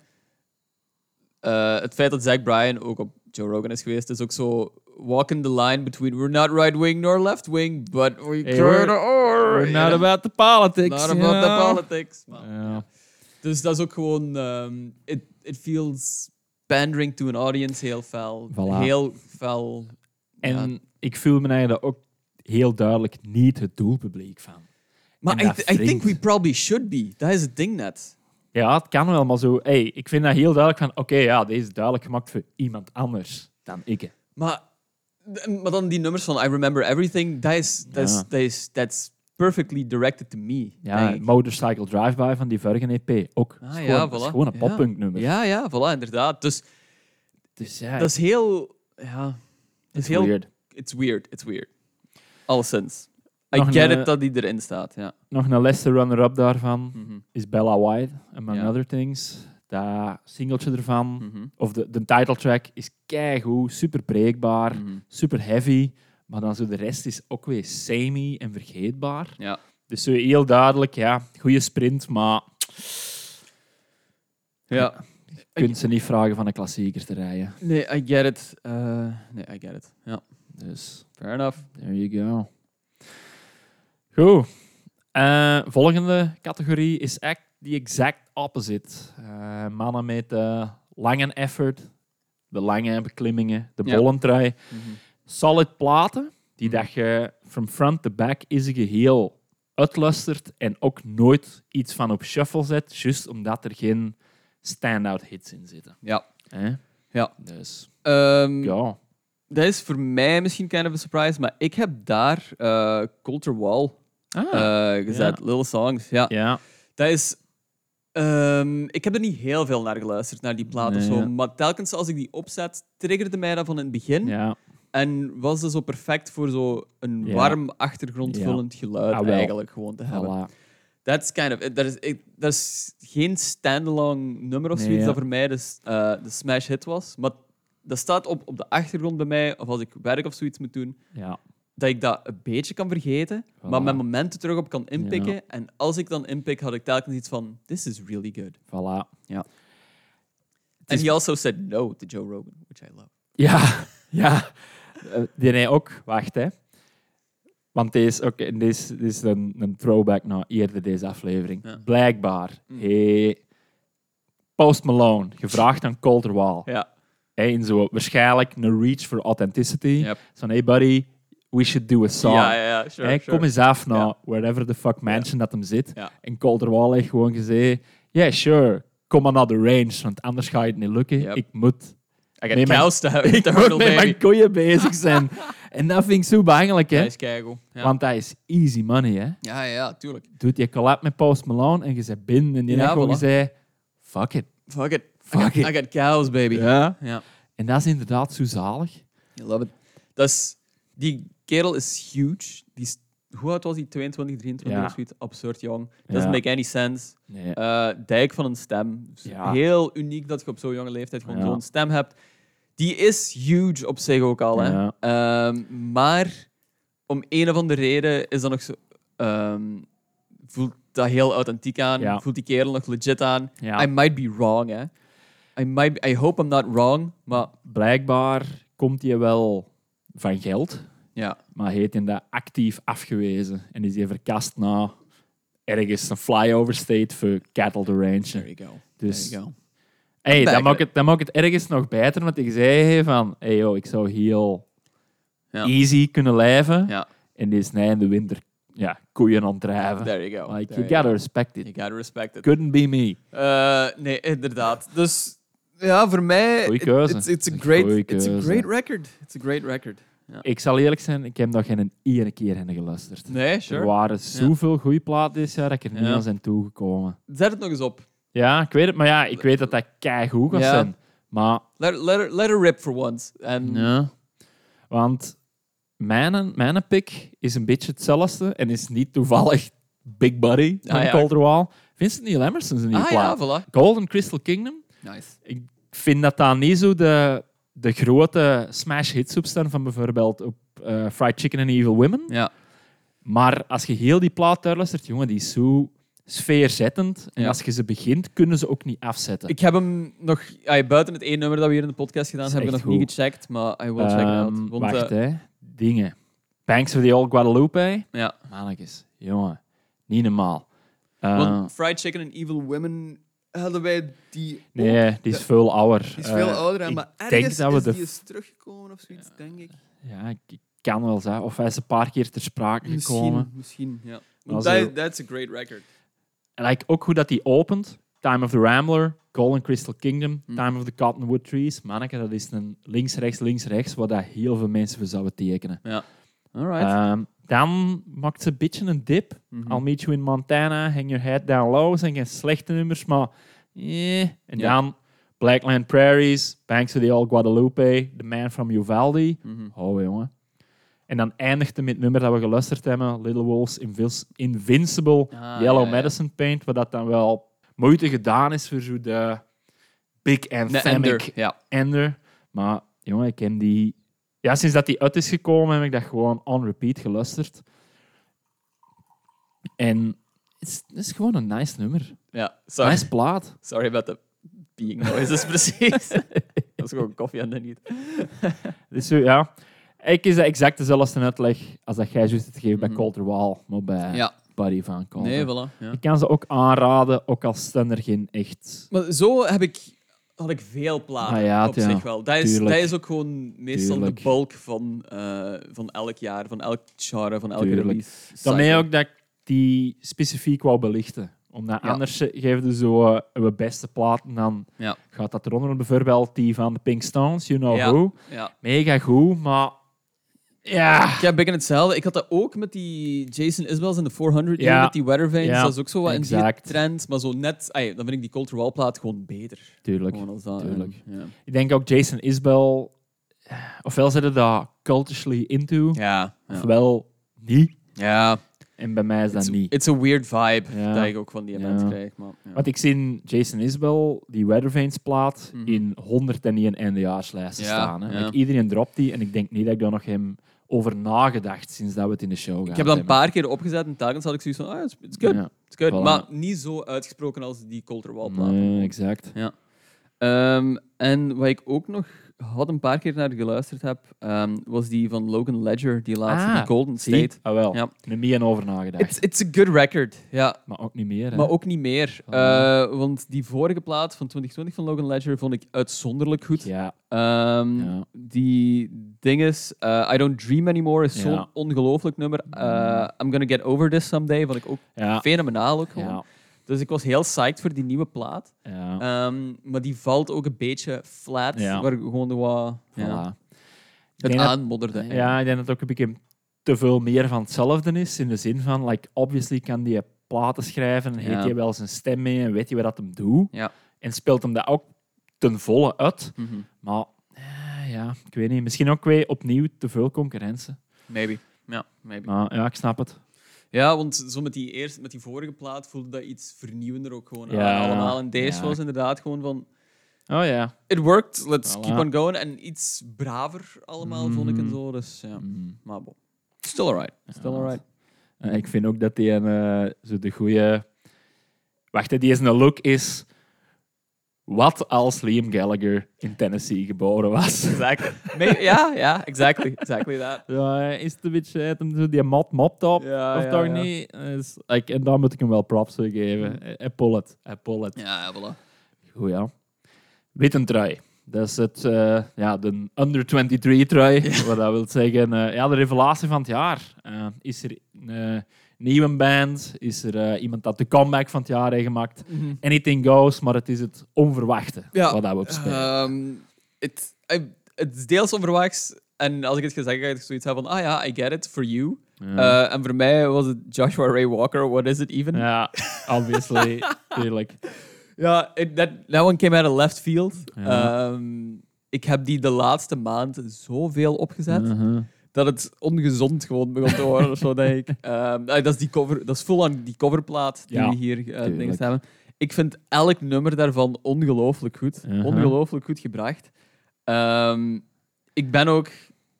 Speaker 2: eh, het feit dat Zach Bryan ook op Joe Rogan is geweest, is ook zo walking the line between we're not right wing nor left wing, but we
Speaker 1: Hey,
Speaker 2: turn
Speaker 1: we're-
Speaker 2: or
Speaker 1: we're not about the politics.
Speaker 2: not
Speaker 1: you know?
Speaker 2: about the politics. man.
Speaker 1: Ja.
Speaker 2: Dus dat is ook gewoon, ehm, it, it feels pandering to an audience heel fel.
Speaker 1: Voilà.
Speaker 2: Heel fel.
Speaker 1: En
Speaker 2: Ja.
Speaker 1: ik voel me eigenlijk ook heel duidelijk niet het doelpubliek van.
Speaker 2: Maar
Speaker 1: en
Speaker 2: I,
Speaker 1: dat
Speaker 2: th- I think
Speaker 1: wringt.
Speaker 2: we probably should be. Dat is het ding net.
Speaker 1: Ja, het kan wel, maar zo. Hey, ik vind dat heel duidelijk van. Oké, ja, deze is duidelijk gemaakt voor iemand anders dan ik. hè.
Speaker 2: Maar, maar dan die nummers van I Remember Everything, dat is, dat is,
Speaker 1: Ja.
Speaker 2: dat is, that's perfectly directed to me.
Speaker 1: Ja,
Speaker 2: denk ik.
Speaker 1: Motorcycle Drive-By van die vorige EP ook.
Speaker 2: Ah,
Speaker 1: Het is
Speaker 2: ja,
Speaker 1: gewoon, het is
Speaker 2: voilà.
Speaker 1: gewoon een
Speaker 2: Ja.
Speaker 1: poppunknummer.
Speaker 2: Ja, ja, voilà, inderdaad. Dus
Speaker 1: Dus ja,
Speaker 2: dat is heel... Ja, dat is
Speaker 1: it's
Speaker 2: heel...
Speaker 1: weird.
Speaker 2: It's weird, it's weird. Alleszins. I
Speaker 1: Nog
Speaker 2: get
Speaker 1: een, eh,
Speaker 2: it dat die erin staat, ja.
Speaker 1: Nog een leste runner-up daarvan
Speaker 2: Mhm,
Speaker 1: is Bella White, Among
Speaker 2: Ja.
Speaker 1: Other Things. Dat singeltje ervan,
Speaker 2: mhm,
Speaker 1: of de, de titeltrack, is keigoed, super breekbaar,
Speaker 2: mhm.
Speaker 1: super heavy. Maar dan zo de rest is ook weer semi en vergeetbaar.
Speaker 2: Ja.
Speaker 1: Dus zo heel duidelijk, ja, goede sprint, maar
Speaker 2: Ja.
Speaker 1: je kunt ze niet vragen van een klassieker te rijden.
Speaker 2: Nee, I get it. Eh, nee, I get it. Ja,
Speaker 1: Dus,
Speaker 2: fair enough.
Speaker 1: there you go. Goed. Eh, volgende categorie is echt the exact opposite. Eh, mannen met eh, lange effort, de lange beklimmingen, de
Speaker 2: Ja.
Speaker 1: bollentrui. Solid platen, die
Speaker 2: Mhm.
Speaker 1: dat je from front to back in zijn geheel uitlustert en ook nooit iets van op shuffle zet, juist omdat er geen standout hits in zitten.
Speaker 2: Ja.
Speaker 1: Hè?
Speaker 2: Ja.
Speaker 1: Dus,
Speaker 2: Ehm,
Speaker 1: ja.
Speaker 2: Dat is voor mij misschien kind of a surprise, maar ik heb daar eh Culture Wall eh, gezet. Little Songs, ja.
Speaker 1: Ah. ja.
Speaker 2: Dat is... ehm, ik heb er niet heel veel naar geluisterd, naar die plaat
Speaker 1: Nee,
Speaker 2: of zo.
Speaker 1: ja.
Speaker 2: Maar telkens als ik die opzet, triggerde mij dat van in het begin.
Speaker 1: Ja.
Speaker 2: En was dat zo perfect voor zo een
Speaker 1: Ja.
Speaker 2: warm achtergrondvullend geluid
Speaker 1: Ah, wel.
Speaker 2: eigenlijk gewoon te hebben.
Speaker 1: Voilà.
Speaker 2: That's kind of... it. Dat is, ik- dat is geen standalone nummer of
Speaker 1: Nee, ja.
Speaker 2: zoiets dat voor mij de, s- eh, de smash hit was. Maar dat staat op, op de achtergrond bij mij, of als ik werk of zoiets moet doen,
Speaker 1: Ja.
Speaker 2: dat ik dat een beetje kan vergeten, maar
Speaker 1: Voilà.
Speaker 2: mijn momenten terug op kan inpikken. En als ik dan inpik, had ik telkens iets van, this is really good.
Speaker 1: Voilà.
Speaker 2: And
Speaker 1: is-
Speaker 2: he also said no to Joe Rogan, which I love.
Speaker 1: Ja, <laughs> ja. Eh, Die hij ook, wacht hè. Want deze, oké, deze, deze is een, een throwback naar eerder deze aflevering.
Speaker 2: Ja. Mm.
Speaker 1: Blijkbaar. Hey, Post Malone, gevraagd aan Calderwall.
Speaker 2: Ja.
Speaker 1: Hey, in zo, waarschijnlijk een reach for authenticity.
Speaker 2: Yep.
Speaker 1: Van hey buddy, we should do a song.
Speaker 2: Ja, ja, ja, sure,
Speaker 1: Hey,
Speaker 2: sure.
Speaker 1: Kom eens af naar
Speaker 2: Ja.
Speaker 1: wherever the fuck mansion dat hem zit.
Speaker 2: Ja.
Speaker 1: En Calderwall heeft gewoon gezegd: Yeah, sure, kom maar naar de range, want anders gaat het niet lukken.
Speaker 2: Yep.
Speaker 1: Ik moet
Speaker 2: I got
Speaker 1: Nee, mijn-
Speaker 2: cows to
Speaker 1: <laughs> ik
Speaker 2: the
Speaker 1: moet
Speaker 2: hurdle,
Speaker 1: met mijn
Speaker 2: baby.
Speaker 1: koeien bezig zijn. en dat vind ik zo belangrijk, hè.
Speaker 2: Dat is keigoed. Ja.
Speaker 1: Want dat is easy money, hè.
Speaker 2: ja, ja, tuurlijk.
Speaker 1: Doet je collab met Post Malone en je zit binnen en die
Speaker 2: Ja,
Speaker 1: heeft gewoon
Speaker 2: voilà.
Speaker 1: gezegd, fuck it.
Speaker 2: Fuck it.
Speaker 1: Fuck
Speaker 2: I got,
Speaker 1: it.
Speaker 2: I got cows, baby.
Speaker 1: Ja.
Speaker 2: Ja.
Speaker 1: En dat is inderdaad zo zalig.
Speaker 2: I love it. Dat is, die kerel is huge. Die is, hoe oud was hij? 22, 23
Speaker 1: Ja.
Speaker 2: of zoiets? Absurd jong.
Speaker 1: Ja.
Speaker 2: Doesn't make any sense.
Speaker 1: Nee.
Speaker 2: Eh, dijk van een stem. Dus
Speaker 1: Ja.
Speaker 2: Heel uniek dat je op zo'n jonge leeftijd gewoon
Speaker 1: Ja.
Speaker 2: zo'n stem hebt. Die is huge op zich ook al. Hè.
Speaker 1: Ja.
Speaker 2: Ehm, maar om een of andere reden is dat nog zo... ehm, voelt dat heel authentiek aan.
Speaker 1: Ja.
Speaker 2: Voelt die kerel nog legit aan.
Speaker 1: Ja.
Speaker 2: I might be wrong, hè. I, might be- I hope I'm not wrong, maar
Speaker 1: Blijkbaar komt hij wel van geld,
Speaker 2: ja.
Speaker 1: maar heeft hij dat actief afgewezen. En is hij verkast na ergens een flyover state voor cattle to range.
Speaker 2: There you go.
Speaker 1: Dus-
Speaker 2: There you go.
Speaker 1: Hey,
Speaker 2: Back
Speaker 1: dan mag,
Speaker 2: it.
Speaker 1: het, dan mag het ergens nog beter, want ik zei hey, van, hey yo, ik zou heel
Speaker 2: Ja.
Speaker 1: easy kunnen leven.
Speaker 2: Ja.
Speaker 1: En die is na in de winter ja, koeien aan het drijven.
Speaker 2: There you go.
Speaker 1: Dus, Like,
Speaker 2: There
Speaker 1: you
Speaker 2: you
Speaker 1: gotta respect it.
Speaker 2: You gotta respect it.
Speaker 1: Couldn't be me.
Speaker 2: Eh, nee, inderdaad. Dus ja, voor mij.
Speaker 1: Goeie keuze.
Speaker 2: It's, it's a
Speaker 1: Een
Speaker 2: great,
Speaker 1: goeie
Speaker 2: it's a
Speaker 1: keuze.
Speaker 2: great record. It's a great record.
Speaker 1: Ik zal eerlijk zijn, ik heb nog geen ene keer hen geluisterd.
Speaker 2: Nee,
Speaker 1: Er waren zoveel goede platen dit jaar dat ik er niet
Speaker 2: Ja.
Speaker 1: aan zijn toegekomen.
Speaker 2: Zet het nog eens op.
Speaker 1: Ja, ik weet het, maar ja, ik weet dat dat keigoed gaat
Speaker 2: Ja.
Speaker 1: zijn. Maar,
Speaker 2: Let, let, her, let her rip for once. En Ah,
Speaker 1: ja. Want mijn, mijn pick is een beetje hetzelfde en is niet toevallig Big Buddy van
Speaker 2: Ah, ja.
Speaker 1: Calderwall. Vincent Neil Emerson is een nieuwe
Speaker 2: Ah ja,
Speaker 1: plaat.
Speaker 2: voilà.
Speaker 1: Golden Crystal Kingdom
Speaker 2: Nice.
Speaker 1: ik vind dat dat niet zo de, de grote smash hits op staan van bijvoorbeeld op eh, Fried Chicken and Evil Women.
Speaker 2: Ja.
Speaker 1: Maar als je heel die plaat luistert, jongen, die is zo sfeerzettend. En
Speaker 2: Ja.
Speaker 1: als je ze begint, kunnen ze ook niet afzetten.
Speaker 2: Ik heb hem nog, ah, buiten het één nummer dat we hier in de podcast gedaan
Speaker 1: Is
Speaker 2: hebben, heb ik
Speaker 1: echt
Speaker 2: nog niet gecheckt, maar I will check it out.
Speaker 1: Ehm,
Speaker 2: Want,
Speaker 1: wacht,
Speaker 2: eh,
Speaker 1: hè. Dingen. Banks of the Old Guadalupe.
Speaker 2: ja.
Speaker 1: Mannetjes, jongen. Niet normaal. Eh,
Speaker 2: Want Fried Chicken and Evil Women hadden wij die.
Speaker 1: nee, die is veel ouder.
Speaker 2: Die is veel
Speaker 1: Eh,
Speaker 2: ouder, en
Speaker 1: ik
Speaker 2: maar
Speaker 1: denk
Speaker 2: ergens
Speaker 1: dat we
Speaker 2: is
Speaker 1: de
Speaker 2: die is teruggekomen of zoiets, denk ik.
Speaker 1: Ja, ik ik kan wel zeggen. Of hij is een paar keer ter sprake gekomen.
Speaker 2: Misschien, misschien, ja.
Speaker 1: Maar
Speaker 2: Want
Speaker 1: zo-
Speaker 2: dat- that's a great record.
Speaker 1: En like, ook hoe dat die opent. Time of the Rambler, Golden Crystal Kingdom,
Speaker 2: Hm.
Speaker 1: Time of the Cottonwood Trees. Manneke, dat is een links-rechts, links-rechts, wat dat heel veel mensen voor zouden tekenen.
Speaker 2: Ja. Alright. Mhm.
Speaker 1: Ehm, Dan maakt ze een beetje een dip. I'll meet you in Montana, hang your head down low. Zijn geen slechte nummers, maar... eh. En
Speaker 2: Ja.
Speaker 1: dan Blackland Prairies, Banks of the Old Guadalupe, The Man from Uvalde.
Speaker 2: Mhm.
Speaker 1: Oh, jongen. En dan eindigt het met het nummer dat we geluisterd hebben, Little Wolves Invils- Invincible,
Speaker 2: Ah,
Speaker 1: Yellow
Speaker 2: ja, ja.
Speaker 1: Medicine Paint, wat dat dan wel moeite gedaan is voor zo de big
Speaker 2: De
Speaker 1: anthemic
Speaker 2: Ender. Ja.
Speaker 1: Ender. Maar jongen, ik ken die... Ja, sinds dat die uit is gekomen, heb ik dat gewoon on repeat geluisterd. En het is, het is gewoon een nice nummer.
Speaker 2: ja. Sorry.
Speaker 1: Nice plaat.
Speaker 2: Sorry about the being noises, <laughs>
Speaker 1: <laughs>
Speaker 2: precies. dat is gewoon koffie aan de niet.
Speaker 1: Dus zo, ja. Ik is dat exact dezelfde uitleg als dat jij juist het geeft bij Colter Wall, maar bij
Speaker 2: Mhm. Ja.
Speaker 1: Buddy van Colter.
Speaker 2: Nee, voilà. Ja.
Speaker 1: Ik kan ze ook aanraden, ook al staan er geen echt.
Speaker 2: Maar zo heb ik, had ik veel platen
Speaker 1: Ah ja,
Speaker 2: op
Speaker 1: ja.
Speaker 2: zich wel. Dat is, dat
Speaker 1: Tuurlijk.
Speaker 2: is ook gewoon meestal
Speaker 1: Tuurlijk.
Speaker 2: de bulk van, eh, van elk jaar, van elk genre, van elke
Speaker 1: Tuurlijk.
Speaker 2: release.
Speaker 1: Daarmee
Speaker 2: cycle.
Speaker 1: ook dat ik die specifiek wou belichten. Omdat
Speaker 2: Ja.
Speaker 1: anders geven ze zo eh, we beste platen, dan
Speaker 2: Ja.
Speaker 1: gaat dat eronder. Bijvoorbeeld die van de Pink Stones, You Know
Speaker 2: Ja.
Speaker 1: Who.
Speaker 2: Ja.
Speaker 1: Mega goed, maar... Ja,
Speaker 2: Ik heb beetje hetzelfde. Ik had dat ook met die Jason Isbells in de 400
Speaker 1: Ja.
Speaker 2: ja. met die Weather Vanes.
Speaker 1: Ja,
Speaker 2: Dat is ook zo wat in die
Speaker 1: exact.
Speaker 2: trend, maar zo net... ai, dan vind ik die Culture Wall plaat gewoon beter.
Speaker 1: tuurlijk.
Speaker 2: Gewoon als dat, eh,
Speaker 1: tuurlijk.
Speaker 2: Ja.
Speaker 1: Ik denk ook Jason Isbell... eh, Ofwel zitten daar culturally into,
Speaker 2: Ja. ja.
Speaker 1: ofwel niet.
Speaker 2: ja.
Speaker 1: En bij mij is dat
Speaker 2: It's,
Speaker 1: niet.
Speaker 2: it's a weird vibe
Speaker 1: Ja.
Speaker 2: dat ik ook van die event
Speaker 1: Ja.
Speaker 2: krijg. Maar, ja.
Speaker 1: Want ik zie Jason Isbell, die Weathervanes plaat,
Speaker 2: Mhm.
Speaker 1: in 101 eindejaarslijsten
Speaker 2: Ja,
Speaker 1: staan. Hè.
Speaker 2: ja.
Speaker 1: Want Iedereen dropt die en ik denk niet dat ik daar nog hem over nagedacht sinds dat we het in de show gaan.
Speaker 2: Ik heb dat een paar keer opgezet en telkens had ik zoiets van, ah, it's, it's good,
Speaker 1: Ja.
Speaker 2: it's good.
Speaker 1: Voilà.
Speaker 2: Maar niet zo uitgesproken als die Colter Wall plaat.
Speaker 1: Nee, exact.
Speaker 2: Ehm, en wat ik ook nog had een paar keer naar geluisterd heb, ehm, was die van Logan Ledger, die laatste,
Speaker 1: Ah,
Speaker 2: die Golden
Speaker 1: Zie?
Speaker 2: State.
Speaker 1: Ah, wel.
Speaker 2: Ja.
Speaker 1: Niet meer over nagedacht.
Speaker 2: It's, it's a good record, ja.
Speaker 1: Maar ook niet meer. Hè.
Speaker 2: Maar ook niet meer.
Speaker 1: Ah.
Speaker 2: Eh, want die vorige plaat van 2020 van Logan Ledger vond ik uitzonderlijk goed.
Speaker 1: Ja,
Speaker 2: Ehm,
Speaker 1: Ja.
Speaker 2: Die ding is, eh, I Don't Dream Anymore is
Speaker 1: Ja. Mm.
Speaker 2: zo'n ongelooflijk nummer. Eh, I'm Gonna Get Over This Someday vond ik ook
Speaker 1: ja,
Speaker 2: fenomenaal. Ook gewoon.
Speaker 1: ja,
Speaker 2: Dus ik was heel psyched voor die nieuwe plaat.
Speaker 1: ja.
Speaker 2: Ehm, maar die valt ook een beetje flat,
Speaker 1: Ja.
Speaker 2: waar gewoon de wat ja,
Speaker 1: Voilà. Ik
Speaker 2: het
Speaker 1: denk dat-
Speaker 2: aanmodderde.
Speaker 1: Ja, ik denk dat het ook een beetje te veel meer van hetzelfde is. In de zin van, like, obviously kan die platen schrijven, en heeft
Speaker 2: Ja.
Speaker 1: hij wel zijn stem mee en weet hij wat dat hem doet.
Speaker 2: Ja.
Speaker 1: En speelt hem dat ook ten volle uit.
Speaker 2: Mhm.
Speaker 1: Maar eh, ja, ik weet niet. Misschien ook weer opnieuw te veel concurrentie.
Speaker 2: Maybe. Ja, maybe.
Speaker 1: Maar ja, ik snap het.
Speaker 2: Ja, want zo met die, eerste, met die vorige plaat voelde dat iets vernieuwender ook gewoon aan
Speaker 1: Ja,
Speaker 2: allemaal. En deze
Speaker 1: ja.
Speaker 2: was inderdaad gewoon van...
Speaker 1: Oh ja.
Speaker 2: It worked, let's
Speaker 1: Voilà.
Speaker 2: keep on going. En iets braver allemaal, vond ik en zo. Dus ja,
Speaker 1: Mm.
Speaker 2: maar bon. Still alright. Still
Speaker 1: Ja,
Speaker 2: alright.
Speaker 1: Eh, ik vind ook dat die een, eh, zo de goede... Wacht, hè, die is een look is... Wat als Liam Gallagher in Tennessee geboren was?
Speaker 2: Exactly. May- ja, ja, exactly. Exactly that.
Speaker 1: Ja, is het een beetje hij heeft hem zo die mop mopt op?
Speaker 2: Ja,
Speaker 1: of
Speaker 2: ja,
Speaker 1: toch
Speaker 2: ja.
Speaker 1: niet? Dus, like, en daar moet ik hem wel props voor geven. Hij- Hij pull it. Hij pull it.
Speaker 2: Ja, voilà.
Speaker 1: Goed, ja. Witte trui. Dat is het, eh, ja, de under-23 trui. Wat dat wil zeggen, eh, ja, de revelatie van het jaar. Eh, is er een eh, nieuwe band? Is er eh, iemand dat de comeback van het jaar heeft gemaakt? Anything goes, maar het is het onverwachte
Speaker 2: Mhm. Ja,
Speaker 1: wat dat we op spelen.
Speaker 2: Ehm, het, ik- het is deels onverwachts. En als ik het gezegd heb, ik zoiets hebben van... Ah ja, I get it, for you. Eh, en voor mij was het Joshua Ray Walker, What Is It Even? Ja,
Speaker 1: ja,
Speaker 2: <laughs>
Speaker 1: obviously. Tuurlijk.
Speaker 2: it- that, that one came out of left field.
Speaker 1: Ja.
Speaker 2: Ehm, ik heb die de laatste maand zoveel opgezet...
Speaker 1: Mhm.
Speaker 2: dat het ongezond gewoon begon te worden of zo,
Speaker 1: <laughs>
Speaker 2: denk ik. Ehm, ah, dat is die cover, dat is vol aan die coverplaat die
Speaker 1: Ja,
Speaker 2: we hier eh,
Speaker 1: tuurlijk.
Speaker 2: dingen hebben. Ik vind elk nummer daarvan ongelooflijk goed.
Speaker 1: Mhm.
Speaker 2: Ongelooflijk goed gebracht. Ehm, ik ben ook,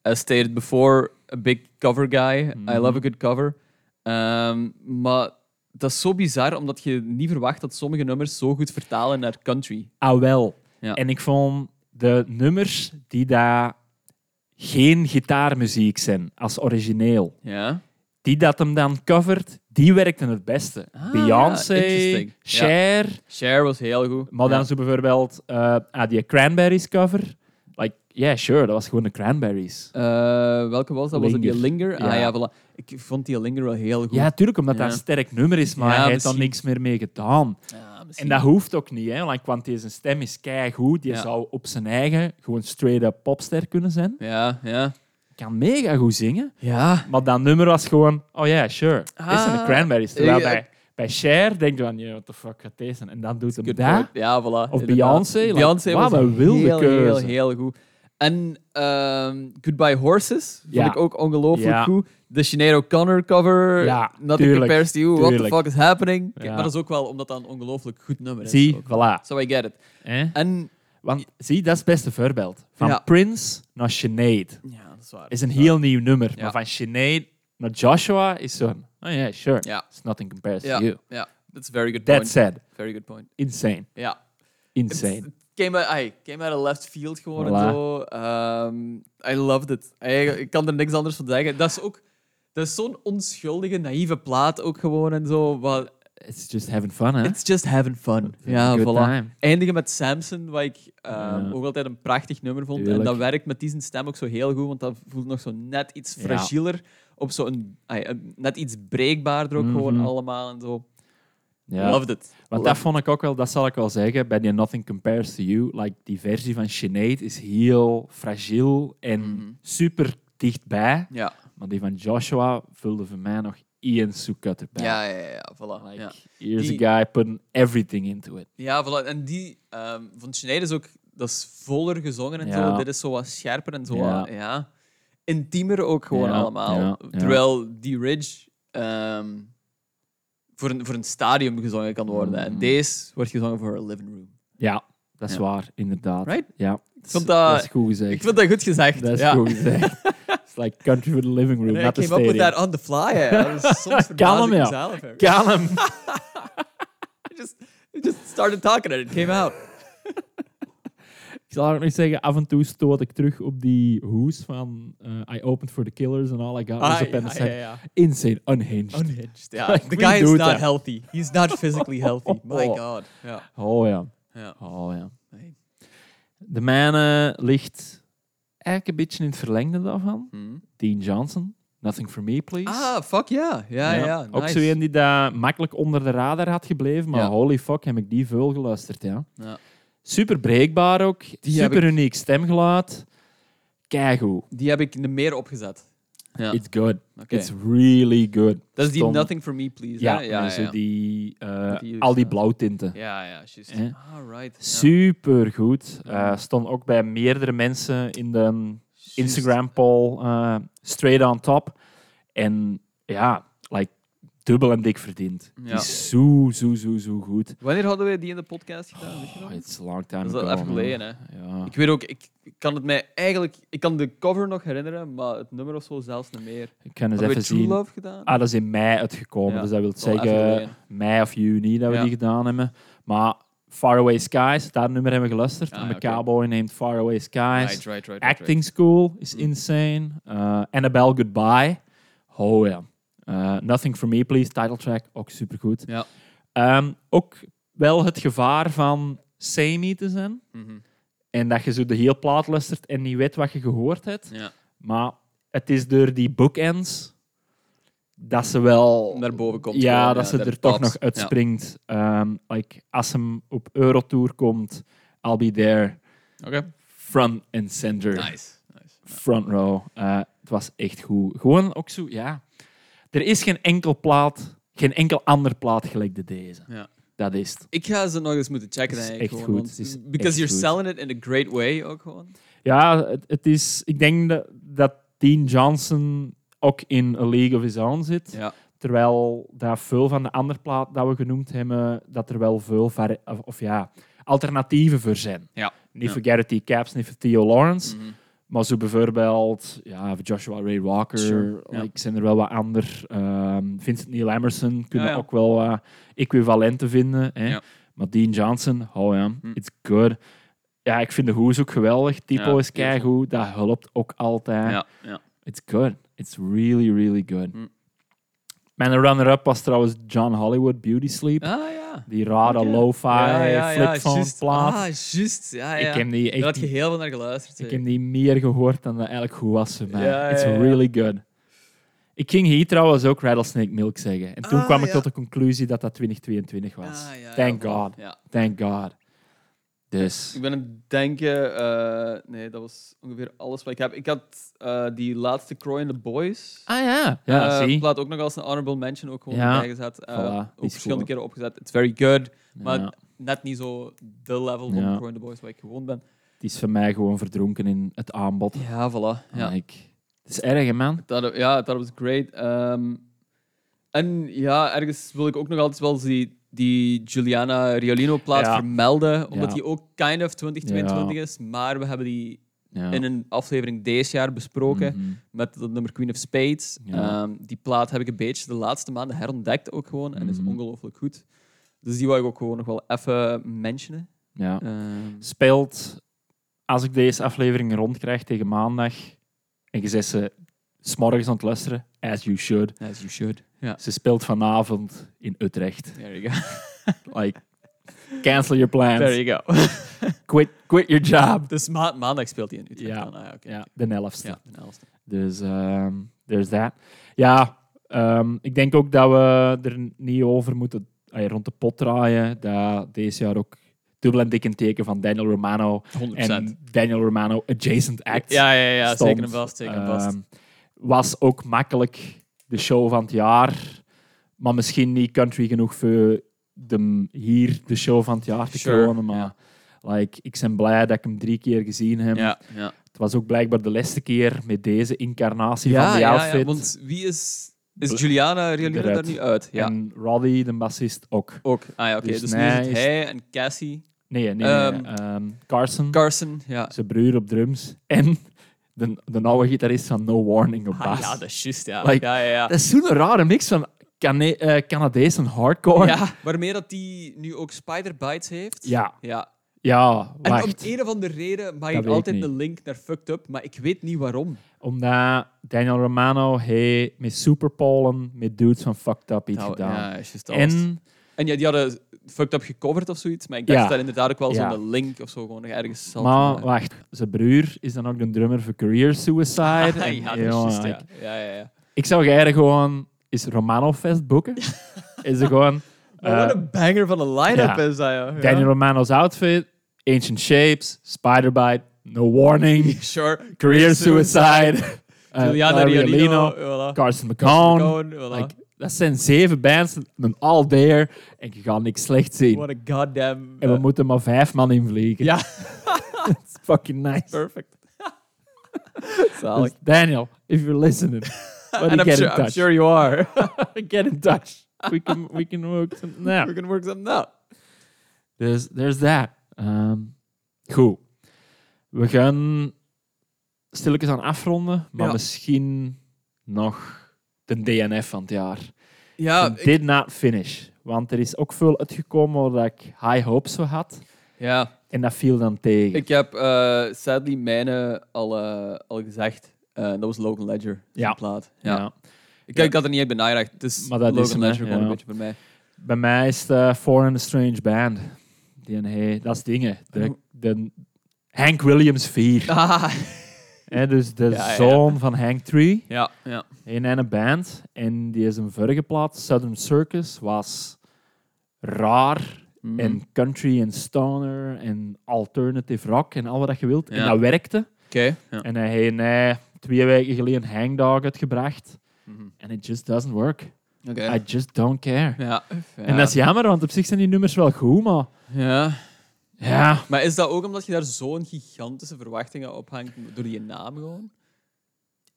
Speaker 2: as stated before, a big cover guy. I
Speaker 1: Mhm.
Speaker 2: love a good cover. Ehm, maar dat is zo bizar, omdat je niet verwacht dat sommige nummers zo goed vertalen naar country.
Speaker 1: Ah, wel.
Speaker 2: Ja.
Speaker 1: En ik vond de nummers die daar geen gitaarmuziek zijn als origineel,
Speaker 2: Ja.
Speaker 1: die dat hem dan covert, die werkten het beste.
Speaker 2: Ah,
Speaker 1: Beyoncé,
Speaker 2: interesting.
Speaker 1: Cher,
Speaker 2: Cher was heel goed.
Speaker 1: maar dan
Speaker 2: Ja.
Speaker 1: zo bijvoorbeeld eh, ah, die Cranberries cover. Like, yeah, sure, dat was gewoon de Cranberries.
Speaker 2: Eh, welke was dat? Was het die
Speaker 1: Linger.
Speaker 2: Linger?
Speaker 1: Ja.
Speaker 2: Ah ja, voilà. Ik vond die Linger wel heel goed.
Speaker 1: Ja, tuurlijk, omdat dat
Speaker 2: Ja.
Speaker 1: een sterk nummer is, maar
Speaker 2: Ja,
Speaker 1: hij heeft dan
Speaker 2: misschien.
Speaker 1: niks meer mee gedaan.
Speaker 2: Ah, misschien.
Speaker 1: En dat hoeft ook niet, hè, want- want deze stem is keigoed. Die
Speaker 2: Ja.
Speaker 1: zou op zijn eigen gewoon straight-up popster kunnen zijn.
Speaker 2: Ja, ja.
Speaker 1: kan mega goed zingen.
Speaker 2: Ja.
Speaker 1: Maar dat nummer was gewoon, oh ja, sure. Dit zijn de
Speaker 2: Ah.
Speaker 1: Cranberries. Terwijl
Speaker 2: Ja.
Speaker 1: bij, bij Cher denk je van, yeah, what the fuck gaat deze? zijn? En dan doet hem dat.
Speaker 2: Ja, voilà.
Speaker 1: Of
Speaker 2: inderdaad.
Speaker 1: Beyoncé, like,
Speaker 2: Beyoncé
Speaker 1: wauw,
Speaker 2: was
Speaker 1: wat een wilde
Speaker 2: heel, heel,
Speaker 1: keuze.
Speaker 2: heel goed. En ehm, Goodbye Horses vond
Speaker 1: Ja.
Speaker 2: ik ook ongelooflijk
Speaker 1: Ja.
Speaker 2: goed. De Sinead O'Connor cover,
Speaker 1: Ja,
Speaker 2: Nothing
Speaker 1: tuurlijk,
Speaker 2: Compares to You, What the
Speaker 1: tuurlijk.
Speaker 2: Fuck Is Happening.
Speaker 1: Ja.
Speaker 2: Maar dat is ook wel omdat dat een ongelooflijk goed nummer is.
Speaker 1: Zie,
Speaker 2: ook.
Speaker 1: voilà.
Speaker 2: So I get it.
Speaker 1: hè?
Speaker 2: En
Speaker 1: Want zie, dat is het beste voorbeeld. Van
Speaker 2: Ja.
Speaker 1: Prince naar Sinead
Speaker 2: ja, dat is waar.
Speaker 1: is een heel nieuw nummer.
Speaker 2: Ja.
Speaker 1: Maar van Sinead naar Joshua is zo'n, oh ja, sure.
Speaker 2: Ja.
Speaker 1: It's nothing compares
Speaker 2: Ja,
Speaker 1: to you.
Speaker 2: ja. That's a very good point.
Speaker 1: That said,
Speaker 2: Very good point.
Speaker 1: insane.
Speaker 2: Ja.
Speaker 1: Insane.
Speaker 2: It's- it Came uit, ay, came uit of left field gewoon en
Speaker 1: Voilà.
Speaker 2: zo. Ehm, I loved it. Ay, ik kan er niks anders van zeggen. Dat is ook... Dat is zo'n onschuldige, naïeve plaat ook gewoon en zo. wat-
Speaker 1: It's just having fun, hè?
Speaker 2: It's just having fun.
Speaker 1: It's a
Speaker 2: Ja,
Speaker 1: good
Speaker 2: voilà.
Speaker 1: time.
Speaker 2: Eindigen met Samson, wat ik ehm,
Speaker 1: Ja.
Speaker 2: ook altijd een prachtig nummer vond.
Speaker 1: Tuurlijk.
Speaker 2: En dat werkt met die stem ook zo heel goed, want dat voelt nog zo net iets
Speaker 1: Ja.
Speaker 2: fragieler. Op zo'n... ay, een- net iets breekbaarder ook
Speaker 1: Mhm.
Speaker 2: gewoon allemaal en zo.
Speaker 1: Ja.
Speaker 2: Loved it.
Speaker 1: Want dat vond ik ook wel, dat zal ik wel zeggen, bij die Nothing Compares to You, like, die versie van Sinead is heel fragiel en
Speaker 2: Mhm.
Speaker 1: super dichtbij.
Speaker 2: Ja.
Speaker 1: Maar die van Joshua vulde voor mij nog Ian Soekut erbij.
Speaker 2: Ja, ja, ja, ja, voilà.
Speaker 1: Like,
Speaker 2: ja.
Speaker 1: here's
Speaker 2: Die-
Speaker 1: a guy putting everything into it.
Speaker 2: Ja, voilà. en die ehm, van Schneider is ook dat is voller gezongen en
Speaker 1: Ja.
Speaker 2: zo. Dit is zo wat scherper en zo.
Speaker 1: Ja.
Speaker 2: wat- Ja. Intiemer ook gewoon
Speaker 1: Ja,
Speaker 2: allemaal.
Speaker 1: ja, ja.
Speaker 2: Terwijl die Ridge ehm, voor, een, voor een stadium gezongen kan worden. En
Speaker 1: Mhm.
Speaker 2: deze wordt gezongen voor een living room.
Speaker 1: Ja, dat is
Speaker 2: Ja.
Speaker 1: waar, inderdaad.
Speaker 2: Right?
Speaker 1: Ja. Ik
Speaker 2: vond dat-
Speaker 1: dat is goed gezegd.
Speaker 2: Ik vind dat goed gezegd.
Speaker 1: Dat is
Speaker 2: ja.
Speaker 1: goed gezegd.
Speaker 2: <laughs>
Speaker 1: It's like country for the living room,
Speaker 2: Nee,
Speaker 1: not
Speaker 2: ik
Speaker 1: the
Speaker 2: came up with
Speaker 1: stadium.
Speaker 2: that on the fly. hè. Dat
Speaker 1: <laughs>
Speaker 2: is Soms verbaas
Speaker 1: hem,
Speaker 2: ik
Speaker 1: ja.
Speaker 2: mezelf. hè.
Speaker 1: Kalm.
Speaker 2: I just, I just started talking and it came out.
Speaker 1: Ik zal ook nog zeggen, af en toe stoot ik terug op die hoes van eh, I opened for the killers and all I got was
Speaker 2: Ah,
Speaker 1: a pen
Speaker 2: ja,
Speaker 1: and
Speaker 2: ja,
Speaker 1: sack.
Speaker 2: ja.
Speaker 1: Insane, unhinged.
Speaker 2: Unhinged. Ja.
Speaker 1: Like,
Speaker 2: The
Speaker 1: we
Speaker 2: guy is
Speaker 1: do
Speaker 2: not
Speaker 1: that.
Speaker 2: healthy. He's
Speaker 1: <laughs>
Speaker 2: not physically healthy. My god. Ja.
Speaker 1: Oh ja,
Speaker 2: Ja.
Speaker 1: oh ja.
Speaker 2: Nee.
Speaker 1: De mijne ligt eigenlijk een beetje in het verlengde daarvan.
Speaker 2: Hmm.
Speaker 1: Dean Johnson, Nothing For Me Please.
Speaker 2: Ah, fuck ja. Ja, ja. nice.
Speaker 1: Ook zo een die dat makkelijk onder de radar had gebleven, maar
Speaker 2: Ja.
Speaker 1: holy fuck heb ik die veel geluisterd. Ja.
Speaker 2: Ja.
Speaker 1: Super breekbaar ook,
Speaker 2: Die heb
Speaker 1: super uniek stemgeluid. Keigoed.
Speaker 2: Die heb ik er meer opgezet. Ja.
Speaker 1: It's good.
Speaker 2: Oké.
Speaker 1: It's really good.
Speaker 2: Dat is die
Speaker 1: Stom.
Speaker 2: Nothing For Me Please.
Speaker 1: Ja,
Speaker 2: hè? ja,
Speaker 1: en zo
Speaker 2: ja.
Speaker 1: Die, eh,
Speaker 2: Dat die-
Speaker 1: al die blauwtinten.
Speaker 2: Ja, ja, juist.
Speaker 1: Hè?
Speaker 2: Ah, right. Ja.
Speaker 1: Super goed. Eh, stond ook bij meerdere mensen in de
Speaker 2: Juist.
Speaker 1: Instagram poll eh, straight on top. En ja, like, dubbel en dik verdiend. Die
Speaker 2: Ja.
Speaker 1: is zo, zo, zo, zo goed.
Speaker 2: Wanneer hadden we die in de podcast gedaan? Weet je nog?
Speaker 1: Oh, it's a long time
Speaker 2: dat is
Speaker 1: ago,
Speaker 2: al even
Speaker 1: man.
Speaker 2: geleden, hè.
Speaker 1: Ja.
Speaker 2: Ik weet ook, ik ik kan het mij eigenlijk... Ik kan de cover nog herinneren, maar het nummer of zo zelfs niet meer.
Speaker 1: Ik kan eens
Speaker 2: Hebben we
Speaker 1: even
Speaker 2: True
Speaker 1: zien.
Speaker 2: Love gedaan?
Speaker 1: Ah, dat is in mei uitgekomen.
Speaker 2: Ja,
Speaker 1: Dus dat wil
Speaker 2: al even
Speaker 1: zeggen
Speaker 2: geleden.
Speaker 1: mei of juni dat we
Speaker 2: Ja.
Speaker 1: die gedaan hebben. Maar Faraway Skies, dat nummer hebben we geluisterd.
Speaker 2: Ah,
Speaker 1: I'm a
Speaker 2: oké.
Speaker 1: cowboy named Faraway Skies.
Speaker 2: right, right, right, right, right.
Speaker 1: Acting School is
Speaker 2: Mm.
Speaker 1: insane. Eh, Annabelle Goodbye. Oh ja. Eh, Nothing For Me Please, title track, ook supergoed.
Speaker 2: Ja.
Speaker 1: Ehm, ook wel het gevaar van samey te zijn.
Speaker 2: Mhm.
Speaker 1: En dat je zo de hele plaat luistert en niet weet wat je gehoord hebt.
Speaker 2: Ja.
Speaker 1: Maar het is door die bookends dat ze wel...
Speaker 2: Naar boven komt.
Speaker 1: Ja,
Speaker 2: gewoon,
Speaker 1: dat ze
Speaker 2: daar
Speaker 1: er toch
Speaker 2: pops.
Speaker 1: nog
Speaker 2: Ja.
Speaker 1: uitspringt. Ehm, like, als hem op Eurotour komt, I'll be there,
Speaker 2: Oké.
Speaker 1: front and center
Speaker 2: Nice. nice.
Speaker 1: front row. Eh, het was echt goed. Gewoon ook zo, ja. Er is geen enkel plaat, geen enkel ander plaat gelijk de deze.
Speaker 2: Ja.
Speaker 1: Dat is het.
Speaker 2: Ik ga ze nog eens moeten checken.
Speaker 1: Het is
Speaker 2: eigenlijk
Speaker 1: echt
Speaker 2: gewoon,
Speaker 1: goed,
Speaker 2: want-
Speaker 1: het is echt
Speaker 2: because you're
Speaker 1: goed.
Speaker 2: selling it in a great way ook gewoon.
Speaker 1: Ja, het, het is, ik denk dat, dat Dean Johnson ook in A League of His Own zit.
Speaker 2: Ja.
Speaker 1: Terwijl dat veel van de andere plaat dat we genoemd hebben, dat er wel veel vari- of, of ja, alternatieven voor zijn.
Speaker 2: Ja.
Speaker 1: Niet
Speaker 2: Ja. Mhm.
Speaker 1: voor Garrett T. Caps, niet voor Theo Lawrence. Maar zo bijvoorbeeld ja, voor Joshua Ray Walker,
Speaker 2: Sure, ja.
Speaker 1: like, zijn er wel wat ander. ehm, Vincent Neil Emerson kunnen
Speaker 2: Ja, ja.
Speaker 1: ook wel wat equivalenten vinden. Hè?
Speaker 2: Ja. Mhm.
Speaker 1: Maar Dean Johnson, oh ja, it's good. Ja, ik vind de hoes ook geweldig. Typo
Speaker 2: Ja,
Speaker 1: is keigoed, dat helpt ook altijd.
Speaker 2: Ja, ja.
Speaker 1: It's good. It's really, really good.
Speaker 2: Hm.
Speaker 1: Mijn runner-up was trouwens John Hollywood, Beauty Sleep.
Speaker 2: Ah ja.
Speaker 1: Die rare
Speaker 2: Oké.
Speaker 1: lo-fi flipphone
Speaker 2: juist.
Speaker 1: plaat.
Speaker 2: Ah, juist. Ja, ja.
Speaker 1: Ik heb die
Speaker 2: Daar had
Speaker 1: echt
Speaker 2: je heel veel naar geluisterd.
Speaker 1: ik
Speaker 2: hè.
Speaker 1: heb die meer gehoord dan dat eigenlijk goed was voor mij.
Speaker 2: Ja,
Speaker 1: It's
Speaker 2: ja, ja.
Speaker 1: really good. Ik ging hier trouwens ook Rattlesnake Milk zeggen. En toen
Speaker 2: Ah,
Speaker 1: kwam ik
Speaker 2: ja.
Speaker 1: tot de conclusie dat dat 2022 was.
Speaker 2: Ah, ja, ja,
Speaker 1: Thank
Speaker 2: voilà.
Speaker 1: God.
Speaker 2: Ja.
Speaker 1: Thank God. Dus
Speaker 2: Ik ben aan het denken, eh, nee, dat was ongeveer alles wat ik heb. Ik had eh, die laatste Croy and the Boys.
Speaker 1: Ah ja, ja,
Speaker 2: eh,
Speaker 1: zie.
Speaker 2: plaat ook nog als een honorable mention ook gewoon
Speaker 1: Ja.
Speaker 2: bijgezet. gezet. Eh,
Speaker 1: Voilà, die
Speaker 2: ook
Speaker 1: is goed,
Speaker 2: verschillende
Speaker 1: hoor.
Speaker 2: keren opgezet. It's very good, maar
Speaker 1: Ja.
Speaker 2: net niet zo de level van
Speaker 1: Ja.
Speaker 2: Croy and the Boys waar ik gewoon ben.
Speaker 1: Het is voor mij gewoon verdronken in het aanbod.
Speaker 2: Ja, voilà.
Speaker 1: Ja.
Speaker 2: Ja.
Speaker 1: Ik, het is erg, hè, man.
Speaker 2: Dat, ja, dat was great. Ehm, en ja, ergens wil ik ook nog altijd wel die, die Giuliana Riolino plaat
Speaker 1: Ja.
Speaker 2: vermelden, omdat
Speaker 1: Ja.
Speaker 2: die ook kind of 2022 is, maar we hebben die
Speaker 1: Ja.
Speaker 2: in een aflevering deze jaar besproken
Speaker 1: Mhm.
Speaker 2: met het nummer Queen of Spades.
Speaker 1: Ja.
Speaker 2: Ehm, die plaat heb ik een beetje de laatste maanden herontdekt ook gewoon en is
Speaker 1: Mhm.
Speaker 2: ongelooflijk goed. Dus die wou ik ook gewoon nog wel even mentionen.
Speaker 1: Ja.
Speaker 2: Ehm,
Speaker 1: Eh, Speelt, als ik deze aflevering rondkrijg tegen maandag, en je zegt ze s'morgens aan het luisteren, as you should.
Speaker 2: as you should. Ja.
Speaker 1: Ze speelt vanavond in Utrecht.
Speaker 2: There you go.
Speaker 1: Like, cancel your plans.
Speaker 2: There you
Speaker 1: <laughs>
Speaker 2: go.
Speaker 1: Quit, quit your job.
Speaker 2: dus ma- maandag speelt hij in Utrecht.
Speaker 1: Ja.
Speaker 2: dan. Ah, oké.
Speaker 1: Ja, de elfste.
Speaker 2: Ja, de elfste.
Speaker 1: Dus ehm there's that. Ja, ehm, ik denk ook dat we er niet over moeten ay, rond de pot draaien. Dat deze jaar ook dubbel en dik een teken van Daniel Romano
Speaker 2: 100%.
Speaker 1: en Daniel Romano adjacent acts.
Speaker 2: ja, ja, ja,
Speaker 1: stond.
Speaker 2: zeker en vast. Zeker en vast.
Speaker 1: Ehm, was ook makkelijk de show van het jaar, maar misschien niet country genoeg voor de, hier de show van het jaar te
Speaker 2: Sure,
Speaker 1: kronen. Maar like, ik ben blij dat ik hem drie keer gezien heb.
Speaker 2: ja, ja.
Speaker 1: Het was ook blijkbaar de laatste keer met deze incarnatie van die outfit.
Speaker 2: want wie is...
Speaker 1: Bl-
Speaker 2: Is Juliana Riolino
Speaker 1: eruit.
Speaker 2: daar nu uit? Ja,
Speaker 1: En Roddy, de bassist, ook.
Speaker 2: ook. Ah ja, oké.
Speaker 1: Dus
Speaker 2: Dus, nu is
Speaker 1: mij
Speaker 2: het
Speaker 1: is-
Speaker 2: hij en Cassie.
Speaker 1: Nee, nee, nee,
Speaker 2: Ehm,
Speaker 1: ehm, Carson,
Speaker 2: Carson, ja.
Speaker 1: zijn broer op drums. En de, de oude gitarist van No Warning op
Speaker 2: Ah,
Speaker 1: bas.
Speaker 2: ja, dat is juist, ja.
Speaker 1: Like,
Speaker 2: ja, ja,
Speaker 1: <laughs>
Speaker 2: ja.
Speaker 1: Dat is zo'n rare mix van Cane- eh, Canadees en hardcore.
Speaker 2: ja. Waarmee dat die nu ook Spider Bites heeft.
Speaker 1: ja,
Speaker 2: ja.
Speaker 1: ja,
Speaker 2: En
Speaker 1: wacht.
Speaker 2: om een of andere reden maak
Speaker 1: Dat
Speaker 2: ik
Speaker 1: weet ik
Speaker 2: altijd
Speaker 1: niet.
Speaker 2: de link naar Fucked Up, maar ik weet niet waarom.
Speaker 1: Omdat Daniel Romano hey, met Superpolen, met dudes van Fucked Up iets
Speaker 2: Nou,
Speaker 1: gedaan.
Speaker 2: ja, is juist dat was-
Speaker 1: en
Speaker 2: en ja, die hadden Fucked Up gecoverd of zoiets, maar ik dacht
Speaker 1: Ja.
Speaker 2: dat dat inderdaad ook wel
Speaker 1: Ja.
Speaker 2: zo'n link of zo gewoon nog ergens zat.
Speaker 1: Maar wacht, zijn broer is dan ook de drummer voor Career Suicide.
Speaker 2: Ah,
Speaker 1: En,
Speaker 2: <laughs> ja, dat is
Speaker 1: jongen,
Speaker 2: juist,
Speaker 1: ik-
Speaker 2: ja. Ja, ja, ja.
Speaker 1: Ik zou graag gewoon is Romano Fest
Speaker 2: <laughs>
Speaker 1: boeken. is er gewoon
Speaker 2: Maar
Speaker 1: eh,
Speaker 2: wat een banger van een
Speaker 1: ja.
Speaker 2: line-up is dat, joh. ja.
Speaker 1: Daniel Romano's outfit, Ancient Shapes, Spiderbite, No
Speaker 2: <laughs>
Speaker 1: Warning,
Speaker 2: Sure.
Speaker 1: Career Suicide, eh,
Speaker 2: Juliana
Speaker 1: Laura
Speaker 2: Riolino.
Speaker 1: Riolino,
Speaker 2: Voilà.
Speaker 1: Carson McCone.
Speaker 2: Cohen, voilà.
Speaker 1: Like, dat zijn zeven bands, een all there en je gaat niks slecht zien.
Speaker 2: What a goddamn...
Speaker 1: en we
Speaker 2: eh,
Speaker 1: moeten maar vijf man invliegen. <laughs>
Speaker 2: Ja.
Speaker 1: It's fucking nice. <laughs>
Speaker 2: Perfect. Zalig.
Speaker 1: Dus Daniel, if you're
Speaker 2: <laughs>
Speaker 1: listening, what
Speaker 2: And
Speaker 1: do you
Speaker 2: I'm
Speaker 1: get
Speaker 2: sure,
Speaker 1: in
Speaker 2: I'm
Speaker 1: touch?
Speaker 2: sure you are.
Speaker 1: <laughs>
Speaker 2: <laughs>
Speaker 1: Get in touch. We can, we can work something out.
Speaker 2: We're <laughs> gonna work something out.
Speaker 1: Dus there's that. Ehm, goed. We gaan stilletjes aan afronden, maar
Speaker 2: Ja.
Speaker 1: misschien nog de DNF van het jaar.
Speaker 2: Ja,
Speaker 1: De Did not finish. Want er is ook veel uitgekomen waar ik high hopes voor had.
Speaker 2: ja.
Speaker 1: En dat viel dan tegen.
Speaker 2: ik heb eh, sadly mijne al, eh, al gezegd. Eh, dat was Logan Ledger. zijn
Speaker 1: Ja.
Speaker 2: Plaat. Ja.
Speaker 1: ja.
Speaker 2: Ik, ik had er niet echt bij nagedacht. Het is
Speaker 1: Maar dat is
Speaker 2: Logan
Speaker 1: hem, hè,
Speaker 2: Ledger gewoon
Speaker 1: ja.
Speaker 2: een beetje bij mij. <laughs>
Speaker 1: Bij mij is eh, de Foreign Strange Band. Die en hij, dat is dingen. De, de Hank Williams 4. Hè, dus de
Speaker 2: Ja, ja, ja.
Speaker 1: zoon van Hank 3.
Speaker 2: ja, ja.
Speaker 1: in een band en die is een vorige plaat, Southern Circus, was raar
Speaker 2: Mm.
Speaker 1: en country en stoner en alternative rock en al wat je wilt. En
Speaker 2: Ja.
Speaker 1: dat werkte.
Speaker 2: Oké. ja.
Speaker 1: En hij heeft nee, twee weken geleden Hangdog uitgebracht.
Speaker 2: Mhm.
Speaker 1: En it just doesn't work.
Speaker 2: Oké.
Speaker 1: I just don't care.
Speaker 2: Ja.
Speaker 1: En dat is jammer, want op zich zijn die nummers wel goed, maar
Speaker 2: Ja.
Speaker 1: ja,
Speaker 2: Maar is dat ook omdat je daar zo'n gigantische verwachtingen op hangt door die naam gewoon?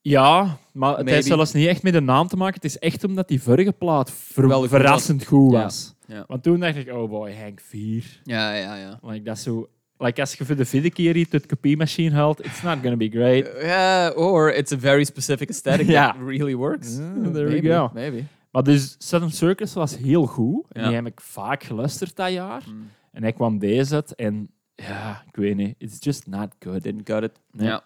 Speaker 1: ja maar het heeft
Speaker 2: Maybe.
Speaker 1: zelfs niet echt met de naam te maken. Het is echt omdat die vorige plaat ver-
Speaker 2: Wel goed was.
Speaker 1: verrassend goed
Speaker 2: Ja.
Speaker 1: was.
Speaker 2: Ja.
Speaker 1: Want toen dacht ik, oh boy, Hank 4.
Speaker 2: Ja, ja, ja.
Speaker 1: Like, dat is zo... Like, als je voor de vierde keer iets uit de kopiemachine haalt, it's not gonna be great.
Speaker 2: Ja, or it's a very specific aesthetic
Speaker 1: Ja.
Speaker 2: that really works.
Speaker 1: Mm, there we
Speaker 2: maybe,
Speaker 1: go.
Speaker 2: Maybe.
Speaker 1: Maar dus, Southern Circus was heel goed. En
Speaker 2: Ja.
Speaker 1: die heb ik vaak geluisterd dat jaar.
Speaker 2: Mm.
Speaker 1: En hij kwam deze uit en... Ja, ik weet niet. It's just not good.
Speaker 2: Didn't cut it.
Speaker 1: Nee.
Speaker 2: Ja.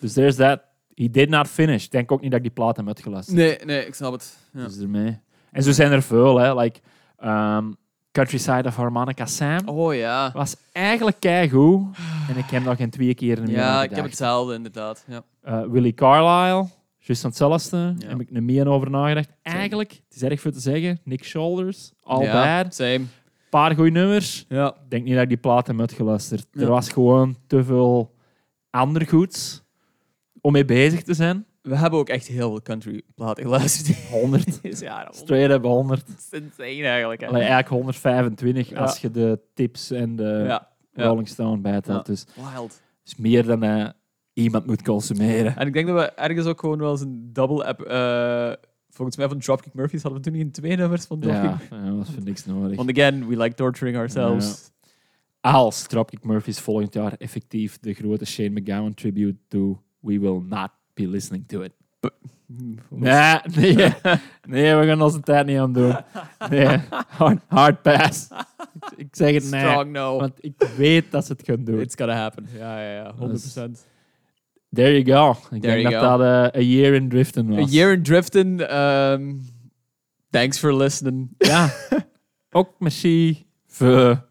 Speaker 1: Dus there's that. He did not finish. Ik denk ook niet dat ik die plaat heb uitgeluisterd.
Speaker 2: Nee, nee, ik snap het. Ja.
Speaker 1: Dus ermee. En zo zijn er veel, hè. Like, ehm, Countryside of Harmonica Sam
Speaker 2: Oh ja.
Speaker 1: was eigenlijk keigoed. En ik heb nog geen twee keer meer
Speaker 2: Ja,
Speaker 1: aan
Speaker 2: ik heb
Speaker 1: gedacht.
Speaker 2: hetzelfde inderdaad. Ja.
Speaker 1: Eh, Willie Carlisle, juist aan hetzelfde.
Speaker 2: Ja.
Speaker 1: Heb ik er meer over nagedacht. Eigenlijk, het is erg veel te zeggen, Nick Shoulders, all
Speaker 2: ja,
Speaker 1: bad.
Speaker 2: Same.
Speaker 1: paar goede nummers.
Speaker 2: Ja.
Speaker 1: Ik denk niet dat ik die plaat heb uitgeluisterd.
Speaker 2: Ja.
Speaker 1: Er was gewoon te veel ander goeds om mee bezig te zijn.
Speaker 2: We hebben ook echt heel veel country platen geluisterd.
Speaker 1: 100.
Speaker 2: Dit is <laughs> ja, dat
Speaker 1: Straight up 100.
Speaker 2: is insane eigenlijk. hè.
Speaker 1: Allee, eigenlijk 125
Speaker 2: Ja.
Speaker 1: als je de tips en de
Speaker 2: ja. ja.
Speaker 1: Rolling Stone bijtelt.
Speaker 2: Ja.
Speaker 1: Dus
Speaker 2: Wild.
Speaker 1: is meer dan eh, iemand moet
Speaker 2: <laughs>
Speaker 1: consumeren.
Speaker 2: En ik denk dat we ergens ook gewoon wel eens een double app. eh, volgens mij van Dropkick Murphys hadden we toen niet in twee nummers van Dropkick.
Speaker 1: Ja, ja, dat was voor niks nodig.
Speaker 2: Want again, we like torturing ourselves.
Speaker 1: Als Dropkick Murphys volgend jaar effectief de grote Shane McGowan tribute doet, we will not be listening to it.
Speaker 2: Hm,
Speaker 1: Nee, nee, nee, we gaan onze tijd niet aan doen. Nee, hard, hard pass. Ik zeg het nee,
Speaker 2: Strong no.
Speaker 1: want ik weet dat ze het gaan doen.
Speaker 2: It's gonna happen. Ja, ja, ja. 100%.
Speaker 1: There you go. Ik
Speaker 2: There
Speaker 1: denk
Speaker 2: you
Speaker 1: dat dat eh, A Year in Drifting was.
Speaker 2: A year in drifting. ehm, thanks for listening. <laughs>
Speaker 1: Ja. Ook misschien voor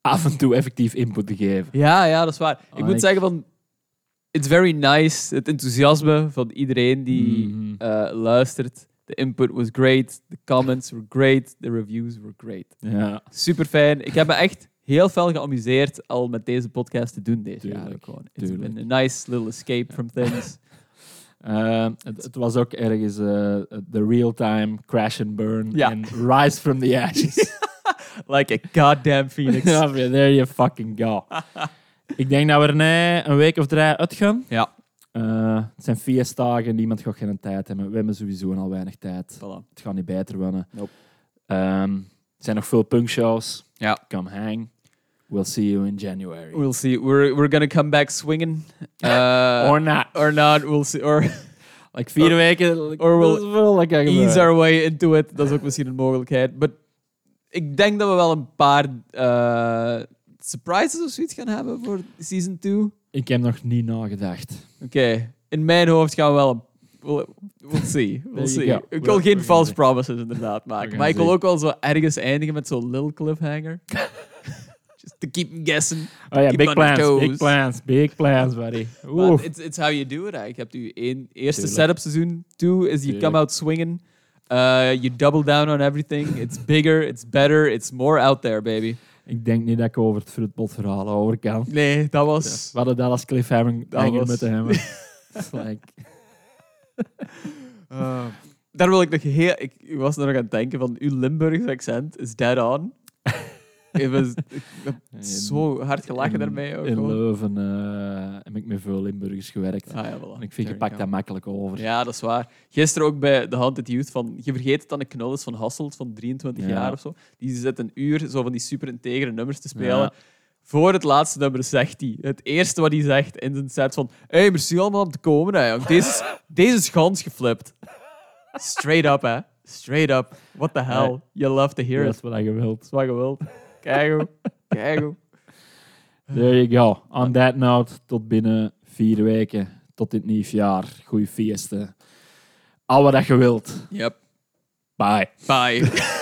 Speaker 1: af en toe effectief input te geven.
Speaker 2: Ja, ja, dat is waar. ik
Speaker 1: Ah,
Speaker 2: moet
Speaker 1: ik-
Speaker 2: zeggen van... It's very nice. Het enthousiasme van iedereen die
Speaker 1: Mhm.
Speaker 2: eh, luistert. De input was great. De comments were great. De reviews were great.
Speaker 1: Ja.
Speaker 2: Super fijn. Ik heb me echt heel veel geamuseerd al met deze podcast te doen deze
Speaker 1: Tuurlijk,
Speaker 2: jaren. Gewoon. It's
Speaker 1: tuurlijk.
Speaker 2: been a nice little escape from things.
Speaker 1: Ehm, het, het was ook ergens eh, de real-time crash and burn
Speaker 2: Ja.
Speaker 1: en rise from the ashes.
Speaker 2: <laughs> like a goddamn <laughs> phoenix.
Speaker 1: <laughs> Ja, There you fucking
Speaker 2: <laughs>
Speaker 1: go. Ik denk dat we er nu een week of drie uitgaan.
Speaker 2: Ja.
Speaker 1: Eh, het zijn feestdagen, niemand gaat geen tijd hebben. We hebben sowieso al weinig tijd.
Speaker 2: Voilà.
Speaker 1: Het gaat niet beter worden.
Speaker 2: Nope.
Speaker 1: Ehm, er zijn nog veel punkshows.
Speaker 2: Ja.
Speaker 1: Come hang. We'll see you in January.
Speaker 2: We'll see. We're, we're gonna come back swinging. Uh,
Speaker 1: Or not.
Speaker 2: <laughs> or not. We'll see. Or
Speaker 1: Like vier weken.
Speaker 2: or we'll
Speaker 1: dat is wel lekker
Speaker 2: ease <laughs>
Speaker 1: gebeuren.
Speaker 2: our way into it. Dat is ook misschien een mogelijkheid. Maar ik denk dat we wel een paar eh, surprises of zoiets gaan hebben voor season 2. Oké.
Speaker 1: Ik heb nog niet nagedacht.
Speaker 2: In mijn hoofd gaan we wel een... We'll, we'll see. We'll
Speaker 1: There you
Speaker 2: see.
Speaker 1: go.
Speaker 2: Ik
Speaker 1: We'll-
Speaker 2: wil
Speaker 1: we gaan
Speaker 2: geen false
Speaker 1: zien.
Speaker 2: promises inderdaad maken.
Speaker 1: gaan
Speaker 2: Maar ik wil
Speaker 1: zien.
Speaker 2: ook wel zo ergens eindigen met zo'n lil <laughs> cliffhanger. Just to keep 'em guessing.
Speaker 1: Oh ja,
Speaker 2: Keep
Speaker 1: big
Speaker 2: on your
Speaker 1: plans, big
Speaker 2: toes.
Speaker 1: plans, big plans, buddy.
Speaker 2: <laughs> Maar
Speaker 1: Oeh.
Speaker 2: it's, it's how you do it eigenlijk. Je hebt je één, eerste
Speaker 1: Tuurlijk.
Speaker 2: setup seizoen. Two is you
Speaker 1: Tuurlijk.
Speaker 2: come out swinging. Uh, you double down on everything. <laughs> It's bigger, it's better, it's more out there, baby.
Speaker 1: Ik denk niet dat ik over het fruitbotverhaal over kan.
Speaker 2: Nee, dat was...
Speaker 1: We hadden dat als cliffhanger
Speaker 2: Dat
Speaker 1: hanger
Speaker 2: was-
Speaker 1: moeten
Speaker 2: <laughs>
Speaker 1: hebben. It's like,
Speaker 2: eh, daar wil ik nog heel... Ik, ik was nog aan het denken van, uw Limburgs accent is dead <laughs> on. ik, was, ik heb zo hard gelachen
Speaker 1: in-
Speaker 2: daarmee ook.
Speaker 1: In
Speaker 2: gewoon.
Speaker 1: Leuven eh, heb ik met veel Limburgers gewerkt.
Speaker 2: Ah, ja, voilà.
Speaker 1: En ik vind, je
Speaker 2: There you
Speaker 1: pakt
Speaker 2: go.
Speaker 1: dat makkelijk over.
Speaker 2: Ja, dat is waar. Gisteren ook bij The Haunted Youth van... Je vergeet het dan een knul is van Hasselt van 23
Speaker 1: Ja.
Speaker 2: jaar of zo. Die zit een uur zo van die super integere nummers te spelen.
Speaker 1: Ja.
Speaker 2: Voor het laatste nummer zegt hij. Het eerste wat hij zegt in zijn set van... Hé, hey, merci allemaal om te komen, hè, jong.
Speaker 1: <laughs>
Speaker 2: Deze is, deze is gans geflipt. Straight up, hè. Straight up. What the hell.
Speaker 1: Nee.
Speaker 2: You love to hear
Speaker 1: Dat
Speaker 2: it.
Speaker 1: is wat je wilt.
Speaker 2: Dat is wat je wilt. Kijk
Speaker 1: <laughs>
Speaker 2: hoe. Kijk hoe.
Speaker 1: There you go. On that note, tot binnen vier weken. Tot dit nieuw jaar. Goeie feesten. Al wat dat je wilt.
Speaker 2: Yep.
Speaker 1: Bye.
Speaker 2: Bye.